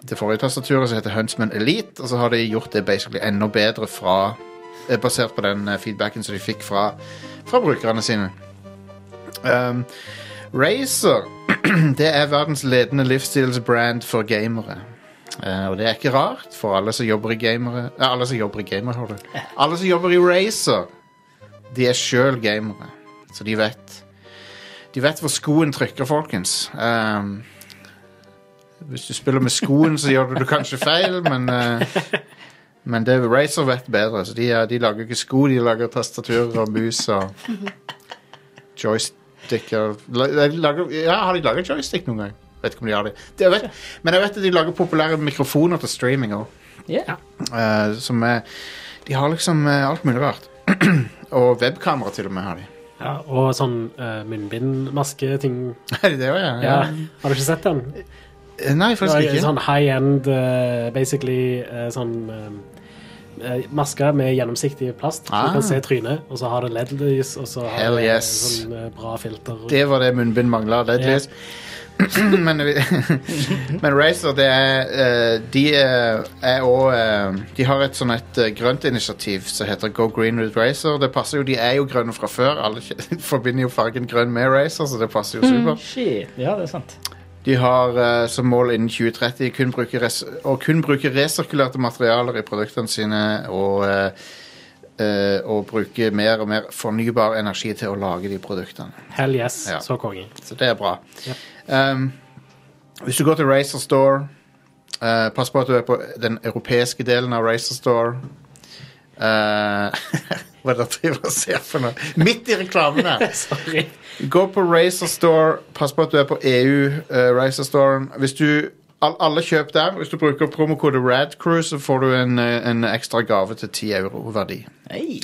Speaker 1: det forrige tastaturet, som heter Huntsman Elite, og så har de gjort det basically enda bedre fra eh, basert på den eh, feedbacken som de fikk fra, fra brukerne sine. Um, Razer det er verdens ledende livsstilsbrand for gamere. Eh, og det er ikke rart, for alle som jobber i gamere eh, Alle som jobber i gamere, har du. Alle som jobber i Razer, de er sjøl gamere, så de vet. De vet hvor skoen trykker, folkens. Ehm, hvis du spiller med skoen, så gjør du det kanskje feil, men eh, Men det Razer vet bedre. Så de, er- de lager ikke sko, de lager tastaturer og mus og joysticker La- de lager, Ja, har de laget joystick noen gang? Vet ikke om de har det. det jeg vet, men jeg vet at de lager populære mikrofoner til streaming òg.
Speaker 3: Yeah.
Speaker 1: som er De har liksom eh, alt mulig rart. og webkamera til og med har de.
Speaker 2: Ja, og sånn uh, munnbindmasketing.
Speaker 1: Er de det òg, ja?
Speaker 2: Ja. Har du ikke sett den?
Speaker 1: Eh, Nei, faktisk
Speaker 2: Det
Speaker 1: ikke.
Speaker 2: er sånn high-end, eh, basically eh, sånn eh, eh, Masker med gjennomsiktig plast. Så
Speaker 1: Ah.
Speaker 2: du kan se trynet, og så har det LED-lys, og så har
Speaker 1: Hell
Speaker 2: det
Speaker 1: yes.
Speaker 2: sånn eh, bra filter.
Speaker 1: Det var det munnbind mangla.
Speaker 2: Ja.
Speaker 1: men vi- men Razer, det er eh, De eh, er òg De har et sånn et eh, grønt initiativ som heter Go Green with Razer. Det passer jo, De er jo grønne fra før. Alle kje- forbinder jo fargen grønn med Razer, så det passer jo supert.
Speaker 3: Shit. Ja, det er sant.
Speaker 1: De har eh, som mål innen 2030 kun bruke res å kun bruke resirkulerte materialer i produktene sine og, eh, eh, og bruke mer og mer fornybar energi til å lage de produktene.
Speaker 2: Hell yes,
Speaker 1: Ja.
Speaker 2: så konge.
Speaker 1: Så det er bra. Um, hvis du går til Racer Store eh, Pass på at du er på den europeiske delen av Racer Store. Eh, hva dere driver og ser for noe. Midt i reklamene!
Speaker 2: Sorry.
Speaker 1: Gå på Razer Store. Pass på at du er på EU. Uh, Razer Store. Hvis du all, Alle kjøp der. Hvis du bruker promokode RADCREW, så får du en, eh, en ekstra gave til 10 euro verdi.
Speaker 3: Hey.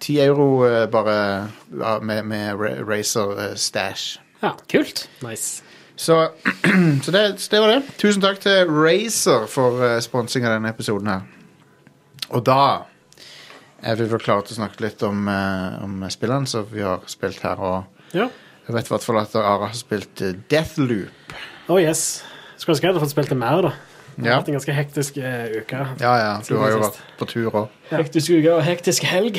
Speaker 1: 10 euro eh, bare ja, med, med Ra- Razer eh, stash.
Speaker 2: Ja,
Speaker 3: Kult.
Speaker 2: nice.
Speaker 1: Så, så det, så det var det. Tusen takk til Razer for eh, sponsing av denne episoden her. Og da er vi vel klare til å snakke litt om, eh, om spillene som vi har spilt her. Og
Speaker 2: Ja.
Speaker 1: jeg vet i hvert fall at Ara har spilt eh, Deathloop.
Speaker 2: Oh yes. Skulle ønske jeg hadde fått spilt det mer, da. Det har
Speaker 1: Ja.
Speaker 2: vært en ganske hektisk eh, uke.
Speaker 1: Ja, ja, du
Speaker 2: Siden
Speaker 1: har jo
Speaker 2: sist.
Speaker 1: vært på tur òg.
Speaker 3: Hektisk uke og hektisk helg.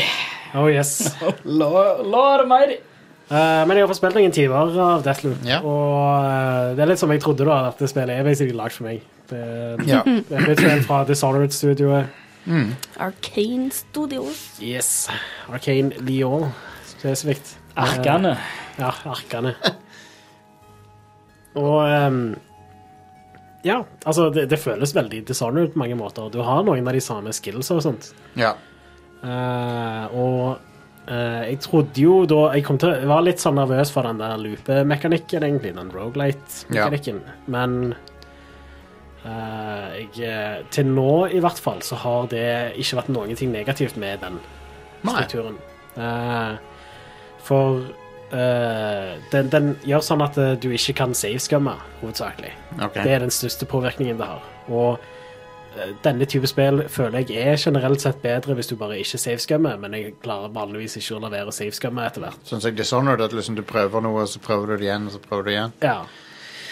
Speaker 2: Oh yes.
Speaker 3: La, la det mer.
Speaker 2: Eh, men jeg har fått spilt noen timer av Deathloop,
Speaker 1: Ja.
Speaker 2: og eh, det er litt som jeg trodde, da, at det spillet er basically lagd for meg. Det,
Speaker 1: Ja.
Speaker 2: det er et spill fra Dishonored-studioet.
Speaker 5: Arcane Studios.
Speaker 2: Yes. Arcane Lyon, spesifikt.
Speaker 3: Arkene.
Speaker 2: Ja, arkene. Og ehm, Ja, altså, det, det føles veldig Dishonored på mange måter. Du har noen av de samme skillsa og sånt.
Speaker 1: Ja.
Speaker 2: Eh, og eh, jeg trodde jo da Jeg, kom til, jeg var litt sånn nervøs for den der loopemekanikken, egentlig. Den rogelight-mekanikken. Men eh, jeg, eh, til nå, i hvert fall, så har det ikke vært noen ting negativt med den
Speaker 1: Nei.
Speaker 2: strukturen. Eh, for eh, den, den gjør sånn at eh, du ikke kan saveskumme, hovedsakelig.
Speaker 1: Ok.
Speaker 2: Det er den største påvirkningen det har. Og eh, denne type spill føler jeg er generelt sett bedre hvis du bare ikke saveskummer, men jeg klarer vanligvis ikke å la være å saveskumme etter hvert.
Speaker 1: Sånn som Dishonored, at liksom du prøver noe, og så prøver du det igjen, og så prøver du det igjen.
Speaker 2: Ja.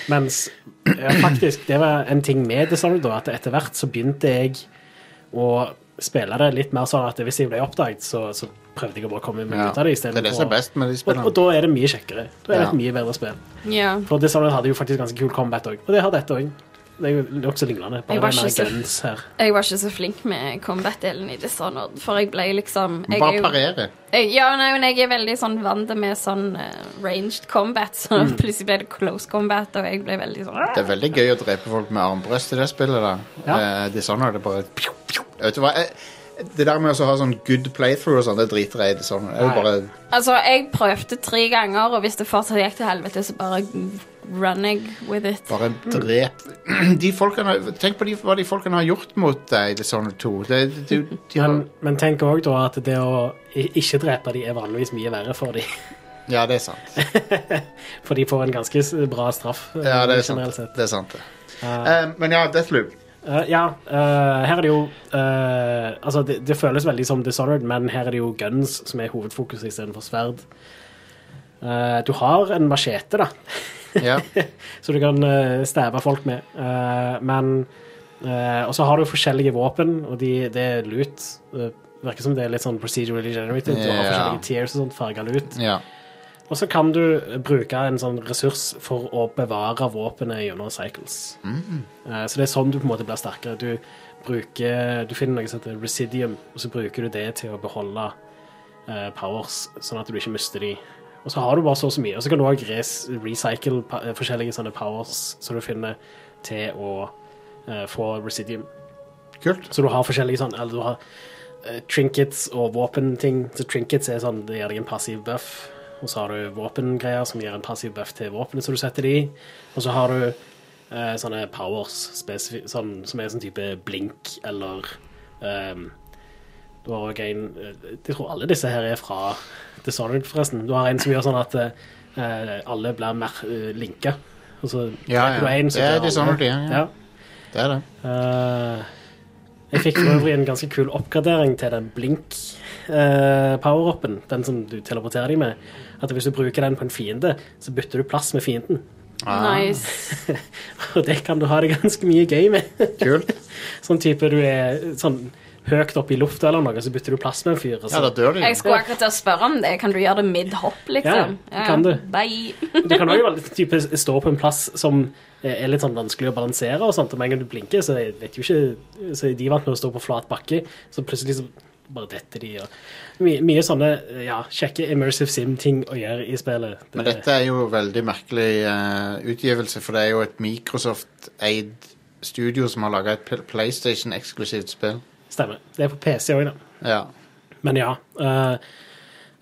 Speaker 2: Mens ja, faktisk, det var en ting med Dishonored, da, at etter hvert så begynte jeg å spille det litt mer sånn at hvis jeg ble oppdaget, så, så prøvde jeg å bare komme meg
Speaker 1: Ja.
Speaker 2: ut av det
Speaker 1: Det er det som er best med de
Speaker 2: Og, og
Speaker 1: spillene.
Speaker 2: da er det mye kjekkere. Da er det
Speaker 1: Ja.
Speaker 2: et mye bedre spill.
Speaker 5: Ja.
Speaker 2: For Dishonored hadde jo faktisk ganske kul combat òg, og det har dette òg. Det er jo nokså lignende.
Speaker 5: Jeg
Speaker 2: Bare
Speaker 5: var
Speaker 2: det er
Speaker 5: ikke så-
Speaker 2: mer guns her.
Speaker 5: Jeg var ikke så flink med combat-delen i Dishonored, for jeg ble liksom jeg er
Speaker 1: Bare
Speaker 5: jo-
Speaker 1: parere.
Speaker 5: Jeg, ja, nei, men jeg er veldig sånn vant med sånn eh, ranged combat, så
Speaker 2: Mm.
Speaker 5: plutselig ble det close combat, og jeg ble veldig sånn
Speaker 1: Det er veldig gøy å drepe folk med armbrøst i det spillet. da.
Speaker 2: Ja.
Speaker 1: Eh, Dishonored er bare pju, pju. Vet du hva? Eh, Det der med å ha sånn good playthrough og sånn, det driter jeg i. Dishonored. Jeg vil
Speaker 2: Nei.
Speaker 1: bare,
Speaker 5: Altså, jeg prøvde tre ganger, og hvis det fortsatt gikk til helvete, så bare run jeg with it.
Speaker 1: bare drep de folkene, Tenk på de, hva de folkene har gjort mot deg i Dishonored 2. Det, de, de, de har,
Speaker 2: Men, men tenk òg da at det å i- ikke drepe de er vanligvis mye verre for de.
Speaker 1: ja, det er sant.
Speaker 2: For de får en ganske s- bra straff. eh,
Speaker 1: Ja, det er
Speaker 2: generelt
Speaker 1: sant.
Speaker 2: sett.
Speaker 1: Det er sant det. Eh, men ja, Deathloop.
Speaker 2: Eh, ja, eh, her er det jo eh, Altså, det, det føles veldig som Dishonored, men her er det jo guns som er hovedfokuset istedenfor sverd. Eh, du har en machete, da,
Speaker 1: Ja.
Speaker 2: så du kan eh, stabbe folk med. Eh, men eh, Og så har du forskjellige våpen, og de, det er lut. Det virker som det er litt sånn procedurally generated. Du har
Speaker 1: Ja.
Speaker 2: forskjellige tears og sånt farga lut.
Speaker 1: ja.
Speaker 2: Og så kan du bruke en sånn ressurs for å bevare våpenet gjennom cycles. Eh, Så det er sånn du på en måte blir sterkere. Du, bruker, du finner noe som heter residium, og så bruker du det til å beholde eh, powers, sånn at du ikke mister de. Og så har du bare så og så mye. Og så kan du òg recycle pa- eh, forskjellige sånne powers som du finner til å eh, få residium.
Speaker 1: Kult.
Speaker 2: Så du har forskjellige sånn Eller du har eh, trinkets og våpenting. Så trinkets er sånn Det gir deg en passiv buff. Og så har du våpengreier som gir en passiv buff til våpenet som du setter det i. Og så har du eh, sånne powers spesifi- sånn, som er sånn type blink eller ehm, Du har òg en eh, Jeg tror alle disse her er fra Dishonored, forresten. Du har en som gjør sånn at eh, alle blir mer eh, linka. Og så
Speaker 1: Ja,
Speaker 2: trekker du
Speaker 1: ja.
Speaker 2: en, så
Speaker 1: Det er
Speaker 2: dør alle.
Speaker 1: Dishonored igjen, ja.
Speaker 2: ja.
Speaker 1: Det er det.
Speaker 2: Eh, jeg fikk for øvrig en ganske kul oppgradering til den blink eh, power-upen, den som du teleporterer deg med. At hvis du bruker den på en fiende, så bytter du plass med fienden.
Speaker 1: Ah,
Speaker 2: Ah.
Speaker 5: Nice.
Speaker 2: Og det kan du ha det ganske mye gøy med.
Speaker 1: Kult.
Speaker 2: Sånn type du er sånn høyt oppe i lufta eller noe, så bytter du plass med en fyr. og
Speaker 1: Ja,
Speaker 2: så-
Speaker 1: da dør de.
Speaker 5: Jeg skulle akkurat til å spørre om det. Kan du gjøre det mid-hopp, liksom?
Speaker 2: Ja, det kan du.
Speaker 5: Bye.
Speaker 2: Du kan òg være litt type stå på en plass som er litt sånn vanskelig å balansere. og sånt, og Med en gang du blinker, så vet jo ikke, så er de vant med å stå på flat bakke. Så plutselig så bare detter de. og Mye, mye sånne eh, ja, kjekke immersive sim-ting å gjøre i spillet. Det-
Speaker 1: Men dette er jo veldig merkelig eh, utgivelse, for det er jo et Microsoft-eid studio som har laga et P- PlayStation-eksklusivt spill.
Speaker 2: Stemmer. Det er på PC òg, da.
Speaker 1: Ja.
Speaker 2: Men ja. eh,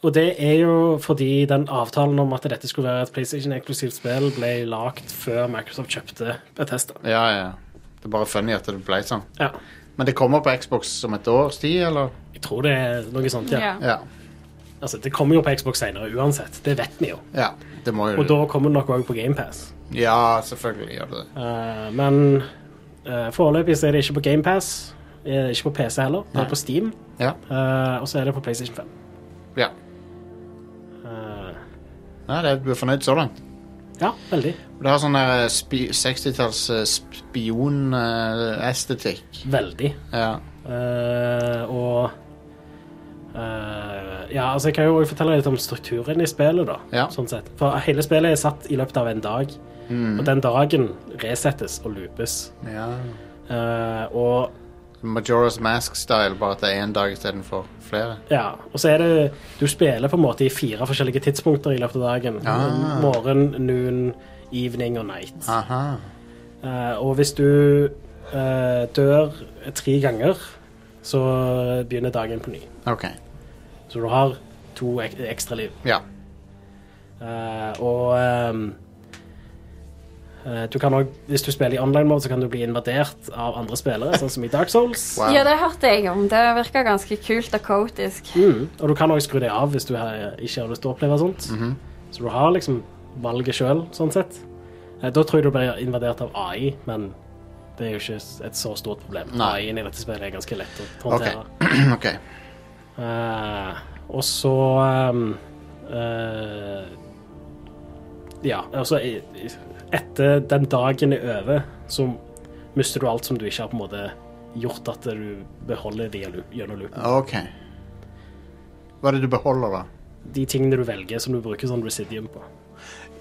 Speaker 2: og det er jo fordi den avtalen om at dette skulle være et PlayStation-eksklusivt spill, ble lagt før Microsoft kjøpte Bethesda.
Speaker 1: Ja, ja. Det er bare funny at det ble sånn.
Speaker 2: Ja,
Speaker 1: Men det kommer på Xbox om et års tid, eller?
Speaker 2: jeg tror det er noe sånt, ja.
Speaker 5: Ja.
Speaker 1: Ja.
Speaker 2: Altså, det kommer jo på Xbox senere uansett. Det vet vi jo.
Speaker 1: ja. Det må jo
Speaker 2: Og da kommer det nok òg på GamePass.
Speaker 1: Ja, selvfølgelig gjør det det.
Speaker 2: Uh, men eh, foreløpig så er det ikke på GamePass. Ikke på PC heller. Det er på Steam.
Speaker 1: Ja.
Speaker 2: eh, og så er det på PlayStation 5.
Speaker 1: ja.
Speaker 2: Eh,
Speaker 1: Nei, det, du er fornøyd så langt?
Speaker 2: ja, veldig.
Speaker 1: Det har sånn der spi 60-talls eh, spionestetikk.
Speaker 2: Veldig.
Speaker 1: Ja.
Speaker 2: Eh, og eh, Ja, altså jeg kan jo også fortelle litt om strukturen i spillet, da.
Speaker 1: Ja.
Speaker 2: Sånn sett. For hele spillet er satt i løpet av en dag.
Speaker 1: Mm.
Speaker 2: Og den dagen resettes og loopes.
Speaker 1: ja.
Speaker 2: Eh, og
Speaker 1: Majora's Mask-style, bare at det er én dag istedenfor flere.
Speaker 2: Ja, og så er det Du spiller på en måte i fire forskjellige tidspunkter i løpet av dagen.
Speaker 1: Ah.
Speaker 2: Morgen, noon, evening og night.
Speaker 1: Aha.
Speaker 2: Eh, og hvis du eh, dør tre ganger, så begynner dagen på ny.
Speaker 1: OK.
Speaker 2: Så du har to ek ekstra liv.
Speaker 1: Ja.
Speaker 2: Eh, og ehm, eh, du kan også, hvis du spiller i online-mode, så kan du bli invadert av andre spillere, sånn som i Dark Souls.
Speaker 1: Wow.
Speaker 4: Ja, det hørte jeg om. Det virka ganske kult og kaotisk.
Speaker 2: Mm. Og du kan òg skru det av hvis du har, ikke har lyst til å oppleve sånt.
Speaker 1: Mhm.
Speaker 2: Så du har liksom valget sjøl, sånn sett. Eh, Da tror jeg du blir invadert av AI, men det er jo ikke s- et så stort problem.
Speaker 1: Nei.
Speaker 2: AI-en i dette spillet er ganske lett å
Speaker 1: OK.
Speaker 2: håndtere.
Speaker 1: ok.
Speaker 2: Eh, og så ehm, eh, Ja, altså i- i- Etter den dagen er over, så mister du alt som du ikke har på en måte gjort at du beholder via loop, gjennom loop.
Speaker 1: Ok. Hva er det du beholder, da?
Speaker 2: de tingene du velger som du bruker sånn residium på.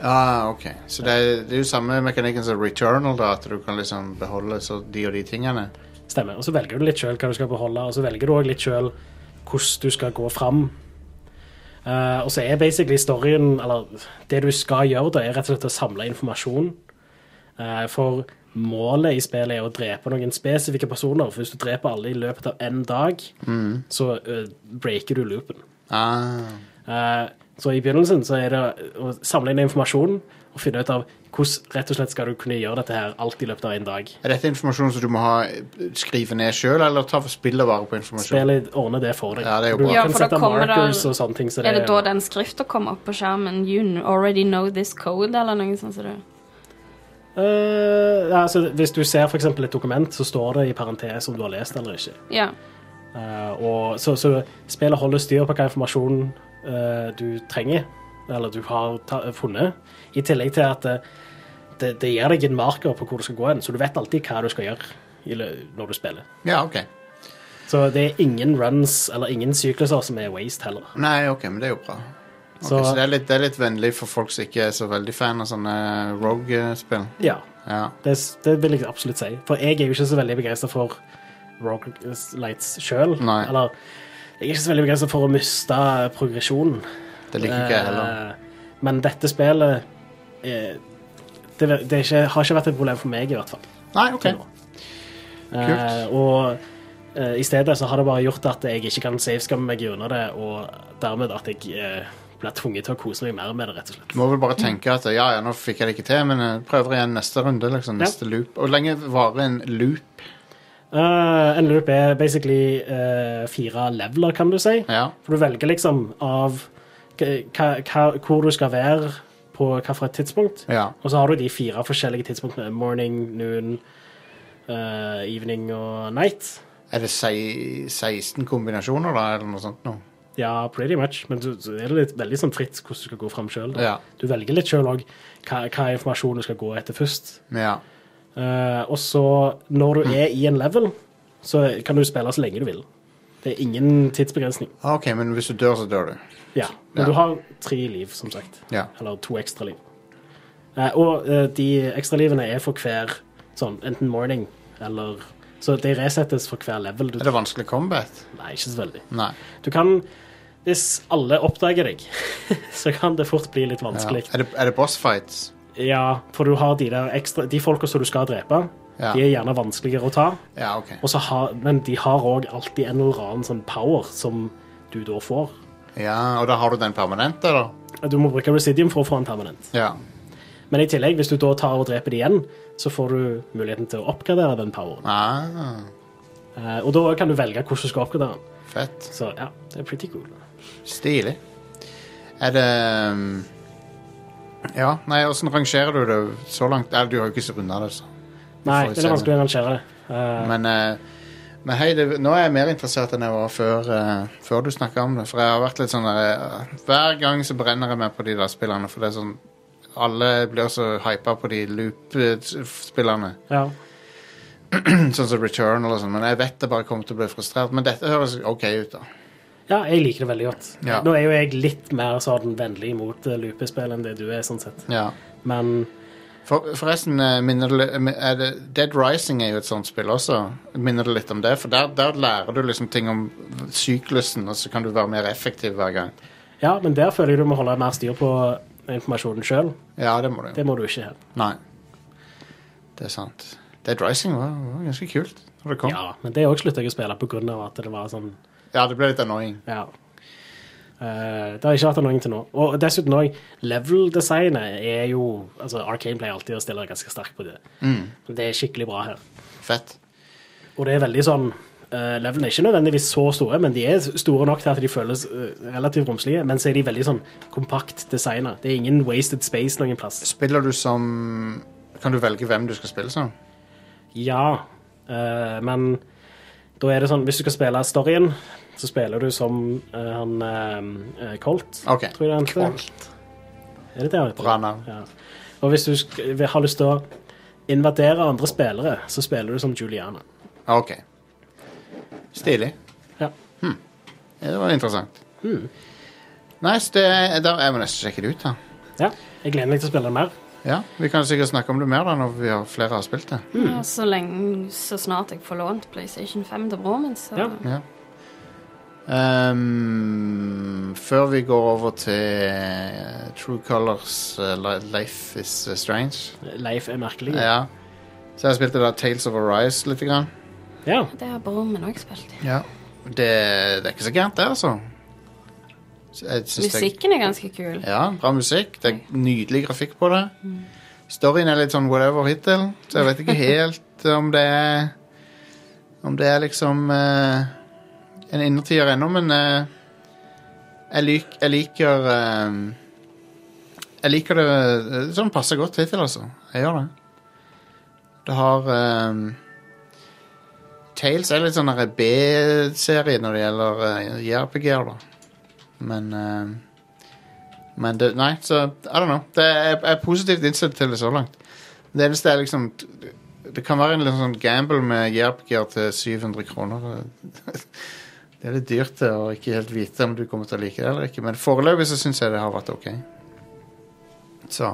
Speaker 1: Ah, ok. Så det er, det er jo samme mekanikken som Returnal, da, at du kan liksom beholde så de og de tingene.
Speaker 2: Stemmer. Og så velger du litt sjøl hva du skal beholde, og så velger du òg litt sjøl hvordan du skal gå fram. Eh, og så er basically storyen, eller det du skal gjøre, da, er rett og slett å samle informasjon. Eh, for målet i spillet er å drepe noen spesifikke personer. For hvis du dreper alle i løpet av én dag, så eh, breaker du loopen.
Speaker 1: Ah,
Speaker 2: Eh, Så i begynnelsen så er det å samle inn informasjon og finne ut av hvordan rett og slett skal du kunne gjøre dette her alt i løpet av én dag.
Speaker 1: er dette informasjon som du må ha eh, skrive ned sjøl, eller ta spillet vare på informasjon?
Speaker 2: Spillet ordner det for deg.
Speaker 1: Ja, det er jo
Speaker 2: du
Speaker 1: bra.
Speaker 2: kan
Speaker 4: Ja, for da
Speaker 2: sette
Speaker 4: kommer det-
Speaker 2: markers og sånne ting. Så
Speaker 4: Er det da den skrifta kommer opp på skjermen? You kn- already know this code, eller noe sånt? som det?
Speaker 2: Eh, ja, altså, hvis du ser f.eks. et dokument, så står det i parentes om du har lest eller ikke.
Speaker 4: Ja.
Speaker 2: Eh, og, så, så spillet holder styr på hva informasjon eh, du trenger, eller du har ta, funnet, i tillegg til at eh, det, det gir deg en marker på hvor du skal gå hen, så du vet alltid hva du skal gjøre i lø- når du spiller.
Speaker 1: Ja, ok.
Speaker 2: Så det er ingen runs eller ingen sykluser som er waste heller.
Speaker 1: Nei, ok, men det er jo bra. Ok, så
Speaker 2: Så-
Speaker 1: det, er litt, det er litt vennlig for folk som ikke er så veldig fan av sånne Rogue-spill.
Speaker 2: Ja,
Speaker 1: Ja.
Speaker 2: det, det vil jeg absolutt si. For jeg er jo ikke så veldig begeistra for Roguelites sjøl.
Speaker 1: Nei.
Speaker 2: Eller jeg er ikke så veldig begeistra for å miste progresjonen.
Speaker 1: Det liker ikke jeg heller.
Speaker 2: Eh, Men dette spillet eh, det, det er ikke, har ikke vært et problem for meg, i hvert fall.
Speaker 1: Nei, ok.
Speaker 2: til nå. Eh, og eh, i stedet så har det bare gjort at jeg ikke kan saveskamme meg gjennom det, og dermed at jeg eh, blir tvunget til å kose meg mer med det, rett og slett.
Speaker 1: Du må vel bare tenke at ja, ja, nå fikk jeg det ikke til, men jeg prøver igjen neste runde, liksom.
Speaker 2: Ja.
Speaker 1: Neste loop. Og hvor lenge varer en loop?
Speaker 2: Eh, en loop er basically eh, fire leveler, kan du si.
Speaker 1: Ja.
Speaker 2: For du velger liksom av k- hva, hva, hvor du skal være på hvilket tidspunkt.
Speaker 1: Ja.
Speaker 2: Og så har du de fire forskjellige tidspunktene. Morning, noon, eh, evening og night.
Speaker 1: Er det sei- 16 kombinasjoner, da, eller noe sånt noe?
Speaker 2: Ja, pretty much. Men så så er det litt, veldig sånn fritt hvordan du skal gå fram sjøl.
Speaker 1: Ja.
Speaker 2: Du velger litt sjøl òg hva, hva informasjon du skal gå etter først.
Speaker 1: Ja.
Speaker 2: Eh, og så,
Speaker 1: Mm.
Speaker 2: når du er i en level, så kan du spille så lenge du vil. Det er ingen tidsbegrensning.
Speaker 1: Ah, Ok, men hvis du dør, så dør du.
Speaker 2: Ja,
Speaker 1: Ja.
Speaker 2: men du har tre liv, som sagt.
Speaker 1: Ja.
Speaker 2: Eller to ekstra liv. Eh, og eh, de ekstra livene er for hver sånn, enten morning eller Så de resettes for hver level. Du,
Speaker 1: Er det vanskelig combat?
Speaker 2: nei, ikke så veldig.
Speaker 1: Nei.
Speaker 2: Du kan Hvis alle oppdager deg, så kan det fort bli litt
Speaker 1: Ja.
Speaker 2: vanskelig.
Speaker 1: Er, det, er det boss fights?
Speaker 2: Ja, for du har de der ekstra De folka som du skal drepe,
Speaker 1: Ja.
Speaker 2: de er gjerne vanskeligere å ta.
Speaker 1: Ja, ok.
Speaker 2: Og så har, men de har òg alltid en eller annen sånn power som du da får.
Speaker 1: Ja, og da har du den permanente, da?
Speaker 2: Du må bruke Residium for å få den permanent.
Speaker 1: Ja.
Speaker 2: Men i tillegg, hvis du da tar og dreper det igjen, så får du muligheten til å oppgradere den poweren.
Speaker 1: Ah,
Speaker 2: Eh, og da kan du velge hvordan du skal oppgradere den.
Speaker 1: fett.
Speaker 2: Så ja, det er pretty cool.
Speaker 1: Stilig. Er det um, Ja, nei, åssen rangerer du det så langt? Nei, du har jo ikke runda det, så.
Speaker 2: Nei,
Speaker 1: får vi
Speaker 2: det
Speaker 1: se.
Speaker 2: er vanskelig å rangere det. Eh,
Speaker 1: Men, eh, men hei, det, nå er jeg mer interessert enn jeg var før, eh, før du snakka om det. For jeg har vært litt sånn der, eh, Hver gang så brenner jeg meg på de der spillene. For det er sånn Alle blir så hypa på de loop-spillene.
Speaker 2: ja.
Speaker 1: Sånn som Returnal og sånn. Men jeg vet det bare kommer til å bli frustrert. Men dette høres OK ut, da.
Speaker 2: ja, jeg liker det veldig godt.
Speaker 1: Ja.
Speaker 2: Nå er jo jeg litt mer sånn vennlig mot eh, lupespill enn det du er, sånn sett.
Speaker 1: Ja.
Speaker 2: Men
Speaker 1: For, forresten, eh, minner det, li- er det, Dead Rising er jo et sånt spill også. Minner det litt om det? For der, der lærer du liksom ting om syklusen, og så kan du være mer effektiv hver gang.
Speaker 2: ja, men der føler jeg du må holde mer styr på informasjonen sjøl.
Speaker 1: Ja, det må du.
Speaker 2: Det må du ikke her.
Speaker 1: Nei. Det er sant. Dead Rising var, var ganske kult når det kom. Ja.
Speaker 2: Ja, men det òg slutta jeg å spille på grunn av at det var sånn
Speaker 1: det ble litt annoying.
Speaker 2: Ja. Eh, det har jeg ikke hatt noen til nå. Og dessuten òg, level-designet er jo altså Arcane pleier alltid å stille ganske sterkt på det. Det er skikkelig bra her.
Speaker 1: Fett.
Speaker 2: Og det er veldig sånn uh, Levelene er ikke nødvendigvis så store, men de er store nok til at de føles eh, relativt romslige. Men så er de veldig sånn kompakt designa. Det er ingen wasted space noen plass.
Speaker 1: Spiller du som Kan du velge hvem du skal spille som?
Speaker 2: Ja, eh, men da er det sånn Hvis du skal spille storyen, så spiller du som eh, han eh, eh, Colt.
Speaker 1: OK.
Speaker 2: Tror jeg det heter. Er det det han heter?
Speaker 1: Bra navn.
Speaker 2: Ja. Og hvis du sk- vil- har lyst til å invadere andre spillere, så spiller du som Juliana.
Speaker 1: OK. Stilig. Hm.
Speaker 2: Ja.
Speaker 1: Ja, det var interessant. Nice. Det, da, jeg må nesten sjekke det ut, da.
Speaker 2: ja. Jeg gleder meg til å spille det mer.
Speaker 1: Ja, Vi kan sikkert snakke om det mer da når vi har flere har spilt det.
Speaker 4: Ja, så lenge Så snart jeg får lånt PlayStation 5 til broren min, så
Speaker 2: Ja.
Speaker 1: Ja. Ehm, før vi går over til eh, True Colors eh, Li- Life is eh, Strange
Speaker 2: Leif er merkelig.
Speaker 1: Ja. Så jeg spilte da Tales of Arise litt. Grann.
Speaker 2: Ja.
Speaker 4: Det har broren min òg spilt.
Speaker 1: Det, det er ikke så gærent, det, altså. Så jeg synes det- Eh,
Speaker 4: Musikken er ganske kul.
Speaker 1: ja, bra musikk. Det er nydelig grafikk på det. Storyen er litt sånn whatever hittil, så jeg vet ikke helt eh, om det er Om det er liksom eh, en innertier ennå, men eh, jeg, lik, jeg liker eh, Jeg liker det eh, sånn passe godt hittil, altså. Jeg gjør det. Det har um, Tales er litt sånn der B-serie når det gjelder uh, JRPG-er, da. Men eh, men det, nei, så I don't know. Det er, jeg er positivt innstilt til det så langt. Det eneste er liksom Det kan være en litt sånn gamble med JRPG-er til 700 kroner. Det er litt dyrt det, å ikke helt vite om du kommer til å like det eller ikke, men foreløpig så syns jeg det har vært OK. Så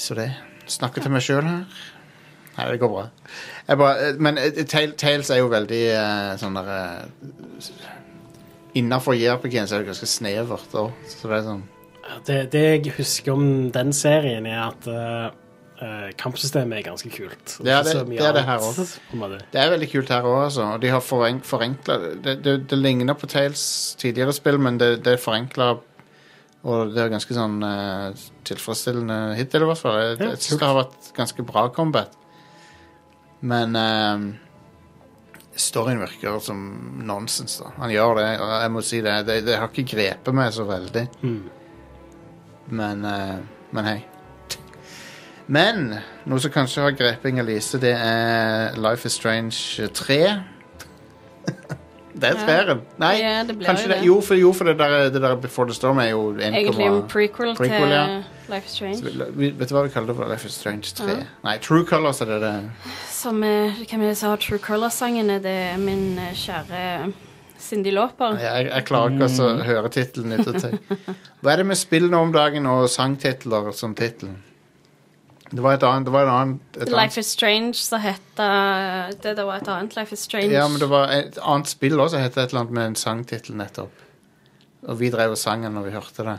Speaker 1: Så det. Snakker til meg sjøl her. Nei, det går bra. Jeg bare, men eh, Tail- Tales er jo veldig eh, sånn derre Innafor JRPG-en så er det ganske snevert òg. Så det er sånn
Speaker 2: Det, det jeg husker om den serien, er at eh, eh, kampsystemet er ganske kult. Og
Speaker 1: Ja,
Speaker 2: ikke
Speaker 1: det-
Speaker 2: så mye
Speaker 1: det er det her
Speaker 2: annet,
Speaker 1: også.
Speaker 2: på en måte.
Speaker 1: Det er veldig kult her òg, altså. Og de har forenk forenkla det, det, det ligner på Tales tidligere spill, men det, det er forenkla Og det er ganske sånn eh, tilfredsstillende hittil, i hvert fall. Jeg,
Speaker 2: Ja,
Speaker 1: jeg syns det har vært ganske bra combat. Men eh, storyen virker som nonsens, da. Han gjør det, og jeg må si det. Det, det har ikke grepet meg så veldig. Men eh, Men hei. Men noe som kanskje har grepet Inger-Lise, det er Life is Strange 3. det er
Speaker 4: Ja.
Speaker 1: treeren. Nei,
Speaker 4: Ja, det blir
Speaker 1: kanskje
Speaker 4: jo
Speaker 1: det.
Speaker 4: det.
Speaker 1: Jo, for, jo, for det, der, det der Before the Storm er jo 1,1.
Speaker 4: Egentlig en prequel,
Speaker 1: Prequel,
Speaker 4: til
Speaker 1: ja.
Speaker 4: Life is Strange.
Speaker 1: Vet du hva vi kaller det for Life is Strange 3?
Speaker 4: Ja.
Speaker 1: Nei, True Colors er det det.
Speaker 4: Som eh, hvem er det som har True Color-sangene? Det er min eh, kjære Cindy Lauper.
Speaker 1: Jeg, jeg klarer ikke også å høre tittelen etter til. Hva er det med spill nå om dagen og sangtitler som tittel? Det var et annet, det var et annet, et annet
Speaker 4: Life is Strange, så heter det Det var et annet Life is Strange.
Speaker 1: Ja, men det var et annet spill også som het et eller annet med en sangtittel nettopp. Og vi drev og sang den når vi hørte det.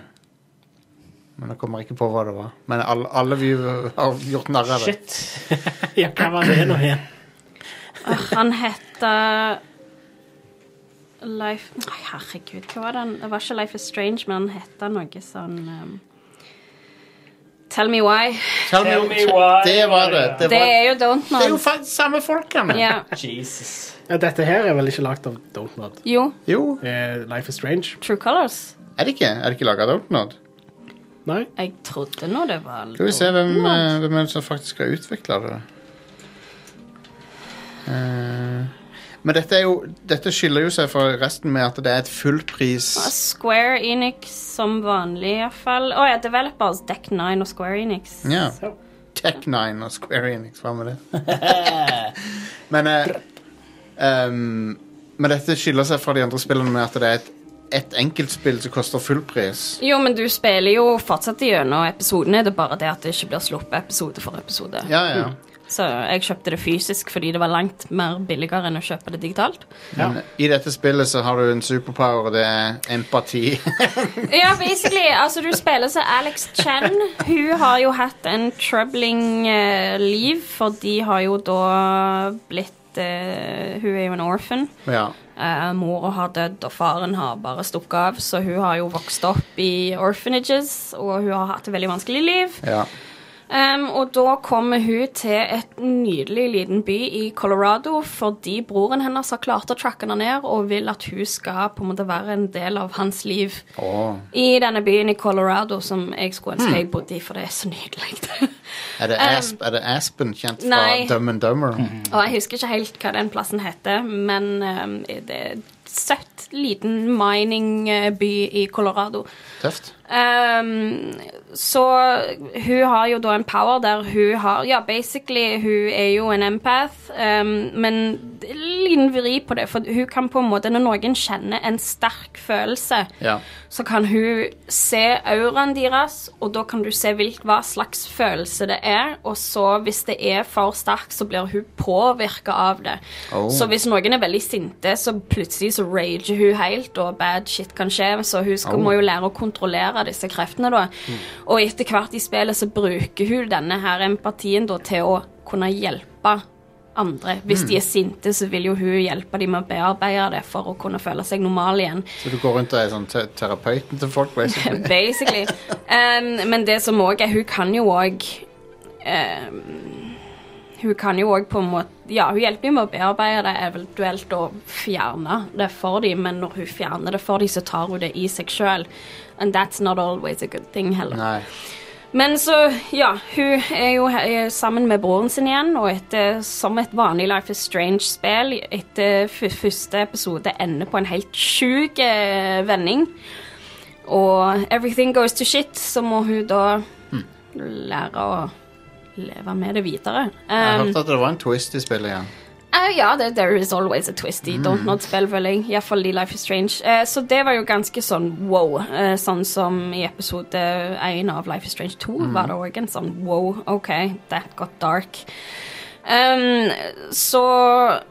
Speaker 1: Men jeg kommer ikke på hva det var. Men alle, alle vi har gjort narr av det.
Speaker 3: Shit.
Speaker 2: ja, hva var det nå igjen?
Speaker 4: Han heter Life Nei, herregud, hva var den? Det var ikke Life is Strange, men den hette noe sånn um, Tell me why.
Speaker 1: Tell me-
Speaker 3: Tell me why.
Speaker 1: Det var det. Det,
Speaker 4: Det
Speaker 1: var,
Speaker 4: er jo Don't
Speaker 1: det er jo
Speaker 4: Know.
Speaker 1: faktisk samme folkene.
Speaker 4: Ja.
Speaker 3: Jesus.
Speaker 2: Ja, Dette her er vel ikke lagd av Donut.
Speaker 4: Jo,
Speaker 1: Jo,
Speaker 2: Eh, Life is Strange?
Speaker 4: True Colors.
Speaker 1: er det ikke? Er det ikke laga av Outnod?
Speaker 2: Nei?
Speaker 4: Jeg trodde nå det var
Speaker 1: Skal vi se hvem,
Speaker 4: Donut.
Speaker 1: eh, hvem er det som faktisk har utvikla det. Eh, men dette, er jo, dette skiller jo seg fra resten med at det er et fullpris
Speaker 4: Square Enix som vanlig, iallfall. Å ja, Developers, Deck 9 og Square Enix.
Speaker 1: Ja.
Speaker 2: Så.
Speaker 1: Tech9 og Square Enix, hva med det? men, eh, um, men dette skiller seg fra de andre spillene med at det er et, et enkeltspill som koster fullpris.
Speaker 4: Jo, men du spiller jo fortsatt gjennom episodene. Det er bare det at det ikke blir sluppet episode for episode.
Speaker 1: Ja, ja.
Speaker 4: Så jeg kjøpte det fysisk fordi det var langt mer billigere enn å kjøpe det digitalt.
Speaker 1: Men i dette spillet så har du en superpower, og det er empati.
Speaker 4: Ja, basically, altså du spiller så Alex Chen. Hun har jo hatt en troubling eh, liv, for de har jo da blitt eh, Hun er jo en orphan.
Speaker 1: ja.
Speaker 4: Uh, Mora har dødd, og faren har bare stukket av, så hun har jo vokst opp i orphanages, og hun har hatt et veldig vanskelig liv.
Speaker 1: ja.
Speaker 4: Um, og da kommer hun til et nydelig liten by i Colorado fordi broren hennes har klart å tracke henne ned og vil at hun skal på en måte være en del av hans liv
Speaker 1: Åh.
Speaker 4: i denne byen i Colorado som jeg skulle ønske jeg bodde i, for det er så nydelig.
Speaker 1: Er, det Asp, er det Aspen, kjent fra
Speaker 4: nei. Mm-hmm.
Speaker 1: Dumb and Dummer?
Speaker 4: og jeg husker ikke helt hva den plassen heter, men um, det er et søtt liten miningby i Colorado.
Speaker 1: Tøft.
Speaker 4: Ehm, så hun har jo da en power der hun har Ja, basically, hun er jo en empath, ehm, men det er en liten vri på det, for hun kan på en måte, når noen kjenner en sterk følelse,
Speaker 1: Ja.
Speaker 4: så kan hun se auraen deres, og da kan du se hvilk, hva slags følelse det er, og så hvis det er for sterk, så blir hun påvirket av det.
Speaker 1: Oh.
Speaker 4: Så hvis noen er veldig sinte, så plutselig så rager hun helt, og bad shit kan skje, så hun skal,
Speaker 1: Oh. Mm.
Speaker 4: må jo lære å kontrollere disse kreftene da. Og etter hvert i spillet så bruker hun denne her empatien da til å kunne hjelpe andre.
Speaker 1: Mm.
Speaker 4: Hvis de er sinte, så vil jo hun hjelpe dem med å bearbeide det for å kunne føle seg normal igjen.
Speaker 1: Så du går rundt og er sånn te terapeuten til folk? basically.
Speaker 4: Basically. Um, men det som òg er Hun kan jo òg um, Hun kan jo òg på en måte Ja, hun hjelper jo med å bearbeide det, eventuelt å fjerne det for dem, men når hun fjerner det for dem, så tar hun det i seg sjøl. And that's not always a good thing, heller.
Speaker 1: Nei.
Speaker 4: Men så, ja, hun er jo he- er sammen med broren sin igjen, og etter, som et vanlig Life is Strange-spill, etter f første episode ender på en helt sjuk eh, vending, og everything goes to shit, så må hun da lære å leve med det videre.
Speaker 1: Jeg
Speaker 4: Um,
Speaker 1: hørte at det var en twist i spillet igjen.
Speaker 4: Eh, ja, det, there is always a twist
Speaker 1: Mm.
Speaker 4: i Don't Not Spell, føler jeg. Iallfall i Life is Strange. Eh, så det var jo ganske sånn wow. eh, sånn som i episode én av Life is Strange 2
Speaker 1: Mm.
Speaker 4: var det òg en sånn wow, OK, that got dark. Um, så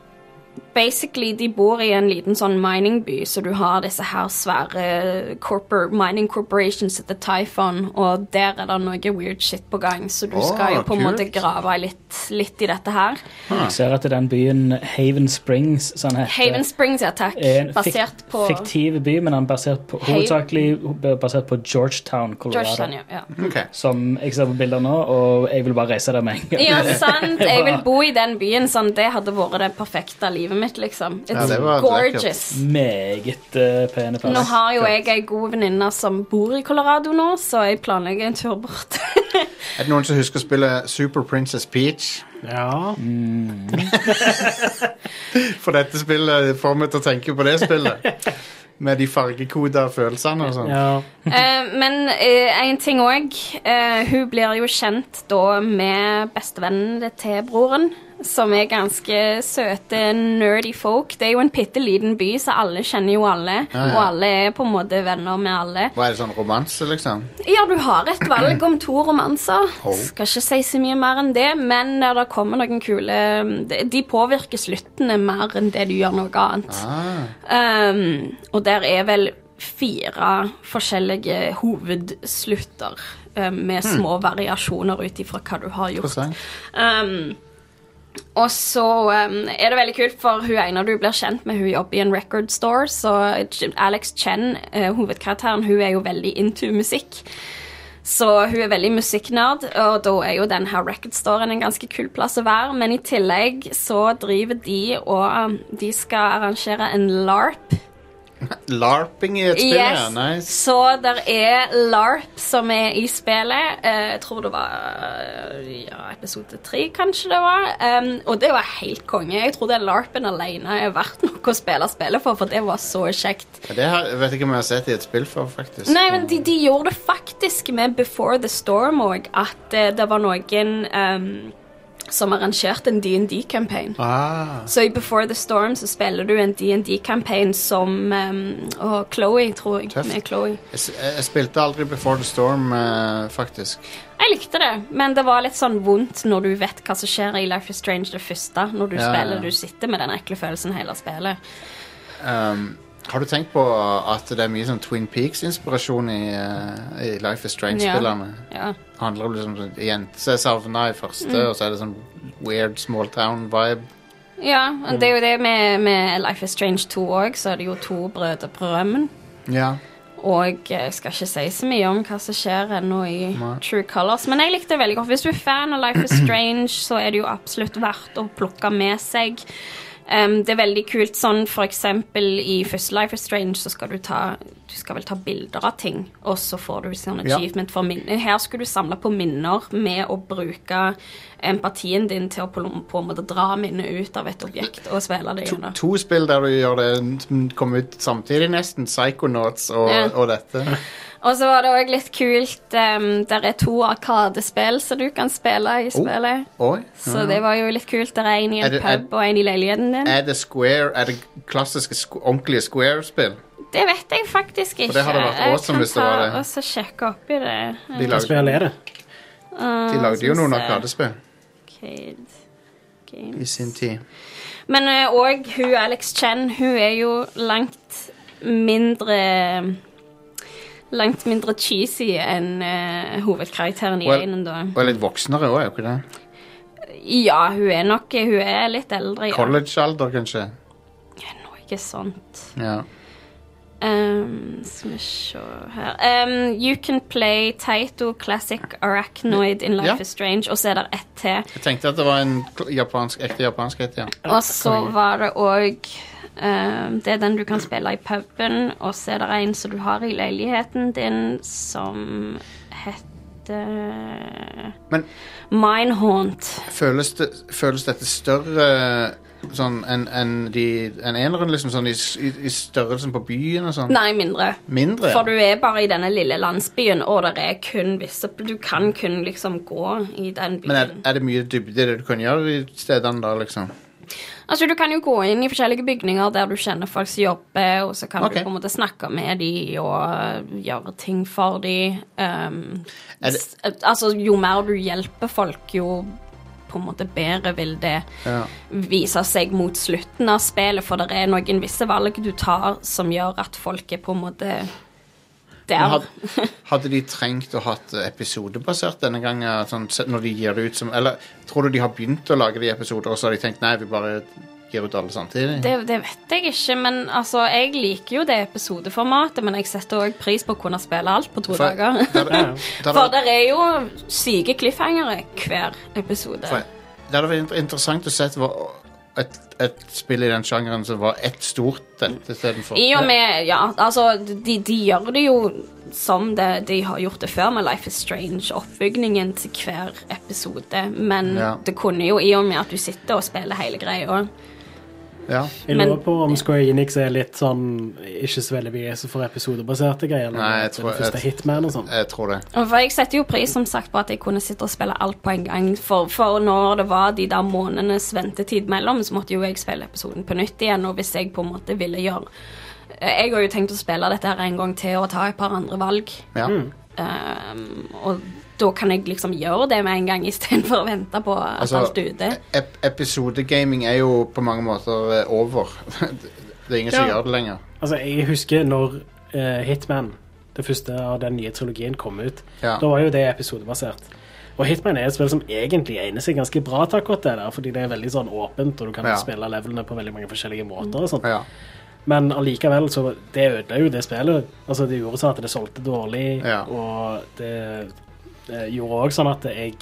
Speaker 4: Basically, de bor i en liten sånn miningby, så du har disse her svære corpor mining corporations etter Typhon, og der er det noe weird shit på gang, så du
Speaker 1: Åh,
Speaker 4: skal jo på en måte
Speaker 1: kult.
Speaker 4: grave litt, litt i dette her.
Speaker 3: Jeg ser at den byen Haven Springs som den heter,
Speaker 4: Haven Springs ja, takk.
Speaker 3: er en fik
Speaker 4: basert på
Speaker 3: fiktiv by, men den er basert på,
Speaker 4: Haven-
Speaker 3: hovedsakelig basert på Georgetown, Colorado.
Speaker 4: Georgetown. Ja. Ja.
Speaker 1: Ok.
Speaker 3: Som jeg ser på bilder nå, og jeg vil bare reise der med en gang.
Speaker 4: ja, sant. Jeg vil bo i den byen. Sånn, det hadde vært det perfekte livet mitt, liksom.
Speaker 1: Ja,
Speaker 4: It's
Speaker 1: det var
Speaker 4: gorgeous.
Speaker 3: Meget eh, pene
Speaker 4: Nå
Speaker 3: plass.
Speaker 4: har jo jeg ei god venninne som bor i Colorado nå, så jeg planlegger en tur bort.
Speaker 1: Er det noen som husker å spille Super Princess Peach?
Speaker 2: Ja.
Speaker 1: For dette spillet får meg til å tenke på det spillet. Med de fargekoda følelsene og sånn.
Speaker 2: ja.
Speaker 4: Eh, men eh, en ting òg. hun blir jo kjent da med bestevennen til broren, som er ganske søte, nerdy folk. Det er jo en bitte liten by, så alle kjenner jo alle.
Speaker 1: Ja, ja.
Speaker 4: Og alle er på en måte venner med alle.
Speaker 1: Hva er det sånn romanse, liksom?
Speaker 4: Ja, du har et valg om to romanser.
Speaker 1: Oh.
Speaker 4: Skal ikke si så mye mer enn det, men eh, det kommer noen kule mm, De de påvirker sluttene mer enn det du gjør noe annet.
Speaker 1: Ah,
Speaker 4: Um, og der er vel fire forskjellige hovedslutter ehm, um, med små variasjoner ut ifra hva du har gjort.
Speaker 1: interessant.
Speaker 4: Um, Og så um, er det veldig kult, for hun ene du blir kjent med, hun jobber i en record store, så Alex Chen, eh, hovedkarakteren, hun er jo veldig into musikk. Så hun er veldig musikknerd, og da er jo den her record storen en ganske kul plass å være. Men i tillegg så driver de og um, de skal arrangere en LARP.
Speaker 1: Larping i et spill, ja.
Speaker 4: Yes.
Speaker 1: Nice.
Speaker 4: Så der er LARP som er i spillet. Eh, jeg tror det var eh, ja, episode tre, kanskje det var. Em, og det var helt konge. Jeg tror den LARP-en alene er verdt noe å spille spillet for, for det var så kjekt.
Speaker 1: Det har, vet jeg ikke om jeg har sett i et spill før, faktisk.
Speaker 4: Nei, men de, de gjorde det faktisk med Before the Storm òg, at eh, det var noen em, som arrangerte en DND-campaign.
Speaker 1: Ah,
Speaker 4: Så i Before the Storm så spiller du en DND-campaign som em, Og Chloé, tror jeg.
Speaker 1: Tøft.
Speaker 4: Med Chloé.
Speaker 1: jeg, s- jeg spilte aldri Before the Storm, eh, faktisk.
Speaker 4: Jeg likte det, men det var litt sånn vondt når du vet hva som skjer i Life is Strange det første. Når du
Speaker 1: Ja, ja, ja.
Speaker 4: spiller, du sitter med den ekle følelsen hele spillet.
Speaker 1: Um, har du tenkt på at det er mye sånn Twin Peaks-inspirasjon i, eh, i Life is Strange-spillerne?
Speaker 4: Ja.
Speaker 1: Det handler om liksom sånn jente som er savna i første,
Speaker 4: Mm.
Speaker 1: og så er det sånn weird small town-vibe.
Speaker 4: ja, og det er jo det med, med Life is Strange 2 òg, så er det jo to brødre på rømmen.
Speaker 1: Ja.
Speaker 4: Og jeg skal ikke si så mye om hva som skjer ennå i
Speaker 1: Nei.
Speaker 4: True Colors, men jeg likte det veldig godt. Hvis du er fan av Life is Strange, så er det jo absolutt verdt å plukke med seg. Em, det er veldig kult sånn for eksempel i første Life is Strange så skal du ta Du skal vel ta bilder av ting, og så får du sånn
Speaker 1: Ja.
Speaker 4: achievement for minner. Her skulle du samle på minner med å bruke empatien din til å på, på en måte dra minnet ut av et objekt og spille det
Speaker 1: To,
Speaker 4: gjennom.
Speaker 1: to spill der du gjør det som kom ut samtidig, nesten. Psychonauts og,
Speaker 4: Ja.
Speaker 1: og dette.
Speaker 4: Og så var det òg litt kult um, Der er to arkadespill som du kan spille i spillet.
Speaker 1: Oi.
Speaker 4: Så det var jo litt kult. Der er en i
Speaker 1: Oh. Er
Speaker 4: en
Speaker 1: det- er-
Speaker 4: pub og en i leiligheten din.
Speaker 1: Er det Square Er det klassiske, sk- ordentlige Square-spill?
Speaker 4: Det vet jeg faktisk ikke.
Speaker 1: det hadde vært
Speaker 4: Jeg
Speaker 1: awesome
Speaker 4: kan
Speaker 1: hvis det var
Speaker 4: ta
Speaker 1: det.
Speaker 4: Og så sjekke opp i det.
Speaker 1: De
Speaker 2: Hva
Speaker 1: lagde,
Speaker 2: spill er det?
Speaker 1: de lagde jo noen arkadespill
Speaker 4: Arcade
Speaker 1: i
Speaker 4: Games.
Speaker 1: sin tid.
Speaker 4: Men eh, og hun Alex Chen, hun er jo langt mindre Langt mindre cheesy enn eh, hovedkarakteren i
Speaker 1: Well-
Speaker 4: Einen, da.
Speaker 1: Og er litt voksnere òg, er jo ikke det?
Speaker 4: Ja, hun er nok Hun er litt eldre, ja.
Speaker 1: College-alder, kanskje?
Speaker 4: Noe sånt.
Speaker 1: Ja.
Speaker 4: Um, skal vi se her um, You can play Taito Classic Arachnoid in Life
Speaker 1: Ja.
Speaker 4: is Strange. Og så er det ett til.
Speaker 1: Jeg tenkte at det var en kl- japansk, ekte japansk et, ja.
Speaker 4: Og så
Speaker 2: konge.
Speaker 4: var det òg um, Det er den du kan spille i puben. Og så er det en som du har i leiligheten din, som heter
Speaker 1: Men
Speaker 4: Minehaunt.
Speaker 1: føles, det, føles dette større sånn enn enn de enn eneren, liksom? Sånn i, s- i, i størrelsen på byen og sånn?
Speaker 4: Nei, mindre.
Speaker 1: Mindre?
Speaker 4: For du er bare i denne lille landsbyen, og det er kun visse Du kan kun liksom gå i den byen.
Speaker 1: Men er, er det mye dybde i det du kan gjøre i stedene da, liksom?
Speaker 4: Altså, Du kan jo gå inn i forskjellige bygninger der du kjenner folk som jobber, og så kan
Speaker 1: Ok.
Speaker 4: du på en måte snakke med dem og øh, gjøre ting for dem. Um,
Speaker 1: Er det-
Speaker 4: s- altså, jo mer du hjelper folk, jo på en måte bedre vil det
Speaker 1: Ja.
Speaker 4: vise seg mot slutten av spillet, for det er noen visse valg du tar som gjør at folk er på en måte
Speaker 1: Men
Speaker 4: der.
Speaker 1: Hadde, hadde de trengt å hatt episodebasert denne gangen? Sånn, se- når de gir det ut som Eller tror du de har begynt å lage de episoder, og så har de tenkt nei, vi bare gir ut alle samtidig?
Speaker 4: Det, det vet jeg ikke, men altså, jeg liker jo det episodeformatet, men jeg setter òg pris på å kunne spille alt på to
Speaker 1: For-
Speaker 4: dager.
Speaker 1: der-
Speaker 2: Ja, ja.
Speaker 1: der-
Speaker 4: For det er jo syke cliffhangere hver episode.
Speaker 1: For det hadde vært inter- interessant å se hva et, et spill i den sjangeren som var ett stort et istedenfor.
Speaker 4: I og med Ja, altså, de, de gjør det jo som det, de har gjort det før med Life is Strange, oppbygningen til hver episode, men
Speaker 1: Ja.
Speaker 4: det kunne jo, i og med at du sitter og spiller hele greia
Speaker 1: Ja.
Speaker 2: Jeg
Speaker 4: Men-
Speaker 2: lurer på om Square Enix er litt sånn Ikke så veldig mye for episodebaserte greier. eller
Speaker 1: Nei, jeg
Speaker 2: det
Speaker 1: tror-
Speaker 2: første
Speaker 1: jeg-
Speaker 2: Hitman og sånn.
Speaker 1: Jeg tror det.
Speaker 4: Og For Jeg setter jo pris som sagt på at jeg kunne sitte og spille alt på en gang. For, for når det var de der månedenes ventetid mellom, så måtte jo jeg spille episoden på nytt igjen. Og hvis jeg på en måte ville gjøre Jeg har jo tenkt å spille dette her en gang til og ta et par andre valg.
Speaker 1: Ja.
Speaker 4: Mm, Ehm, og da kan jeg liksom gjøre det med en gang istedenfor å vente på at
Speaker 1: Altså,
Speaker 4: alt er ute.
Speaker 1: Ep episodegaming er jo på mange måter eh, over. det er ingen som
Speaker 2: Ja.
Speaker 1: gjør det lenger.
Speaker 2: Altså, jeg husker når eh, Hitman, det første av den nye trilogien, kom ut.
Speaker 1: Ja.
Speaker 2: Da var jo det episodebasert. Og Hitman er et spill som egentlig egner seg ganske bra til akkurat det der, fordi det er veldig sånn åpent, og du kan
Speaker 1: Ja.
Speaker 2: spille levelene på veldig mange forskjellige måter og sånt.
Speaker 1: Ja.
Speaker 2: Men allikevel, så det ødela jo det spillet. Altså, det gjorde sånn at det solgte dårlig,
Speaker 1: Ja.
Speaker 2: og det, det gjorde òg sånn at jeg,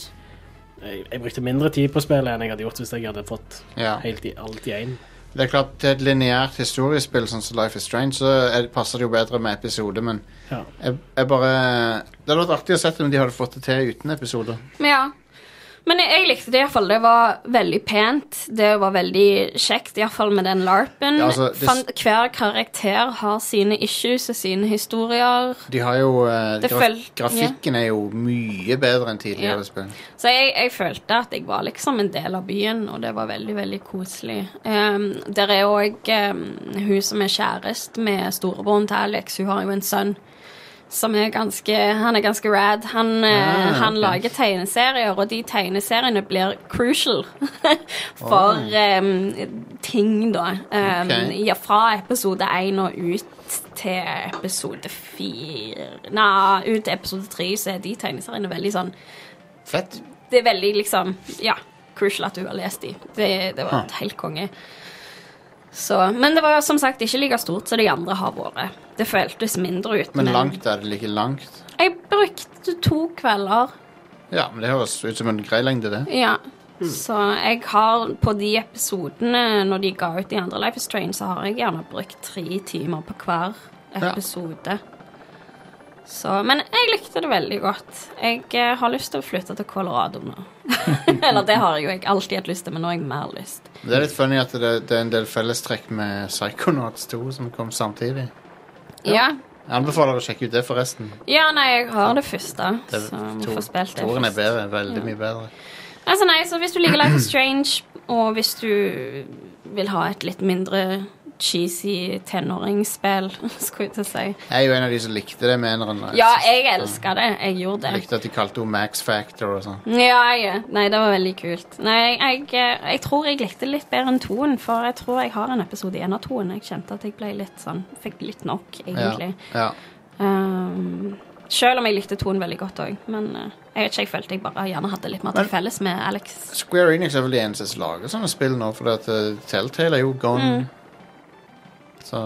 Speaker 2: jeg jeg brukte mindre tid på spillet enn jeg hadde gjort hvis jeg hadde fått
Speaker 1: ja.
Speaker 2: helt i, alt i én.
Speaker 1: Det er klart, til et lineært historiespill sånn som Life is Strange, så er, passer det jo bedre med episode, men
Speaker 2: Ja.
Speaker 1: jeg, jeg bare Det hadde vært artig å se om de hadde fått det til uten episoder.
Speaker 4: Men ja. Men jeg, jeg likte det iallfall. Det var veldig pent. Det var veldig kjekt, iallfall med den larpen.
Speaker 1: Ja, altså, det-
Speaker 4: Fant, hver karakter har sine issues og sine historier.
Speaker 1: De har jo eh,
Speaker 4: Det
Speaker 1: graf
Speaker 4: føl-
Speaker 1: Grafikken er jo mye bedre enn tidligere
Speaker 4: Ja.
Speaker 1: spill.
Speaker 4: Så jeg, jeg følte at jeg var liksom en del av byen, og det var veldig, veldig koselig. Um, der er òg um, hun som er kjærest med storebroren til Alex. Hun har jo en sønn som er ganske Han er ganske rad. Han, eh, han lager tegneserier, og de tegneseriene blir crucial for um, ting, da. Um,
Speaker 1: Ok.
Speaker 4: ja, fra episode én og ut til episode fire Nei, ut til episode tre så er de tegneseriene veldig sånn
Speaker 1: Fett.
Speaker 4: det er veldig liksom Ja, crucial at du har lest de. Det, det var et helt konge. Så, men det var som sagt ikke like stort som de andre har vært. Det føltes mindre ut.
Speaker 1: Men langt er det like langt.
Speaker 4: Jeg brukte to kvelder,
Speaker 1: Ja, men det høres ut som en grei lengde, det.
Speaker 4: ja. Så jeg har på de episodene når de ga ut de andre Life is Strange, så har jeg gjerne brukt tre timer på hver
Speaker 1: Ja.
Speaker 4: episode. Så, men jeg likte det veldig godt. Jeg eh, har lyst til å flytte til Colorado nå. Eller det har jeg jo jeg alltid hatt lyst til, men nå har jeg mer lyst.
Speaker 1: Det er litt funny at det, det er en del fellestrekk med Psychonauts 2 som kom samtidig.
Speaker 4: Ja.
Speaker 1: Jeg anbefaler å sjekke ut det, forresten.
Speaker 4: ja, nei, jeg har det første,
Speaker 1: Det,
Speaker 4: så vi
Speaker 1: to-
Speaker 4: får spilt det
Speaker 1: toeren er
Speaker 4: først.
Speaker 1: bedre. Veldig mye bedre.
Speaker 4: Altså, nei, så hvis du liker Life is Strange, og hvis du vil ha et litt mindre cheesy tenåringsspill, skulle jeg til å si
Speaker 1: Jeg er jo en av de som likte det med eneren.
Speaker 4: Ja, jeg elska det. Jeg gjorde
Speaker 1: Jeg
Speaker 4: det.
Speaker 1: likte at de kalte henne Max Factor og sånn.
Speaker 4: Ja, jeg, nei, det var veldig kult. Nei, jeg, jeg, jeg tror jeg likte det litt bedre enn toen, for jeg tror jeg har en episode igjen av toen. Jeg kjente at jeg ble litt sånn Fikk litt nok, egentlig.
Speaker 1: Ja.
Speaker 4: Um, selv om jeg likte tonen veldig godt òg. Men eh, jeg vet ikke, jeg følte jeg bare gjerne hadde litt mer til felles med Alex.
Speaker 1: Square Enix er vel de eneste som lager sånne spill nå, for at, eh, Telltale er jo gone.
Speaker 4: Mm.
Speaker 1: Så.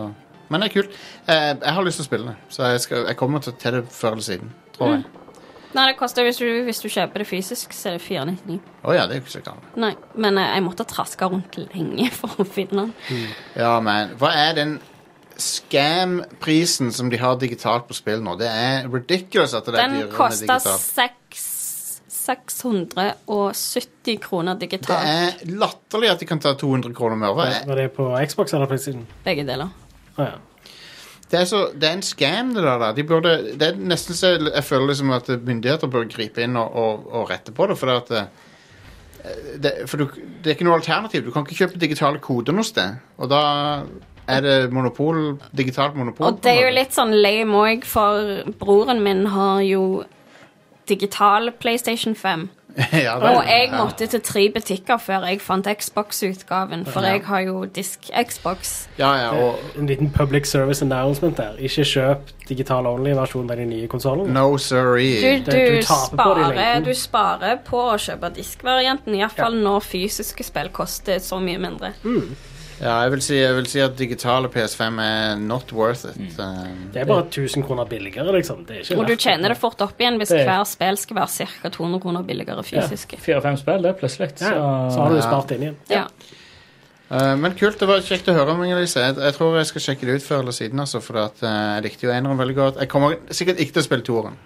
Speaker 1: Men det er kult. Eh, jeg har lyst til å spille det, så jeg, skal, jeg kommer til, til det før eller siden. Tror jeg.
Speaker 4: Mm.
Speaker 1: Å
Speaker 4: Nei, det koster hvis du, hvis du kjøper det fysisk, så er det 499.
Speaker 1: ja, det er jo ikke så galt.
Speaker 4: Nei, men eh, jeg måtte traske rundt lenge for å finne den.
Speaker 1: Ja, men hva er den scam-prisen som de har digitalt på spill nå? Det er ridiculous at det er
Speaker 4: Den
Speaker 1: dyrere med
Speaker 4: koster
Speaker 1: digitalt.
Speaker 4: seks- 670 kroner
Speaker 1: Det
Speaker 4: digitalt,
Speaker 1: er latterlig at de kan ta 200 kroner mer. Hva er-
Speaker 2: Var det på Xbox eller PlayStation?
Speaker 4: begge deler.
Speaker 2: Å ja.
Speaker 1: Det er, så, det er en scam, det der. da. De burde, det er nesten så jeg, jeg føler liksom at myndigheter burde gripe inn og, og, og rette på det. For, det, at, eh, det, for du, det er ikke noe alternativ. Du kan ikke kjøpe digitale koder noe sted. Og da er det monopol, digitalt monopol.
Speaker 4: Og det er
Speaker 1: på
Speaker 4: jo
Speaker 1: noe.
Speaker 4: litt sånn lame òg, for broren min har jo digital PlayStation 5.
Speaker 1: ja, det er
Speaker 4: Og
Speaker 1: det.
Speaker 4: jeg
Speaker 1: Ja.
Speaker 4: måtte til tre butikker før jeg fant Xbox-utgaven, for jeg har jo disk-Xbox.
Speaker 1: Ja, ja, og
Speaker 2: En liten public service announcement der. Ikke kjøp digital only-versjonen av de nye konsollene.
Speaker 1: no sorry.
Speaker 4: Du,
Speaker 2: du taper
Speaker 4: du,
Speaker 2: på det i
Speaker 4: sparer,
Speaker 2: lengden.
Speaker 4: du sparer på å kjøpe diskvarianten, iallfall når fysiske spill koster så mye mindre.
Speaker 1: Ja, jeg vil, si, jeg vil si at digitale PS5 er not worth it. Eh,
Speaker 2: Det er bare 1000 kroner billigere, liksom. Det er ikke
Speaker 4: Og du
Speaker 2: verdt det.
Speaker 4: tjener det fort opp igjen hvis
Speaker 3: Det er-
Speaker 4: hver spill skal være ca. 200 kroner billigere fysisk.
Speaker 3: Fire-fem spill, det er plutselig.
Speaker 2: Ja, ja. så har du spart inn igjen.
Speaker 4: Ja.
Speaker 1: eh, men kult. Det var kjekt å høre om, Inger-Lise. Jeg, jeg tror jeg skal sjekke det ut før eller siden, altså, for at, eh, jeg likte jo eneren veldig godt. Jeg kommer sikkert ikke til å spille toeren.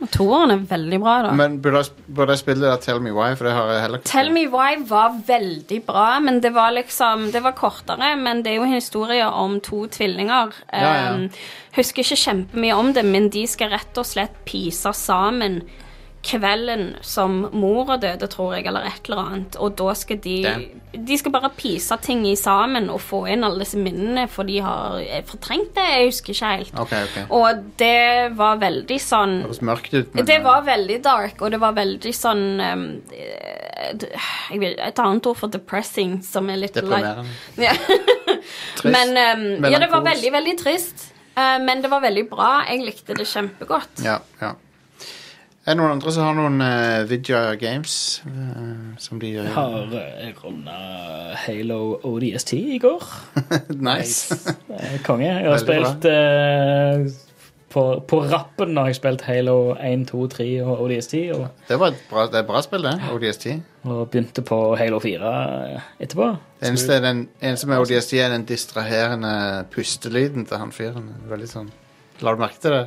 Speaker 4: Og toeren er veldig bra, da.
Speaker 1: Men burde jeg, burde jeg spille det der Tell Me Why? For det har jeg heller ikke
Speaker 4: Tell Me Why var veldig bra, men det var liksom Det var kortere, men det er jo en historie om to tvillinger.
Speaker 1: Ja, ja.
Speaker 4: Um, husker ikke kjempemye om det, men de skal rett og slett pise sammen kvelden som mora døde, tror jeg, eller et eller annet. Og da skal de De skal bare pise ting i sammen og få inn alle disse minnene, for de har eh, fortrengt det. Jeg husker ikke helt.
Speaker 1: Ok, ok.
Speaker 4: Og det var veldig sånn
Speaker 1: Det høres mørkt ut. men- eh,
Speaker 4: det var veldig dark, og det var veldig sånn um, eh, d- jeg vet, Et annet ord for depressing som er litt light.
Speaker 1: Deprimerende.
Speaker 4: Ja. men um, ja, det var
Speaker 1: Melankolsk.
Speaker 4: veldig, veldig trist. eh, men det var veldig bra. Jeg likte det kjempegodt.
Speaker 1: Ja, ja. Er det noen andre som har noen uh, Vidja Games eh, som de eh,
Speaker 3: Har eh, runda Halo ODST i går.
Speaker 1: Nice.
Speaker 3: Eh, Konge. Jeg har
Speaker 1: Veldig bra.
Speaker 3: spilt eh, på, på rappen har jeg spilt Halo 1, 2, 3 og ODST, og,
Speaker 1: Det, var et bra, det er et bra spill, det. ODST. Det
Speaker 3: og begynte på Halo 4 etterpå.
Speaker 1: eneste, er den, eneste med ODST er den distraherende pustelyden til han fyren. Veldig sånn La du merke til det?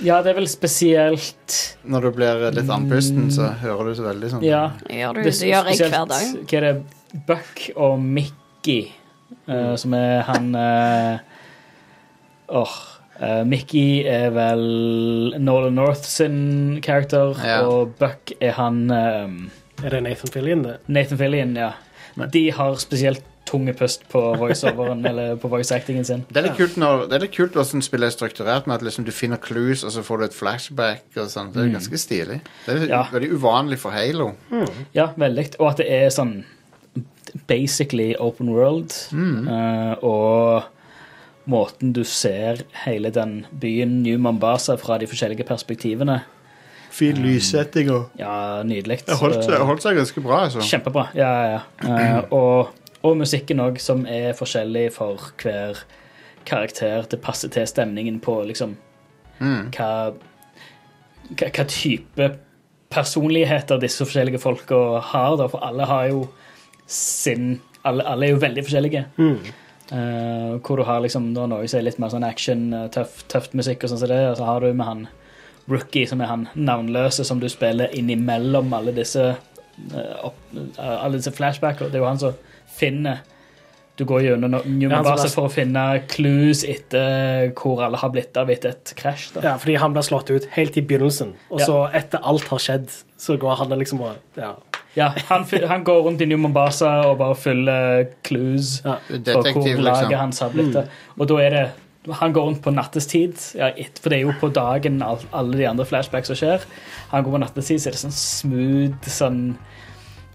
Speaker 3: Ja, det er vel spesielt
Speaker 1: Når du blir eh, litt andpusten, så hører du så veldig sånn
Speaker 3: Mm. Ja.
Speaker 4: Gjør du, det,
Speaker 3: Det er
Speaker 4: gjør jeg
Speaker 3: spesielt-
Speaker 4: hver dag.
Speaker 3: Hva er det? Buck og Mickey, eh,
Speaker 1: Mm.
Speaker 3: som er han eh, Åh. eh, Mickey er vel Nolan North sin character,
Speaker 1: Ja.
Speaker 3: og Buck er han eh,
Speaker 2: Er det Nathan Fillion, det?
Speaker 3: Nathan Fillion, ja.
Speaker 1: Men-
Speaker 3: De har spesielt tunge pust på voiceoveren, eller på voice-actingen sin.
Speaker 1: Det er litt kult, når, det er litt kult hvordan spillet er strukturert, med at liksom du finner clues, og så får du et flashback. og sånn. Det er ganske stilig. Det er
Speaker 3: Mm. Ja.
Speaker 1: veldig uvanlig for Halo.
Speaker 3: Ja, veldig. Og at det er sånn basically open world.
Speaker 1: Mm.
Speaker 3: Eh, og måten du ser hele den byen New Mombasa fra de forskjellige perspektivene.
Speaker 1: Fin lyssetting og
Speaker 3: Ja, nydelig.
Speaker 1: Um, Det holdt, det holdt seg ganske bra, altså.
Speaker 3: Kjempebra. Ja, ja, ja. Eh, og, og musikken òg, som er forskjellig for hver karakter. Det passer til stemningen på liksom
Speaker 1: Mm.
Speaker 3: hva, hva, hva type personligheter disse forskjellige folka har. Da. For alle har jo sin Alle, alle er jo veldig forskjellige.
Speaker 2: Mm.
Speaker 3: Eh, hvor du har liksom, da, noe som er litt mer sånn action, eh, tøff, tøft musikk og sånn som det, og så har du med han rookie, som er han navnløse, som du spiller innimellom alle disse eh, opp, eh, alle disse flashbacker. Det er jo han som finner Du går gjennom no- New
Speaker 2: Ja, han som
Speaker 3: Mombasa
Speaker 2: er-
Speaker 3: for å finne clues etter hvor alle har blitt av etter et krasj. da.
Speaker 2: Ja, fordi han ble slått ut helt i begynnelsen, og
Speaker 3: Ja.
Speaker 2: så etter alt har skjedd, så går han liksom og ja.
Speaker 3: Ja, han, fy- han går rundt i New Mombasa og bare fyller clues
Speaker 2: Ja.
Speaker 3: på hvor
Speaker 1: Detektiv,
Speaker 3: laget
Speaker 1: liksom.
Speaker 3: hans har blitt det. Og da er det han går rundt på nattestid, ja, et- for det er jo på dagen al- alle de andre flashbacks som skjer. Han går på nattestid, så er det sånn smooth sånn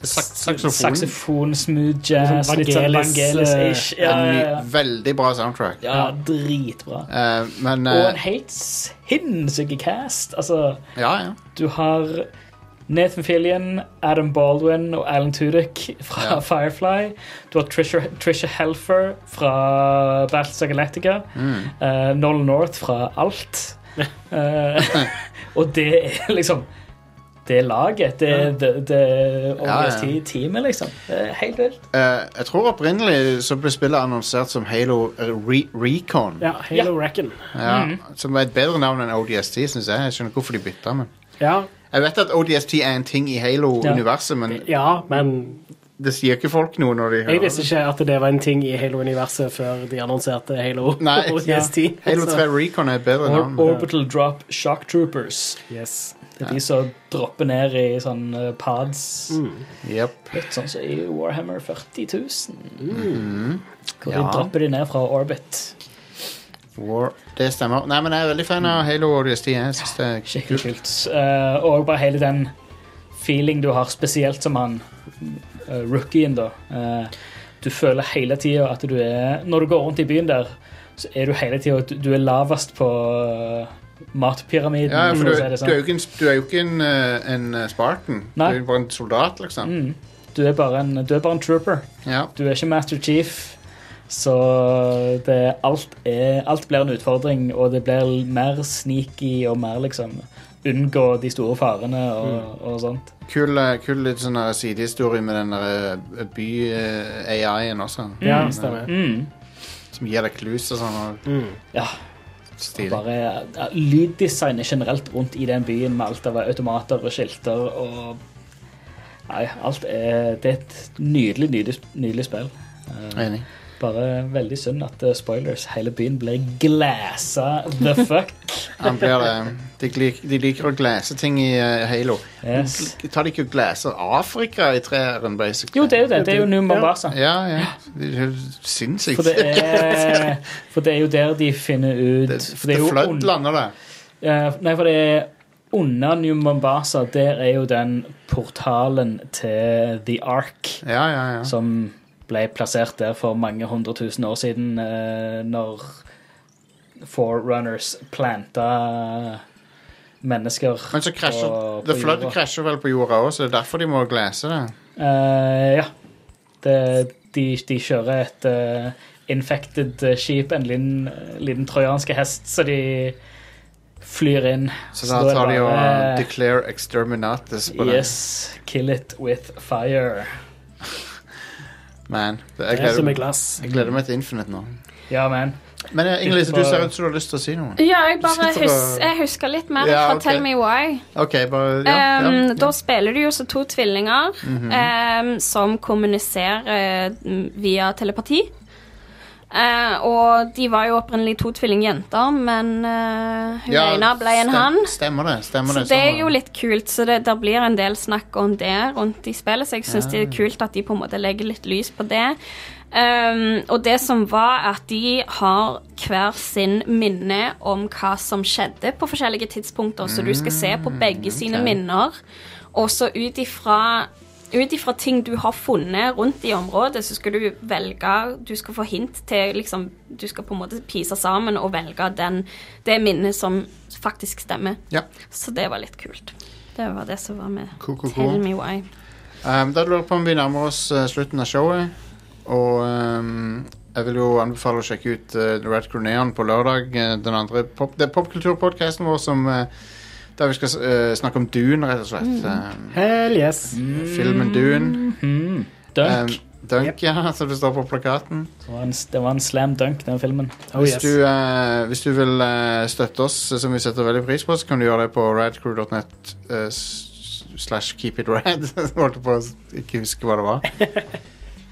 Speaker 1: Sak- saksofon.
Speaker 3: saksofon, smooth jazz,
Speaker 2: Sånn
Speaker 3: litt sånn
Speaker 2: Vangelis,
Speaker 3: Vangelis-ish. Ja,
Speaker 1: En eh, ny,
Speaker 3: ja, ja.
Speaker 1: veldig bra soundtrack.
Speaker 3: ja, dritbra.
Speaker 1: Eh, men
Speaker 3: Og en
Speaker 1: eh,
Speaker 3: helt sinnssyk cast. Altså
Speaker 1: Ja, ja.
Speaker 3: du har Nathan Fillion, Adam Baldwin og Alan Tudyk fra
Speaker 1: Ja.
Speaker 3: Firefly. Du har Trisha, Trisha Helfer fra Battles of Galactica.
Speaker 1: Mm.
Speaker 3: Eh, Nolan North fra Alt. Eh, og det er liksom Det er laget. Det er det, det er
Speaker 1: Ja, ja.
Speaker 3: OST-teamet, liksom. Det er helt vilt.
Speaker 1: Eh, jeg tror opprinnelig så ble spillet annonsert som Halo eh, Re Recon.
Speaker 2: ja Halo Reckon.
Speaker 1: Ja,
Speaker 3: Mhm.
Speaker 1: Som er et bedre navn enn ODST, syns jeg. Jeg skjønner ikke hvorfor de bytta, men
Speaker 2: Ja,
Speaker 1: Jeg vet at ODST er en ting i Halo-universet, men
Speaker 2: ja, men
Speaker 1: det sier ikke folk noe når de
Speaker 2: jeg
Speaker 1: hører
Speaker 2: visste ikke at det var en ting i Halo-universet før de annonserte Halo
Speaker 1: Nei,
Speaker 2: og DST.
Speaker 1: Halo
Speaker 2: Så-
Speaker 1: 3 Recon er et bedre
Speaker 3: altså. Or
Speaker 1: navn.
Speaker 3: Orbital Drop Shock Troopers.
Speaker 2: Yes.
Speaker 3: Det er de som dropper ned i sånne pads.
Speaker 1: Yep.
Speaker 3: Litt sånn som i Warhammer 40 000. Hvor
Speaker 1: Mm. Ja.
Speaker 3: de dropper de ned fra orbit.
Speaker 1: War. Det stemmer. Nei, men jeg er veldig fan av Halo ODST. Jeg synes det er
Speaker 3: Skikkelig kult. Eh, og bare hele den feeling du har, spesielt som han eh, rookien, da. Eh, du føler hele tida at du er Når du går rundt i byen der, så er du hele tida at du- du er lavest på eh, matpyramiden.
Speaker 1: Ja, for
Speaker 3: å
Speaker 1: du,
Speaker 3: si det
Speaker 1: du er jo
Speaker 3: sånn.
Speaker 1: ikke en, du er jo ikke en, eh, en Spartan. Du
Speaker 3: Nei. Mm.
Speaker 1: er jo bare en soldat, liksom.
Speaker 3: du, er bare en, du er bare en trooper.
Speaker 1: Ja.
Speaker 3: Du er ikke Master Chief, så det, alt, er, alt blir en utfordring, og det blir mer sneaky og mer liksom unngå de store farene og, og sånt.
Speaker 1: Kul, eh, kul litt sånn her sidehistorie med den der eh, by-AI-en eh, også. Eh,
Speaker 2: Ja, stemmer.
Speaker 3: Mm.
Speaker 1: Som gir deg clues og sånn. og
Speaker 3: Ja,
Speaker 1: Stilig.
Speaker 3: Mm. bare ja, lyddesignet generelt rundt i den byen med alt av automater og skilter og Nei, alt er Det er et nydelig, nydelig, nydelig spill. Eh,
Speaker 1: Enig.
Speaker 3: bare veldig synd at eh, spoilers, hele byen blir glassa the fuck.
Speaker 1: Han blir det. De, lik, de liker å glase ting i eh, Halo.
Speaker 3: Yes.
Speaker 1: Gl- Tar de ikke og glaser Afrika i treeren, basically?
Speaker 3: Jo, det er jo det. Det er jo New Mombasa.
Speaker 1: Ja, ja. Det er jo sinnssykt.
Speaker 3: For det, er, for det er jo der de finner ut
Speaker 1: Det,
Speaker 3: for det er jo un-
Speaker 1: flødlander, det.
Speaker 3: eh, Nei, for det er under New Mombasa. Der er jo den portalen til The Ark
Speaker 1: Ja, ja, ja.
Speaker 3: som ble plassert der for mange hundre tusen år siden, eh, når Forerunners planta mennesker.
Speaker 1: Men så krasjer
Speaker 3: på- på
Speaker 1: The Flood
Speaker 3: jorda.
Speaker 1: krasjer vel på jorda òg, så det er derfor de må glasse det.
Speaker 3: Eh, ja. Det, de, de kjører et eh, infected eh, skip, en liten, liten trojansk hest, så de flyr inn.
Speaker 1: Så
Speaker 3: Så
Speaker 1: da
Speaker 3: det er
Speaker 1: tar de og
Speaker 3: bare-
Speaker 1: declare exterminatus på det.
Speaker 3: Yes, kill it with fire.
Speaker 1: Man, det, jeg,
Speaker 2: Det er som et
Speaker 1: gleder,
Speaker 2: glass.
Speaker 1: jeg gleder meg til Infinite nå.
Speaker 3: Ja, man.
Speaker 1: Men eh, Ingrid,
Speaker 3: Sitter
Speaker 1: du
Speaker 3: bare-
Speaker 1: ser ut som du har lyst til å si noe.
Speaker 4: Ja, jeg bare
Speaker 1: Sitter og-
Speaker 4: hus jeg husker litt mer
Speaker 1: Ja,
Speaker 4: fra
Speaker 1: ok.
Speaker 4: Tell Me Why.
Speaker 1: OK, bare ja, Mhm.
Speaker 4: Um,
Speaker 1: ja,
Speaker 4: Da spiller du jo så to tvillinger um, som kommuniserer mm, via telepati. Eh, og de var jo opprinnelig to tvillingjenter, men eh, hun
Speaker 1: Ja,
Speaker 4: ene ble en
Speaker 1: stem-
Speaker 4: hann.
Speaker 1: Stemmer det. stemmer
Speaker 4: Så
Speaker 1: det.
Speaker 4: det er
Speaker 1: sånn.
Speaker 4: jo litt kult, så det der blir en del snakk om det rundt i spillet, så jeg syns det er kult at de på en måte legger litt lys på det. Um, og det som var at de har hver sin minne om hva som skjedde på forskjellige tidspunkter, så du skal se på
Speaker 1: Mm,
Speaker 4: begge sine minner, og så ut ifra ut ifra ting du har funnet rundt i området, så skal du velge Du skal få hint til liksom Du skal på en måte pise sammen og velge den, det minnet som faktisk stemmer.
Speaker 1: Ja.
Speaker 4: Så det var litt kult. Det var det som var med
Speaker 1: Cool, cool,
Speaker 4: Tell
Speaker 1: cool.
Speaker 4: Me Why.
Speaker 1: Um, da lurer jeg på om vi nærmer oss eh, slutten av showet. Og um, jeg vil jo anbefale å sjekke ut eh, Red Crew Neon på lørdag. eh, den andre pop, det er popkulturpodkasten vår som eh, der vi skal s- eh, snakke om Dune, rett og slett.
Speaker 4: Mm.
Speaker 1: Um,
Speaker 2: Hell yes.
Speaker 1: Mm. filmen Dune.
Speaker 3: Mhm. Dunk.
Speaker 1: Um, Dunk, ja, som det står på plakaten.
Speaker 3: det, var en, det var en slam dunk, den filmen.
Speaker 2: Oh,
Speaker 1: hvis,
Speaker 2: yes.
Speaker 1: du, eh, hvis du vil eh, støtte oss, eh, som vi setter veldig pris på, så kan du gjøre det på radcrew.net eh, s- slash keepitrad. Holdt på å s- ikke huske hva det var.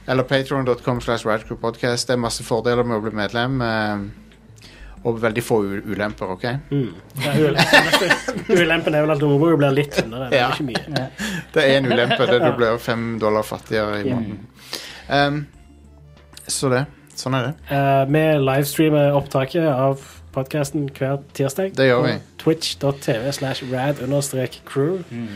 Speaker 1: Eller patreon.com slash radcrewpodcast. Det er masse fordeler med å bli medlem. eh, og veldig få u ulemper, OK?
Speaker 2: Mm. Ja, ule- Ulempen er vel at du må jo bli litt tynnere. Det
Speaker 1: Ja.
Speaker 2: er ikke mye.
Speaker 1: Det er én ulempe. Det er du blir fem dollar fattigere i måneden. Em, så det. Sånn er det.
Speaker 2: Eh, Vi livestreamer opptaket av podkasten hver tirsdag.
Speaker 1: Det gjør
Speaker 2: på
Speaker 1: vi.
Speaker 2: Twitch.tv slash rad understrek crew.
Speaker 1: Mm.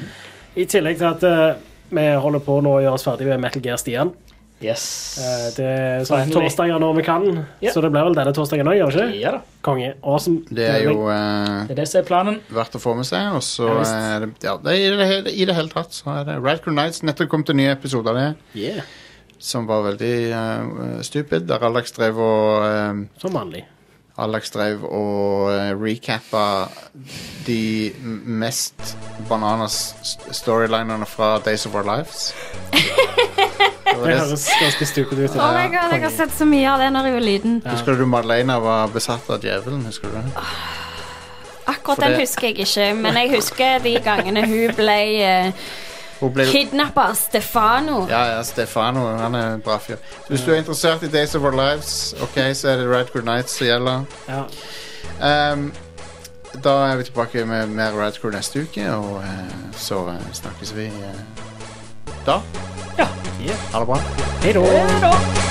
Speaker 2: I tillegg til at eh, vi holder på nå å gjøre oss ferdig med Metal Gear Stian.
Speaker 3: Yes.
Speaker 2: Eh, det er sånn
Speaker 3: Finally.
Speaker 2: torsdager når vi kan,
Speaker 3: Ja.
Speaker 2: så det blir vel denne torsdagen òg, gjør det ikke?
Speaker 3: ja da.
Speaker 2: Konge. Awesome.
Speaker 1: Det er jo eh,
Speaker 3: Det er det som er planen.
Speaker 1: verdt å få med seg. Og så
Speaker 2: Ja, visst.
Speaker 1: er det, ja, det er i, det hele, I det hele tatt så er det Radcrew Nights. Nettopp kom til nye episoder av det,
Speaker 2: Yeah.
Speaker 1: som var veldig eh, stupid. Der Alex drev og eh,
Speaker 2: Som vanlig.
Speaker 1: Alex drev og eh, recappa de m- mest bananas st- storylinerne fra Days of Our Lives. Det var
Speaker 2: Det
Speaker 1: det-
Speaker 2: høres ganske stupid ut.
Speaker 4: Oh my god, jeg har sett så mye av det når jeg var liten.
Speaker 1: Husker du Madeleina var besatt av djevelen? Husker du det?
Speaker 4: Akkurat
Speaker 1: For
Speaker 4: den
Speaker 1: det-
Speaker 4: husker jeg ikke, men jeg husker de gangene hun ble uh,
Speaker 1: Hun ble
Speaker 4: kidnappa av Stefano.
Speaker 1: Ja, ja, Stefano, han er en bra fyr. Så Hvis du er interessert i Days of Our Lives, ok, så er det Radcrew Nights som gjelder.
Speaker 2: Ja.
Speaker 1: Ehm, da er vi tilbake med mer Radcrew neste uke, og eh, så eh, snakkes vi eh, da.
Speaker 2: Yeah.
Speaker 1: Ha det bra.
Speaker 2: Hei da.